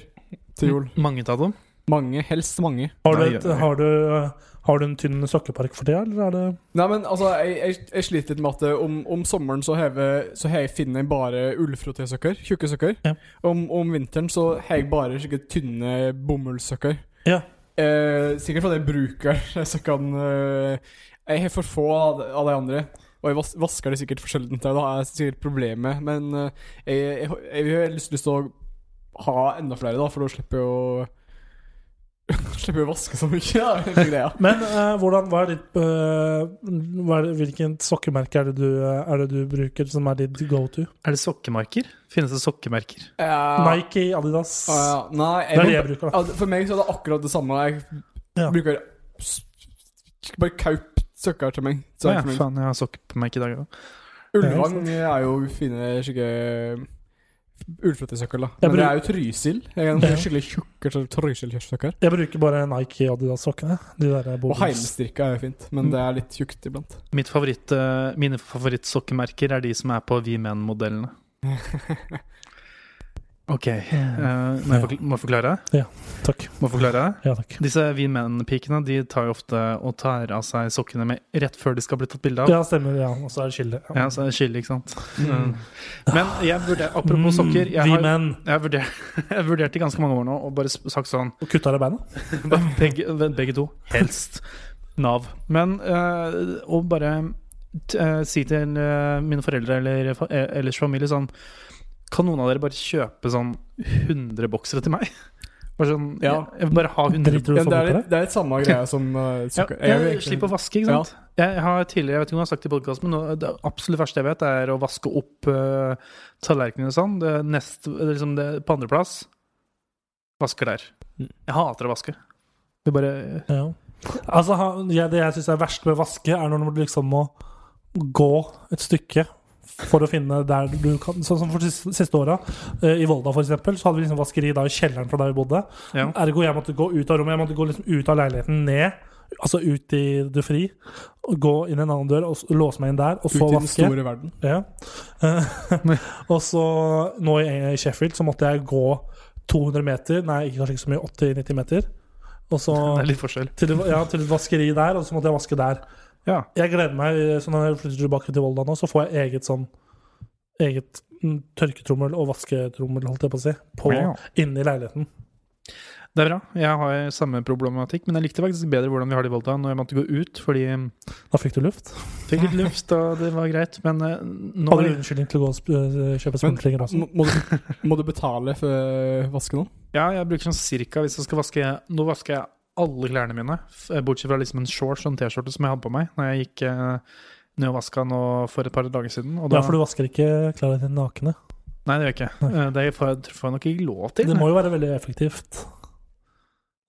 [SPEAKER 4] til jul.
[SPEAKER 3] Mange av dem.
[SPEAKER 4] Mange, helst mange.
[SPEAKER 2] Har du,
[SPEAKER 3] Nei,
[SPEAKER 2] et,
[SPEAKER 3] nei.
[SPEAKER 2] har du, eh, har du en tynn sokkepark for tida, eller er det
[SPEAKER 4] Nei, men altså, jeg, jeg, jeg sliter litt med at eh, om, om sommeren så, hever, så har jeg finner jeg bare ullfrottesøkker, tjukke søkker.
[SPEAKER 2] Ja.
[SPEAKER 4] Om, om vinteren så har jeg bare skikkelig tynne bomullsøkker.
[SPEAKER 2] Ja.
[SPEAKER 4] Eh, sikkert fordi jeg bruker de søkkene eh, Jeg har for få av de, av de andre. Og jeg vas vasker det sikkert for sjelden til, da har jeg sikkert problemer med, men eh, jeg, jeg, jeg, jeg har lyst lyst til å ha enda flere, da, for da slipper jeg å Slipper jeg å vaske så mye, da. er hele greia.
[SPEAKER 2] Men eh, hvordan, hva er ditt, eh, hva er, hvilket sokkemerke er det, du, eh, er det du bruker som er ditt go to?
[SPEAKER 3] Er det sokkemerker? Finnes det sokkemerker?
[SPEAKER 4] Eh,
[SPEAKER 2] Nike, Adidas?
[SPEAKER 4] Å, ja. Nei,
[SPEAKER 2] Det
[SPEAKER 4] jeg,
[SPEAKER 2] er det jeg bruker, da.
[SPEAKER 4] Ja, For meg så er det akkurat det samme. Jeg
[SPEAKER 2] Ja.
[SPEAKER 4] bruker s- bare kaup søkker til meg. Så
[SPEAKER 3] Å
[SPEAKER 4] er
[SPEAKER 3] ja,
[SPEAKER 4] det for meg.
[SPEAKER 3] faen, jeg har sokkemerke i dag òg.
[SPEAKER 4] Ullvang er jo fine skikkelig Ullfløttesøkkel, da.
[SPEAKER 2] Jeg
[SPEAKER 4] Men det
[SPEAKER 2] bruk-
[SPEAKER 4] er jo Trysil. Jeg er
[SPEAKER 2] Ja.
[SPEAKER 4] en skikkelig tjukke til Trysil-kjøttstykker.
[SPEAKER 2] Jeg bruker bare Nike Adidas-sokkene. De der eh,
[SPEAKER 4] Og
[SPEAKER 2] bobbles.
[SPEAKER 4] heimstrikka er jo fint, men det er litt tjukt iblant.
[SPEAKER 3] Mitt favoritt, eh, mine favorittsokkemerker er de som er på Vi Men-modellene. OK. eh, må jeg forkl- må jeg forklare?
[SPEAKER 2] Takk.
[SPEAKER 3] Må jeg forklare?
[SPEAKER 2] Ja, takk.
[SPEAKER 3] Disse Vi Men-pikene de tar jo ofte og tar av seg sokkene med rett før de skal bli tatt bilde av.
[SPEAKER 2] Ja, stemmer. ja, Og så er det skille.
[SPEAKER 3] Ja, så er det chili, ikke sant.
[SPEAKER 4] Mm.
[SPEAKER 3] Men jeg vurder, apropos sokker Jeg
[SPEAKER 2] Mm, Vi
[SPEAKER 3] har,
[SPEAKER 2] menn.
[SPEAKER 3] jeg har vurdert, jeg har vurdert i ganske mange år nå og bare s- sagt sånn
[SPEAKER 2] Og kutta deg beina?
[SPEAKER 3] Begge, begge to. Helst Nav. Men eh, å bare t eh, si til eh, mine foreldre eller fa eh, ellers familie sånn Kan noen av dere bare kjøpe sånn 100 boksere til meg? Bare sånn,
[SPEAKER 4] Ja.
[SPEAKER 3] jeg, jeg vil bare ha 100
[SPEAKER 2] Driter du
[SPEAKER 4] Men
[SPEAKER 2] så
[SPEAKER 4] det
[SPEAKER 2] mye
[SPEAKER 4] er
[SPEAKER 2] på det?
[SPEAKER 4] litt, det er litt samme greia som uh,
[SPEAKER 3] ja,
[SPEAKER 4] søkker.
[SPEAKER 3] jeg,
[SPEAKER 4] vil egentlig-
[SPEAKER 3] slipper å vaske, ikke sant? Jeg har tidligere, jeg vet ikke om jeg har sagt det i podcasten, men nå- det absolutt verste jeg vet, er å vaske opp eh, tallerkenene og sånn. Det nest, liksom det, på andreplass vasker der. Jeg hater å vaske. Det bare
[SPEAKER 2] Ja. Altså, han- ja, det jeg syns er verst med vaske, er når du liksom må gå et stykke for å finne der du kan Sånn som for siste, siste åra, eh, i Volda f.eks., så hadde vi liksom vaskeri da i kjelleren fra der vi bodde.
[SPEAKER 3] Ja.
[SPEAKER 2] Ergo jeg måtte gå ut av rommet. Jeg måtte gå liksom ut av leiligheten, ned. Altså ut i det fri. og Gå inn en annen dør, og s- låse meg inn der, og
[SPEAKER 4] Ut
[SPEAKER 2] så
[SPEAKER 4] i den
[SPEAKER 2] vaske.
[SPEAKER 4] store verden.
[SPEAKER 2] Ja. Eh, og så nå i i Sheffield så måtte jeg gå 200 meter, nei ikke kanskje ikke så mye, 80-90 meter. Og så
[SPEAKER 3] Det er litt forskjell.
[SPEAKER 2] til, et- ja, til et vaskeri der, og så måtte jeg vaske der.
[SPEAKER 3] Ja.
[SPEAKER 2] Jeg gleder meg, eh, så når jeg flytter tilbake til Volda nå, så får jeg eget sånn Eget mm, tørketrommel og vasketrommel, holdt jeg på å si, på,
[SPEAKER 3] Ja.
[SPEAKER 2] inne i leiligheten.
[SPEAKER 3] Det er bra. Jeg har samme problematikk, men jeg likte faktisk bedre hvordan vi har det i Volda når jeg måtte gå ut, fordi jeg
[SPEAKER 2] Da fikk du luft.
[SPEAKER 3] fikk litt luft, og det var greit. Men eh, nå
[SPEAKER 2] Hadde du unnskyldning til å gå og sp eh, kjøpe sprinklinger også?
[SPEAKER 4] Må, må, du, må du betale for å vaske noen?
[SPEAKER 3] Ja, jeg bruker sånn cirka hvis jeg skal vaske Nå vasker jeg alle klærne mine, f- bortsett fra liksom en shorts og en T-skjorte som jeg hadde på meg når jeg gikk eh, ned og vaska nå for et par dager siden. Og da,
[SPEAKER 2] Ja, for du vasker ikke klærne dine nakne.
[SPEAKER 3] Nei, det gjør jeg ikke. Eh, Det får jeg, tror jeg nok ikke lov til.
[SPEAKER 2] Det må jo være veldig effektivt.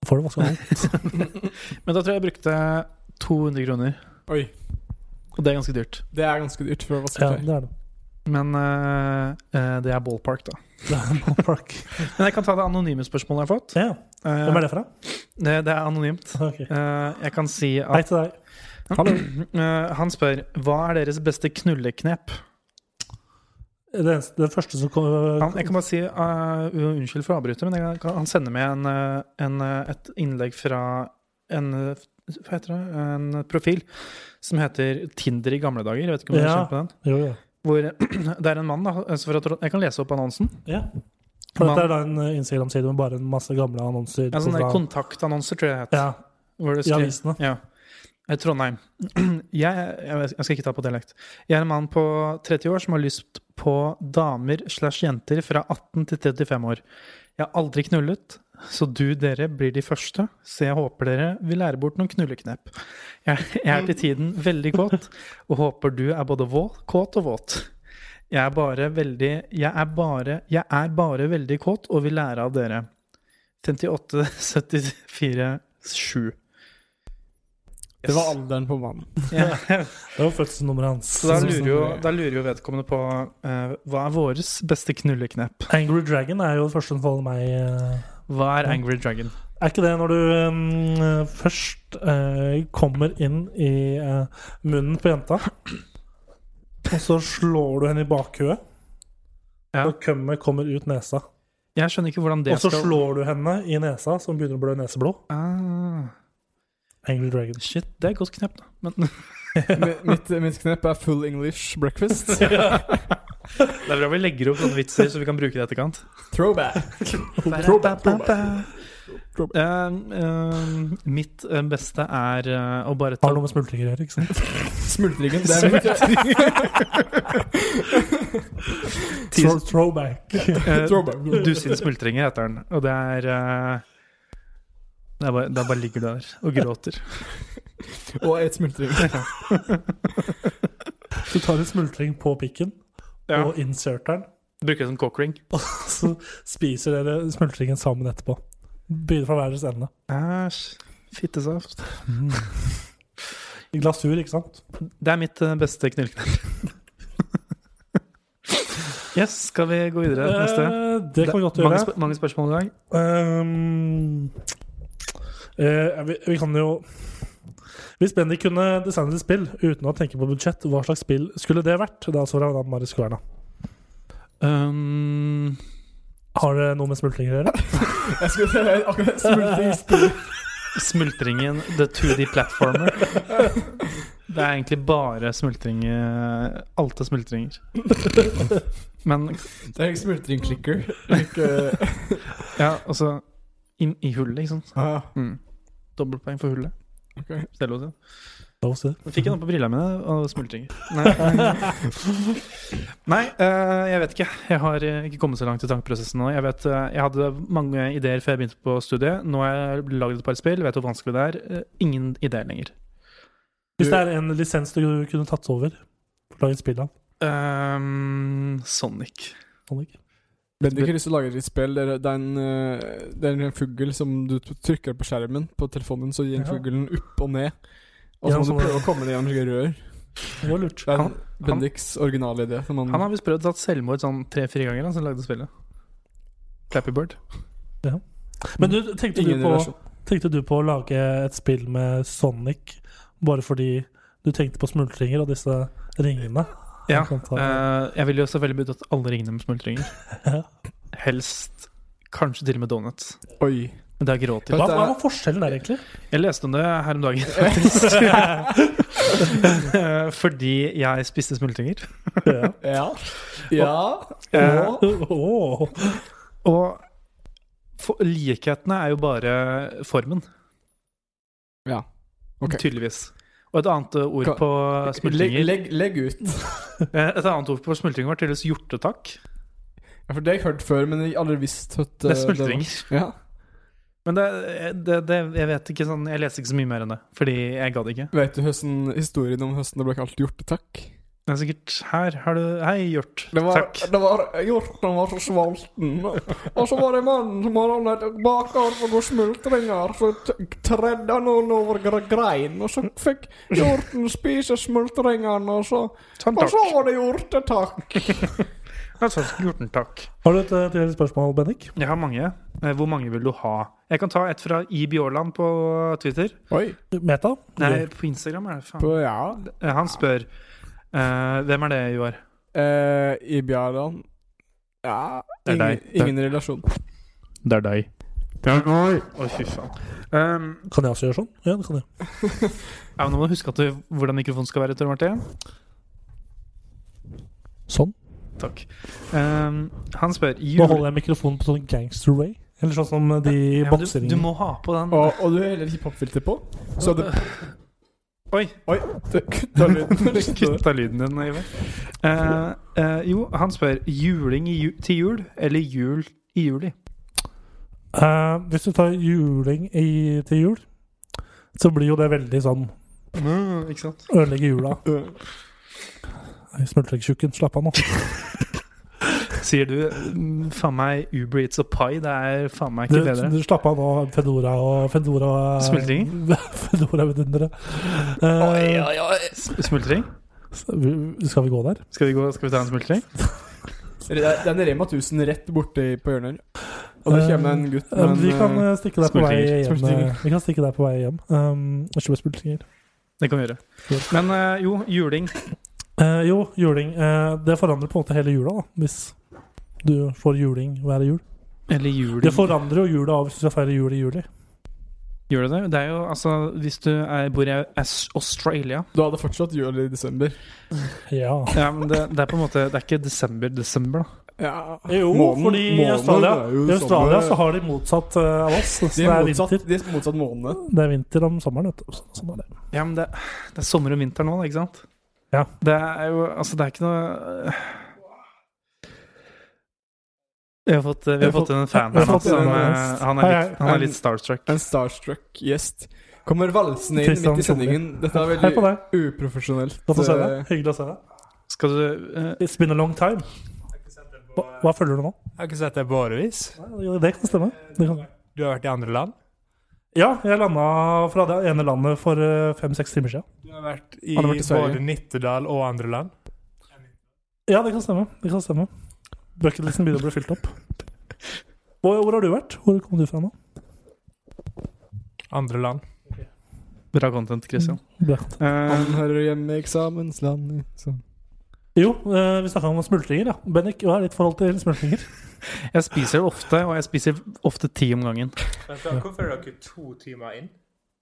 [SPEAKER 2] Da får du vaska alt.
[SPEAKER 3] Men da tror jeg jeg brukte 200 kroner,
[SPEAKER 4] Oi.
[SPEAKER 3] og det er ganske dyrt.
[SPEAKER 4] Det er ganske dyrt for å vaske
[SPEAKER 2] Ja,
[SPEAKER 4] klær.
[SPEAKER 2] det er det.
[SPEAKER 3] Men eh, eh, det er ballpark, da.
[SPEAKER 2] Det er ballpark.
[SPEAKER 3] Men jeg kan ta det anonyme spørsmålet jeg har fått.
[SPEAKER 2] Ja,
[SPEAKER 3] Eh,
[SPEAKER 2] Hvem er det fra?
[SPEAKER 3] det, det er anonymt.
[SPEAKER 2] Ok.
[SPEAKER 3] Eh, jeg kan si
[SPEAKER 2] Hei
[SPEAKER 3] at
[SPEAKER 2] til deg.
[SPEAKER 3] Eh, Han spør hva er deres beste knulleknep?
[SPEAKER 2] Det, eneste, det første som kom
[SPEAKER 3] Han, jeg kan bare si, eh, u- Unnskyld for å avbryte, men jeg kan, han sender med en, eh, en, eh, et innlegg fra en eh, hva heter det? En profil som heter Tinder i gamle dager. Jeg vet ikke om du har
[SPEAKER 2] Ja.
[SPEAKER 3] kjent på den.
[SPEAKER 2] Jo, jo.
[SPEAKER 3] Hvor, det er en mann, da. altså fra Trond- Jeg kan lese opp annonsen.
[SPEAKER 2] Ja. For
[SPEAKER 3] Man-
[SPEAKER 2] dette er da en eh, Instagram-side med bare en masse gamle annonser.
[SPEAKER 3] Ja, sånn sånne
[SPEAKER 2] fra-
[SPEAKER 3] kontaktannonser, tror jeg det het.
[SPEAKER 2] ja,
[SPEAKER 3] Hvor det
[SPEAKER 2] i
[SPEAKER 3] skri-
[SPEAKER 2] avisene.
[SPEAKER 3] Ja. Eh, Trondheim. Jeg, jeg vet- jeg skal ikke ta på dialekt. Jeg er en mann på 30 år som har lyst på damer slash jenter fra 18 til 35 år. Jeg har aldri knullet, så du dere blir de første, så jeg håper dere vil lære bort noen knulleknep. Jeg, jeg er til tiden veldig kåt, og håper du er både vå, kåt og våt. Jeg er bare veldig Jeg er bare, jeg er bare veldig kåt og vil lære av dere. 58 74 7.
[SPEAKER 4] Det var alderen på mannen.
[SPEAKER 2] Det var fødselsnummeret hans.
[SPEAKER 3] Så da lurer jo, da lurer jo vedkommende på eh, hva er våres beste knulleknep?
[SPEAKER 2] Angry Dragon er jo det første som faller meg eh.
[SPEAKER 3] Hva er Angry Dragon?
[SPEAKER 2] Er ikke det når du eh, først eh, kommer inn i eh, munnen på jenta, og så slår du henne i bakhuet,
[SPEAKER 3] Ja.
[SPEAKER 2] og kømmet kommer ut nesa.
[SPEAKER 3] Jeg skjønner ikke hvordan det
[SPEAKER 2] Og så slår du henne i nesa, så hun begynner å blø neseblod.
[SPEAKER 3] ah,
[SPEAKER 2] Angry Dragon.
[SPEAKER 3] Shit, det er et godt knep, da. Men
[SPEAKER 4] Mi- mitt, mitt knep er full English breakfast.
[SPEAKER 3] Det er bra vi legger opp sånne vitser, så vi kan bruke det i etterkant.
[SPEAKER 4] Throwback.
[SPEAKER 3] Eh, eh, mitt eh, beste er eh, å bare ta
[SPEAKER 2] Har noe med smultringer å gjøre, ikke sant?
[SPEAKER 4] Smultringen. Det er mitt
[SPEAKER 2] Throw, throwback.
[SPEAKER 3] eh,
[SPEAKER 4] throwback.
[SPEAKER 3] Du sin smultringer, heter den. Og det er eh, det er bare, Da bare ligger du der og gråter.
[SPEAKER 4] Og et smultring.
[SPEAKER 2] Du tar en smultring på pikken
[SPEAKER 3] Ja.
[SPEAKER 2] og inserter den,
[SPEAKER 3] Bruker det som cock ring.
[SPEAKER 2] og så spiser dere smultringen sammen etterpå. Begynner fra hver deres ende.
[SPEAKER 3] Æsj. Fittesaft.
[SPEAKER 2] I glasur, ikke sant?
[SPEAKER 3] Det er mitt eh, beste knulleknep. yes, skal vi gå videre til neste?
[SPEAKER 2] Eh, det kan vi godt
[SPEAKER 3] Mange,
[SPEAKER 2] gjøre.
[SPEAKER 3] sp mange spørsmål i dag.
[SPEAKER 2] Ehm, eh, vi, vi kan jo Hvis Bendik kunne designet et spill uten å tenke på budsjett, hva slags spill skulle det vært? Det er altså fra Marius Kverna.
[SPEAKER 3] Um,
[SPEAKER 2] Har det noe med smultringer å gjøre?
[SPEAKER 4] Jeg skulle si akkurat smultring.
[SPEAKER 3] Smultringen The 2D Platformer. Det er egentlig bare smultring eh, Alt er smultringer. Men
[SPEAKER 4] Det er smultringklikker. eh, Ikke
[SPEAKER 3] ja, altså inn i hullet, ikke sant.
[SPEAKER 4] ah,
[SPEAKER 3] Mm. Dobbeltpoeng for hullet.
[SPEAKER 4] Ok.
[SPEAKER 3] Stell oss igjen.
[SPEAKER 2] Da også.
[SPEAKER 3] Nå fikk jeg den på brillene mine og smultringer. Nei, Nei eh, jeg vet ikke. Jeg har eh, ikke kommet så langt i tankeprosessen nå. Jeg, vet, eh, jeg hadde mange ideer før jeg begynte på studiet. Nå har jeg lagd et par spill, vet hvor vanskelig det er. Eh, Ingen ideer lenger.
[SPEAKER 2] Hvis det er en lisens du kunne tatt over Lag et spill av.
[SPEAKER 3] Ehm, Sonic.
[SPEAKER 2] Henrik.
[SPEAKER 4] Bendik har lyst til å lage et spill der det er en, eh, det er en fugl som du t- trykker på skjermen på telefonen, så går
[SPEAKER 2] Ja.
[SPEAKER 4] fuglen opp og ned. Og så
[SPEAKER 2] Ja,
[SPEAKER 4] må du
[SPEAKER 2] sånn-
[SPEAKER 4] prøve å komme ned gjennom slike rør.
[SPEAKER 2] Det var lurt.
[SPEAKER 4] Det er
[SPEAKER 3] Han-
[SPEAKER 4] Bendiks originale idé. Som han,
[SPEAKER 3] Han har visst prøvd å ta selvmord sånn tre-fire ganger, han som lagde spillet. Clappy Bird.
[SPEAKER 2] Men du, tenkte du,
[SPEAKER 4] ingen
[SPEAKER 2] på,
[SPEAKER 4] relasjon.
[SPEAKER 2] tenkte du på å lage et spill med Sonic bare fordi du tenkte på smultringer og disse ringene?
[SPEAKER 3] Ja.
[SPEAKER 2] Jeg kan ta-
[SPEAKER 3] eh, jeg ville jo selvfølgelig begynt at alle ringene med smultringer.
[SPEAKER 2] Ja.
[SPEAKER 3] Helst kanskje til og med donuts.
[SPEAKER 4] Oi.
[SPEAKER 3] Men det er ikke råd til.
[SPEAKER 2] Hva,
[SPEAKER 4] Dette
[SPEAKER 2] hva var
[SPEAKER 4] er-
[SPEAKER 2] forskjellen der, egentlig?
[SPEAKER 3] Jeg leste om det her om dagen, faktisk. Eh, Fordi jeg spiste smultringer.
[SPEAKER 2] Ja.
[SPEAKER 4] Ja. ja.
[SPEAKER 3] Eh,
[SPEAKER 2] Åh.
[SPEAKER 3] og for, likhetene er jo bare formen,
[SPEAKER 4] ja. Ok.
[SPEAKER 3] tydeligvis. Og et annet ord
[SPEAKER 4] Ka-
[SPEAKER 3] på
[SPEAKER 4] Legg,
[SPEAKER 3] smultringer
[SPEAKER 4] legg, legg ut.
[SPEAKER 3] eh, Et annet ord på smultringer var tydeligvis hjortetakk.
[SPEAKER 4] Ja, for det har jeg hørt før, men jeg har aldri visst at
[SPEAKER 3] Det
[SPEAKER 4] eh,
[SPEAKER 3] er smultringer.
[SPEAKER 4] var- Ja,
[SPEAKER 3] Men det, det, det, jeg vet ikke sånn Jeg leste ikke så mye mer enn det, fordi jeg gadd ikke.
[SPEAKER 4] Vet du høsten, historien om høsten det ble kalt hjortetakk?
[SPEAKER 3] Det er sikkert Her har du Hei, hjort.
[SPEAKER 4] Det var,
[SPEAKER 3] Takk.
[SPEAKER 4] det var Hjorten var så svalten. Og så var det mannen som hadde annet baker og noen smultringer. Så t- tredde han noen over gre- grein, og så fikk hjorten spise smultringene, og så
[SPEAKER 3] Sånn,
[SPEAKER 4] Og
[SPEAKER 3] takk.
[SPEAKER 4] så var det hjortetakk.
[SPEAKER 3] Ja, sånn, hjorten, takk.
[SPEAKER 2] Har du et eh, til spørsmål, Bendik?
[SPEAKER 3] Jeg har mange. Eh, Hvor mange vil du ha? Jeg kan ta et fra I Bjåland på Twitter.
[SPEAKER 4] Oi.
[SPEAKER 2] Meta?
[SPEAKER 3] Nei, på Instagram er det faen.
[SPEAKER 4] På, ja.
[SPEAKER 3] Eh, Han spør eh, Hvem er det, Joar?
[SPEAKER 4] Eh, I Bjarland Ja
[SPEAKER 3] Det er
[SPEAKER 4] ingen,
[SPEAKER 3] deg.
[SPEAKER 4] ingen relasjon.
[SPEAKER 3] Det er deg. Det er meg. Å, fy faen. Um,
[SPEAKER 2] Kan jeg også gjøre sånn? Ja, det kan jeg.
[SPEAKER 3] ja, nå må du huske at du, hvordan mikrofonen skal være, Tor Martin.
[SPEAKER 2] Sånn.
[SPEAKER 3] Takk. Um, han spør
[SPEAKER 2] Nå
[SPEAKER 3] jul...
[SPEAKER 2] holder jeg mikrofonen på sånn gangster-way. Eller sånn som de
[SPEAKER 3] Ja, men du, du
[SPEAKER 2] bokseringene.
[SPEAKER 3] må ha på den.
[SPEAKER 4] Og, og du har heller hiphop-filter på? Så hadde
[SPEAKER 3] Oi!
[SPEAKER 4] Oi, det kutta lyden.
[SPEAKER 3] Kutta lyden din, Ivar. Eh, eh, jo, han spør juling i ju til jul eller jul i juli.
[SPEAKER 2] Eh, hvis du tar juling i, til jul, så blir jo det veldig sånn
[SPEAKER 3] Mm, ikke sant? Øh.
[SPEAKER 2] Ødelegge jula. Nei, Smultrekktjukken, slapp av nå.
[SPEAKER 3] Sier du mm, faen meg Uber Eats og pai? Det er faen meg
[SPEAKER 2] Du,
[SPEAKER 3] ikke bedre.
[SPEAKER 2] du slapp av nå, Fedora og Fedora
[SPEAKER 3] Smultringer?
[SPEAKER 2] Fedora-vidundere.
[SPEAKER 8] Oi,
[SPEAKER 2] Eh,
[SPEAKER 8] oi, oi.
[SPEAKER 3] Smultring?
[SPEAKER 2] vi- skal vi gå der?
[SPEAKER 3] Skal vi, gå, skal vi ta en smultring?
[SPEAKER 4] Det er en Rema 1000 rett borti på hjørnet her. Og der kommer en gutt
[SPEAKER 2] Eh, vi kan
[SPEAKER 4] eh,
[SPEAKER 2] eh, stikke deg på vei
[SPEAKER 3] smultringer,
[SPEAKER 2] hjem.
[SPEAKER 4] smultringer.
[SPEAKER 2] eh, Vi kan stikke deg på vei hjem. Um, Kjøpe smultringer.
[SPEAKER 3] Det kan vi gjøre. Men eh, jo, juling.
[SPEAKER 2] Eh, jo, juling. eh, det forandrer på en måte hele jula, da. Hvis du får juling hver jul.
[SPEAKER 3] Eller juling.
[SPEAKER 2] Det forandrer jo jula av hvis du skal feire jul i juli.
[SPEAKER 3] Gjør det det? Det er jo, altså, Hvis du er, bor i Aus- Australia
[SPEAKER 4] Du hadde fortsatt jul i desember.
[SPEAKER 2] Ja.
[SPEAKER 3] ja, men det, det er på en måte, det er ikke desember, desember, da.
[SPEAKER 4] Ja.
[SPEAKER 2] Jo,
[SPEAKER 4] Månen-
[SPEAKER 2] fordi i
[SPEAKER 4] månen
[SPEAKER 2] Australia,
[SPEAKER 4] er jo
[SPEAKER 2] i Australia
[SPEAKER 4] sommer.
[SPEAKER 2] så har de motsatt eh, av oss. Så
[SPEAKER 4] De
[SPEAKER 2] det
[SPEAKER 4] er
[SPEAKER 2] er
[SPEAKER 4] motsatt,
[SPEAKER 2] vinter.
[SPEAKER 4] de er motsatt måned.
[SPEAKER 2] Det er vinter om sommeren, vet du. Så- Sånn er det.
[SPEAKER 3] Ja, men det, det er sommer og vinter nå, da, ikke sant?
[SPEAKER 2] Ja.
[SPEAKER 3] Det er jo Altså, det er ikke noe Vi har fått, eh, vi har fått en fan
[SPEAKER 2] Vi har
[SPEAKER 3] her nå
[SPEAKER 2] fått en
[SPEAKER 3] som eh,
[SPEAKER 2] gjest.
[SPEAKER 3] han, er
[SPEAKER 2] Hei, hei.
[SPEAKER 3] litt, han er litt starstruck.
[SPEAKER 4] En starstruck gjest kommer valsende inn
[SPEAKER 2] Christian
[SPEAKER 4] midt i sendingen. Dette er
[SPEAKER 2] Hei på
[SPEAKER 4] veldig
[SPEAKER 2] deg.
[SPEAKER 4] uprofesjonelt.
[SPEAKER 2] Godt å se deg.
[SPEAKER 4] Eh,
[SPEAKER 2] Hyggelig å se deg.
[SPEAKER 3] Skal du eh,
[SPEAKER 2] It's been a long time. Hva, hva følger du nå?
[SPEAKER 9] Jeg har ikke sett deg på årevis.
[SPEAKER 2] Ja, Det kan stemme. Det kan.
[SPEAKER 9] Du har vært i andre land.
[SPEAKER 2] Ja, jeg landa fra det ene landet for eh, fem-seks timer siden.
[SPEAKER 9] Du har vært i,
[SPEAKER 4] Han har vært i Sverige.
[SPEAKER 9] både Nittedal og andre land.
[SPEAKER 2] Ja, det kan stemme. Det kan stemme. Bucketlisten begynner å bli fylt opp. Hvor, hvor har du vært? Hvor kom du fra nå?
[SPEAKER 9] Andre land.
[SPEAKER 3] Bra content, Christian.
[SPEAKER 2] Bra.
[SPEAKER 3] Eh,
[SPEAKER 4] Han hører hjemme i eksamensland liksom.
[SPEAKER 2] Jo, eh, vi snakka om smultringer, ja. Bennik, hva er ditt forhold til smultringer?
[SPEAKER 3] jeg spiser ofte, og jeg spiser ofte ti om gangen.
[SPEAKER 9] Hvorfor er dere to timer inn?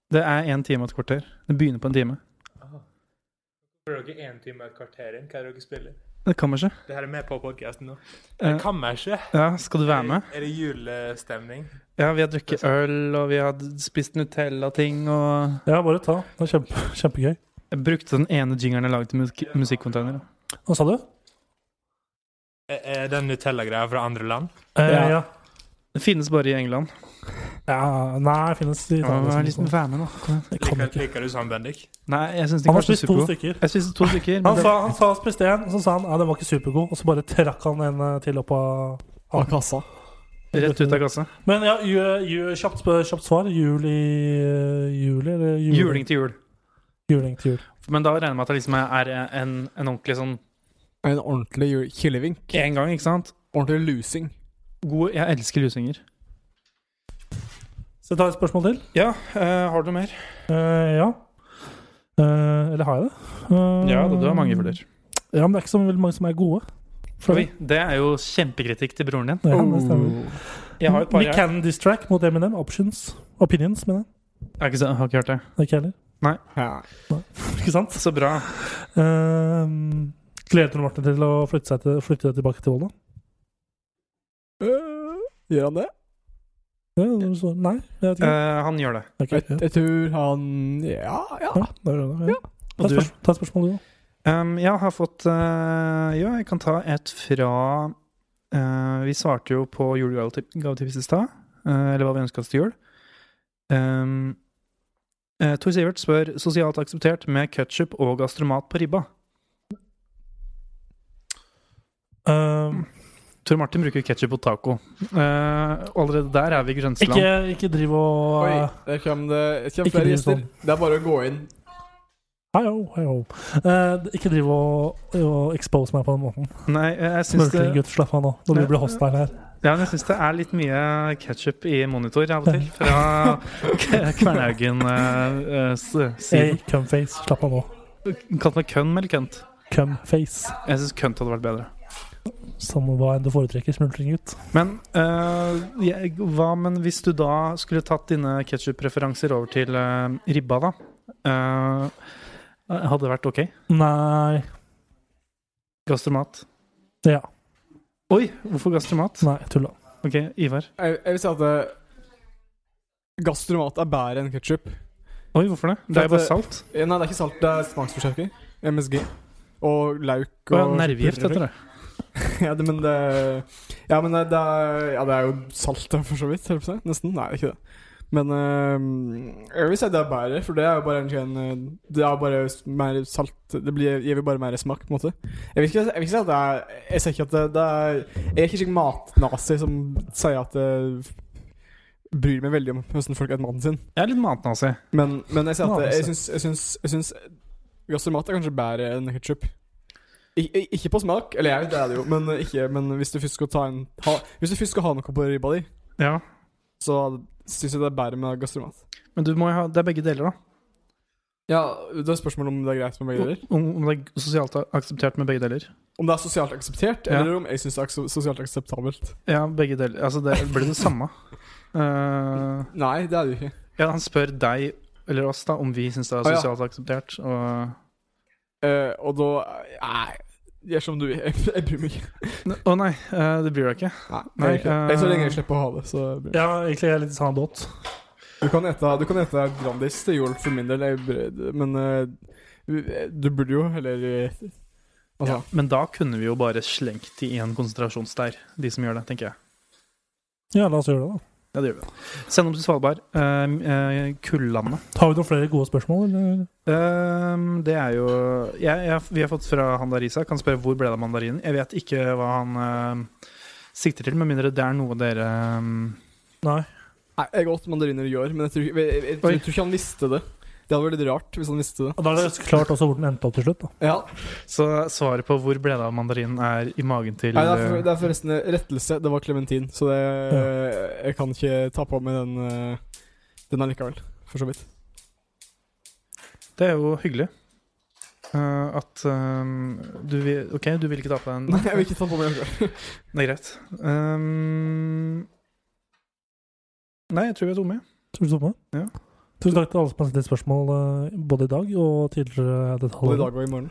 [SPEAKER 3] Det er én time og et kvarter. Det begynner på en time.
[SPEAKER 9] Hvorfor er dere én time og et kvarter inn? Hva er det dere spiller?
[SPEAKER 3] Det kan man ikke.
[SPEAKER 9] Det her er med på podkasten nå.
[SPEAKER 3] Eh,
[SPEAKER 9] Det kan meg ikke.
[SPEAKER 3] Ja, skal du være med?
[SPEAKER 9] Er det julestemning?
[SPEAKER 3] Ja, vi har drukket øl, og vi har spist Nutella-ting, og
[SPEAKER 2] Ja, bare ta. Det er kjempe, kjempegøy.
[SPEAKER 3] Jeg brukte den ene jingeren jeg lagde til musik musikkonteiner.
[SPEAKER 2] Hva sa du?
[SPEAKER 9] Er er den Nutella-greia fra andre land?
[SPEAKER 2] Eh,
[SPEAKER 3] Ja.
[SPEAKER 2] ja.
[SPEAKER 3] Det finnes bare i England.
[SPEAKER 2] ja. Nei, finnes i
[SPEAKER 3] Ja,
[SPEAKER 2] Italia.
[SPEAKER 3] vær
[SPEAKER 2] som
[SPEAKER 3] litt
[SPEAKER 2] sånn.
[SPEAKER 3] vær med, da.
[SPEAKER 2] Jeg kan
[SPEAKER 9] Liker,
[SPEAKER 2] ikke.
[SPEAKER 9] liker du sånn, Bendik?
[SPEAKER 3] Nei, jeg syns
[SPEAKER 2] Han
[SPEAKER 3] ikke
[SPEAKER 2] har
[SPEAKER 3] var så
[SPEAKER 2] spist to
[SPEAKER 3] supergod.
[SPEAKER 2] stykker.
[SPEAKER 3] Jeg spiste to stykker, men
[SPEAKER 2] Han
[SPEAKER 3] det,
[SPEAKER 2] sa, han sa han spiste en, og så sa han ja, den var ikke supergod. Og så bare trakk han en eh, til opp av
[SPEAKER 4] Av kassa.
[SPEAKER 3] rett ut av kassa.
[SPEAKER 2] Men ja, ju, ju, kjapt, sp- kjapt svar. Jul i eh, juli? Eller jul,
[SPEAKER 3] Juling til jul.
[SPEAKER 2] Juling til jul.
[SPEAKER 3] Men da regner jeg med at det liksom er en, en ordentlig sånn
[SPEAKER 4] En ordentlig jul- kilevink.
[SPEAKER 3] én gang, ikke sant?
[SPEAKER 4] Ordentlig lusing.
[SPEAKER 3] God Jeg elsker lusinger.
[SPEAKER 2] Så jeg tar et spørsmål til.
[SPEAKER 3] Ja, eh, har du noe mer?
[SPEAKER 2] Eh, ja. Eh, eller har jeg det? Eh,
[SPEAKER 3] Ja, da, du har mange flere.
[SPEAKER 2] Ja, men det er ikke så veldig mange som er gode. For
[SPEAKER 3] Oi, det er jo kjempekritikk til broren din.
[SPEAKER 2] Ja, det stemmer.
[SPEAKER 3] Jeg har et par,
[SPEAKER 2] Vi
[SPEAKER 3] jeg.
[SPEAKER 2] can distract mot Eminem. Options. Opinions, mener jeg.
[SPEAKER 3] Jeg har ikke, se- jeg har ikke hørt det.
[SPEAKER 2] Det er ikke jeg heller.
[SPEAKER 4] Ja.
[SPEAKER 2] Ikke sant?
[SPEAKER 3] Så bra.
[SPEAKER 2] Uh, gleder du Martin til å flytte, seg til, flytte tilbake til Volda?
[SPEAKER 4] Øh, gjør han det?
[SPEAKER 2] Ja, du sa- nei, jeg vet ikke.
[SPEAKER 3] Eh, han gjør det.
[SPEAKER 2] Ok,
[SPEAKER 4] Jeg,
[SPEAKER 2] ja.
[SPEAKER 4] jeg tror han Ja, ja.
[SPEAKER 2] Ja, da gjør jeg det, ja. Ta
[SPEAKER 3] Og
[SPEAKER 2] et
[SPEAKER 3] du?
[SPEAKER 2] spørs- Ta et spørsmål, du, da.
[SPEAKER 3] Um, jeg har fått eh, Ja, jeg kan ta et fra eh, Vi svarte jo på julegavetipset i stad. eh, eller hva vi ønska oss til jul. Um, eh, Tor Sivert spør sosialt akseptert med ketsjup og gastromat på ribba.
[SPEAKER 2] Eh,
[SPEAKER 3] Tor Martin bruker ketsjup og taco. Eh, og allerede der er vi i grenseland.
[SPEAKER 2] ikke, ikke driv og eh,
[SPEAKER 4] Oi, der kommer det det kommer
[SPEAKER 2] Ikke
[SPEAKER 4] flere
[SPEAKER 2] bli
[SPEAKER 4] gjester.
[SPEAKER 2] sånn.
[SPEAKER 4] Det er bare å gå inn.
[SPEAKER 2] Hei ho, hei ho. Eh, ikke driv og, og expose meg på den måten.
[SPEAKER 3] Nei, eh, jeg syns det,
[SPEAKER 2] Smørkling, gutt, slapp av nå. Når vi blir hostile her.
[SPEAKER 3] ja, men jeg syns det er litt mye ketsjup i monitor av og til. Fra eh, Kvernhaugen-siden.
[SPEAKER 2] Hey, cumface, slapp av nå.
[SPEAKER 3] Kalt meg kønn eller kønt?
[SPEAKER 2] Cumface.
[SPEAKER 3] Jeg syns kønt hadde vært bedre.
[SPEAKER 2] Som hva enn du foretrekker, smultring, gutt.
[SPEAKER 3] Men eh, jeg, hva men hvis du da skulle tatt dine ketsjup-preferanser over til eh, ribba, da? Eh, hadde det vært ok?
[SPEAKER 2] Nei.
[SPEAKER 3] Gastromat?
[SPEAKER 2] Ja.
[SPEAKER 3] Oi, hvorfor gastromat?
[SPEAKER 2] Nei, tulla.
[SPEAKER 3] Ok, Ivar.
[SPEAKER 4] Jeg, jeg vil si at eh, gastromat er bedre enn ketsjup.
[SPEAKER 3] Oi, hvorfor det? Det er jo bare salt.
[SPEAKER 4] Eh, Nei, det er ikke salt. Det er smaksforsterker. MSG. Og lauk
[SPEAKER 3] Og
[SPEAKER 4] og
[SPEAKER 3] ja, nervegift heter det.
[SPEAKER 4] ja, det, men det Ja, men det, det er, ja, det er jo salt, da, for så vidt. holdt jeg på å si. Nesten. Nei, det er ikke det. Men eh, jeg vil si det er bedre, for det er jo bare en sånn, eh, Det er bare s- mer salt Det blir, gir jo bare mer smak, på en måte. Jeg vil ikke, jeg vil ikke si at det er Jeg ser ikke at det, det er Jeg er ikke slik matnazi som sier at jeg bryr meg veldig om hvordan folk er mannen sin.
[SPEAKER 3] Jeg er litt altså. matnazi.
[SPEAKER 4] Men, men jeg sier at
[SPEAKER 3] Nazi.
[SPEAKER 4] jeg syns, jeg syns, jeg syns Gass i mat er kanskje bedre enn ketsjup. Ikke på smak, eller jeg, det er det jo, men, ikke, men hvis du først skal ta en ha, Hvis du først skal ha noe på ribba di,
[SPEAKER 3] Ja.
[SPEAKER 4] så syns jeg det er bedre med gass i mat.
[SPEAKER 3] Men du må jo ha, det er begge deler, da.
[SPEAKER 4] Ja, det er spørsmål om det er greit med begge deler.
[SPEAKER 3] Om, om det er sosialt akseptert med begge deler.
[SPEAKER 4] Om det er sosialt akseptert,
[SPEAKER 3] Ja.
[SPEAKER 4] eller om jeg syns det er akse- sosialt akseptabelt.
[SPEAKER 3] Ja, begge deler. Altså, det blir det samme. Eh,
[SPEAKER 4] Nei, det er det jo ikke.
[SPEAKER 3] ja, han spør deg, eller oss, da, om vi syns det er
[SPEAKER 4] Å, ja.
[SPEAKER 3] sosialt akseptert. Og
[SPEAKER 4] Eh, og da Nei, gjør som du vil. Jeg, jeg bryr meg ikke.
[SPEAKER 3] Å nei, eh, det blir det ikke.
[SPEAKER 4] Nei,
[SPEAKER 3] Nei,
[SPEAKER 4] jeg gjør ikke. det. Jeg, så lenge jeg
[SPEAKER 3] eh,
[SPEAKER 4] slipper å ha det, så bryr jeg meg ikke.
[SPEAKER 2] Ja, egentlig er jeg litt i samme båt.
[SPEAKER 4] Du kan ete, du kan ete Grandis til jul for min del, jeg br- men eh, du burde jo heller eh, Altså,
[SPEAKER 3] Men da kunne vi jo bare slengt i én konsentrasjonsleir, de som gjør det, tenker jeg.
[SPEAKER 2] Ja, la oss gjøre det, da.
[SPEAKER 3] Ja, det gjør vi. Send dem til Svalbard. Eh, eh, Kullandet.
[SPEAKER 2] Har vi noen flere gode spørsmål, eller?
[SPEAKER 3] Ehm, det er jo jeg, jeg, Vi har fått fra han der Isak. Han spør hvor ble det av mandarinen. Jeg vet ikke hva han ehm, sikter til, med mindre det er noe dere ehm,
[SPEAKER 2] Nei.
[SPEAKER 4] nei, jeg åt mandariner i år, men jeg tror, jeg, jeg, jeg, tror- jeg tror ikke han visste det. Det hadde vært litt rart hvis han visste det.
[SPEAKER 2] Og Da er det klart også hvor den endte opp til slutt, da.
[SPEAKER 4] Ja,
[SPEAKER 3] Så svaret på hvor ble det av mandarinen, er i magen til
[SPEAKER 4] nei, det, er for,
[SPEAKER 3] eh,
[SPEAKER 4] det er forresten en rettelse. Det var klementin, så det, eh, jeg kan ikke ta på meg den, eh, den allikevel. For så vidt.
[SPEAKER 3] Det er jo hyggelig. Eh, at ehm, du vil OK, du vil ikke ta på deg en
[SPEAKER 4] Nei, jeg vil ikke ta på meg den allikevel.
[SPEAKER 3] Det er greit. Ehm, nei, jeg tror vi er tomme.
[SPEAKER 2] Tror du så på det?
[SPEAKER 3] Ja.
[SPEAKER 2] Tusen takk til alle som har stilt spørsmål eh, både i dag og tidligere dette
[SPEAKER 4] Både i
[SPEAKER 2] halvåret.
[SPEAKER 4] dag og i morgen.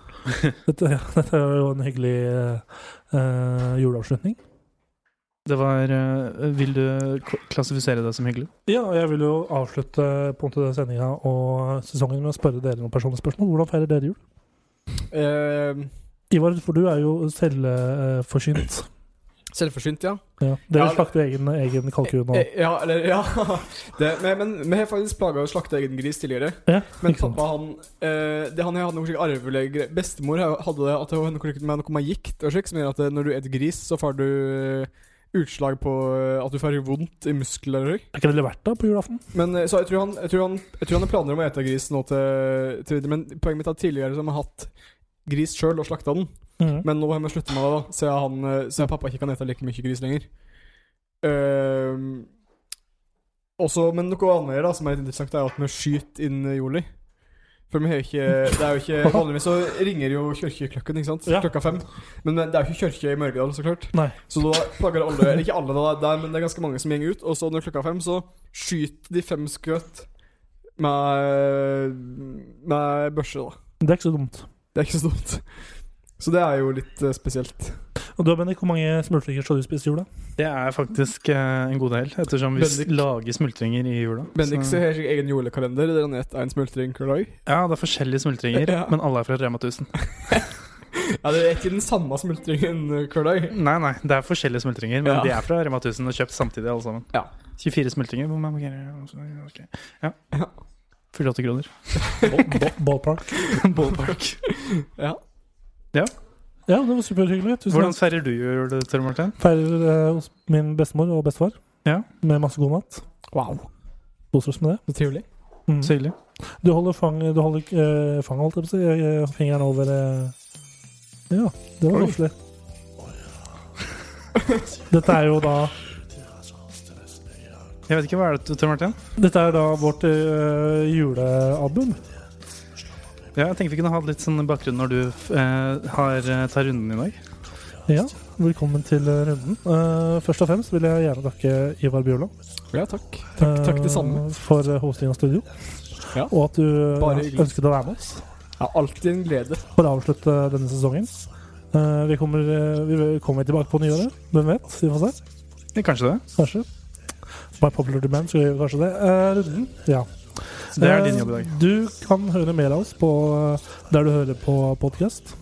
[SPEAKER 2] Dette, ja, dette er jo en hyggelig eh, eh, juleavslutning.
[SPEAKER 3] Det var eh, Vil du k- klassifisere det som hyggelig?
[SPEAKER 2] Ja, og jeg vil jo avslutte på en måte sendinga og sesongen med å spørre dere noen personlige spørsmål. Hvordan feirer dere jul?
[SPEAKER 4] Eh,
[SPEAKER 2] Ivar, for du er jo selvforsynt.
[SPEAKER 4] selvforsynt, ja.
[SPEAKER 2] Ja. Dere
[SPEAKER 4] Ja, det-
[SPEAKER 2] slakter egen, egen kalkun og
[SPEAKER 4] Eh, Ja, eller Ja. Det, men, men vi har faktisk plaga å slakte egen gris tidligere.
[SPEAKER 2] Ja,
[SPEAKER 4] Men
[SPEAKER 2] ikke sant.
[SPEAKER 4] pappa, han eh, det, Han hadde noe slik arvelig gre- Bestemor hadde det at det var noe slik med noe med gikt og slik, som gjør at eh, når du et gris, så får du eh, utslag på eh, at du får vondt i muskler og slik.
[SPEAKER 2] Er ikke det levert da på julaften?
[SPEAKER 4] Men eh, så jeg tror han Jeg tror han, jeg tror han har planer om å ete gris nå til, til videre, men poenget mitt er at tidligere så har vi hatt gris sjøl og slakta den.
[SPEAKER 2] Mm.
[SPEAKER 4] Men nå har vi sluttet med det, da siden han, eh, siden pappa ikke kan ete like mye gris lenger. Ehm, også, men noe annet her da som er litt interessant, er at vi skyter inn eh, juli. For vi har jo ikke Det er jo ikke Vanligvis så ringer jo kirkeklokken, ikke sant?
[SPEAKER 2] Ja.
[SPEAKER 4] Klokka fem. Men det er jo ikke kirke i Mørgedal, så klart.
[SPEAKER 2] Nei.
[SPEAKER 4] Så da plager det alle Eller ikke alle, da, der, men det er ganske mange som gjenger ut. Og så når klokka er fem, så skyter de fem skudd med, med børse, da.
[SPEAKER 2] Det er ikke så dumt.
[SPEAKER 4] Det er ikke så dumt. Så det er jo litt eh, spesielt.
[SPEAKER 2] Og du, Bendik, hvor mange smultringer skal du spise i jula?
[SPEAKER 3] Det er faktisk eh, en god del, ettersom vi
[SPEAKER 4] Bendik.
[SPEAKER 3] lager smultringer i jula.
[SPEAKER 4] Bendik
[SPEAKER 3] Så-
[SPEAKER 4] så har sin egen julekalender der han spiser en smultring hver dag.
[SPEAKER 3] Ja, det er forskjellige smultringer,
[SPEAKER 4] Ja.
[SPEAKER 3] men alle er fra Rema 1000.
[SPEAKER 4] Ja, det er ikke den samme smultringen eh, hver dag.
[SPEAKER 3] Nei, nei, det er forskjellige smultringer, men
[SPEAKER 4] Ja.
[SPEAKER 3] de er fra Rema 1000 og kjøpt samtidig, alle sammen.
[SPEAKER 4] Ja.
[SPEAKER 3] 24 smultringer. hvor mange er det? Ok. Ja.
[SPEAKER 4] Ja.
[SPEAKER 3] 48 kroner.
[SPEAKER 2] Ballpark.
[SPEAKER 3] Ballpark.
[SPEAKER 4] Ja.
[SPEAKER 2] Ja, det var superhyggelig. Tusen
[SPEAKER 3] Hvordan
[SPEAKER 2] takk.
[SPEAKER 3] feirer du jul, Tore Martin?
[SPEAKER 2] Feirer eh, hos min bestemor og bestefar
[SPEAKER 3] Ja.
[SPEAKER 2] med masse god mat.
[SPEAKER 4] Wow.
[SPEAKER 2] Koser oss med det.
[SPEAKER 4] Så trivelig.
[SPEAKER 2] Mm.
[SPEAKER 3] Så hyggelig.
[SPEAKER 2] Du holder fang, du holder eh, fanget, holdt jeg på å si. eh, Fingeren over eh, Ja, det var
[SPEAKER 4] Oi.
[SPEAKER 2] koselig. Dette er jo da
[SPEAKER 3] Jeg vet ikke, hva er det, Tore Martin?
[SPEAKER 2] Dette er da vårt eh, julealbum.
[SPEAKER 3] Ja, jeg tenkte vi kunne ha litt sånn bakgrunn når du eh, har, eh, tar runden i dag.
[SPEAKER 2] Ja, velkommen til eh, runden. Eh, først og fremst vil jeg gjerne takke Ivar Bjørland.
[SPEAKER 4] Ja, takk.
[SPEAKER 2] Takk,
[SPEAKER 4] takk det samme.
[SPEAKER 2] For eh, hosting av studio.
[SPEAKER 4] Ja.
[SPEAKER 2] Og at du eh,
[SPEAKER 4] Bare hyggelig.
[SPEAKER 2] ønsket å være med oss
[SPEAKER 4] Ja, alltid en glede.
[SPEAKER 2] for å avslutte denne sesongen. Eh, vi kommer eh, vi kommer tilbake på nyåret. Hvem vet? Vi får se.
[SPEAKER 3] Ja, kanskje det.
[SPEAKER 2] Kanskje. By popular demand så gjør vi kanskje det. Eh, runden, ja.
[SPEAKER 3] Så det er din jobb i dag.
[SPEAKER 2] Eh, Du kan høre mer av oss på eh, der du hører på podkast.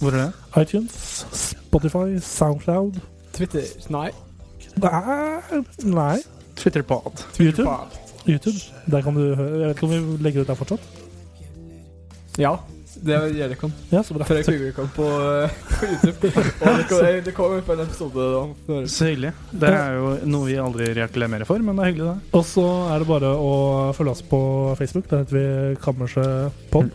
[SPEAKER 3] Hvor er det?
[SPEAKER 2] iTunes, Spotify, Soundcloud
[SPEAKER 4] Twitter Nei.
[SPEAKER 2] Nei, nei.
[SPEAKER 3] Twitter på alt.
[SPEAKER 2] YouTube.
[SPEAKER 4] Faen.
[SPEAKER 2] YouTube. Der kan du høre. Jeg vet ikke om vi legger ut der fortsatt.
[SPEAKER 4] Ja. Det gjør det kan.
[SPEAKER 2] Ja, så bra.
[SPEAKER 4] Før jeg kan på, eh, på YouTube. Og det kom, det kom ut på en episode om Norge.
[SPEAKER 3] Så hyggelig. Det er jo noe vi aldri reklamerer for, men det er hyggelig,
[SPEAKER 2] Og så er det bare å følge oss på Facebook. Der heter vi Kammerset Pod.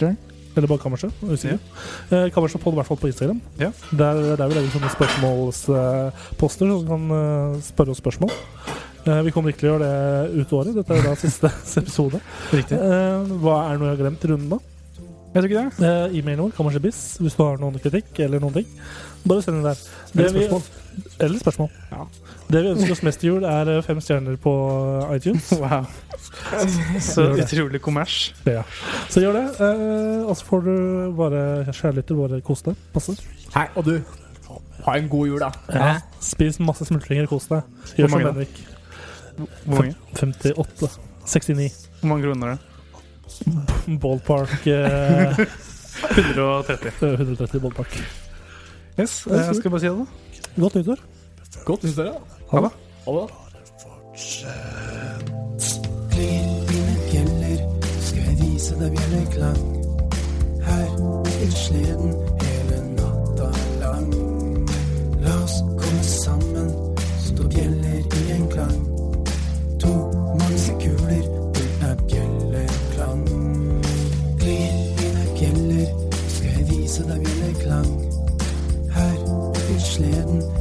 [SPEAKER 3] det.
[SPEAKER 2] Eller bare Kammerset. jeg er Usikker. Eh, Kammerset Pod, i hvert fall på Instagram.
[SPEAKER 3] Ja.
[SPEAKER 2] Der, der vi legger sånne spørsmålsposter, så du kan eh, spørre oss spørsmål. Eh, Vi kommer ikke til å gjøre det ut året. Dette er jo da siste episode.
[SPEAKER 3] Riktig.
[SPEAKER 2] Eh, Hva er det noe jeg har glemt i runden, da?
[SPEAKER 3] Vet du ikke det?
[SPEAKER 2] Eh, E-mailen vår, kammersetbiss, hvis du har noen kritikk eller noen ting. Bare send den der. Det
[SPEAKER 4] Eller spørsmål.
[SPEAKER 2] Vi, eller spørsmål. Det vi ønsker oss mest i jul, er eh, fem stjerner på iTunes.
[SPEAKER 3] Wow. Så utrolig kommers.
[SPEAKER 2] Ja. Så gjør det. Eh, og så får du bare kjærligheter, bare kos deg. Passe.
[SPEAKER 4] Hei, og du. Ha en god jul, da.
[SPEAKER 2] Ja. Eh, Spis masse smultringer, kos deg.
[SPEAKER 3] Hvor
[SPEAKER 2] Gjør som
[SPEAKER 3] mange da?
[SPEAKER 2] Bendik.
[SPEAKER 3] Hvor mange?
[SPEAKER 2] 58. 69.
[SPEAKER 3] Hvor mange kroner er det?
[SPEAKER 2] Ballpark eh,
[SPEAKER 3] 130.
[SPEAKER 2] 130 ballpark.
[SPEAKER 3] Yes, jeg skal bare si det, da.
[SPEAKER 2] Godt nyttår.
[SPEAKER 4] Godt nyttår, da.
[SPEAKER 2] Ha det.
[SPEAKER 4] Ha det. da.
[SPEAKER 10] Mine bjeller, skal jeg vise deg bjelleklang. Her i sleden hele natta lang. La oss komme sammen, stå bjeller i en klang. To mansekuler, det er bjelleklang. Klin mine bjeller, skal jeg vise deg bjelleklang. Her i sleden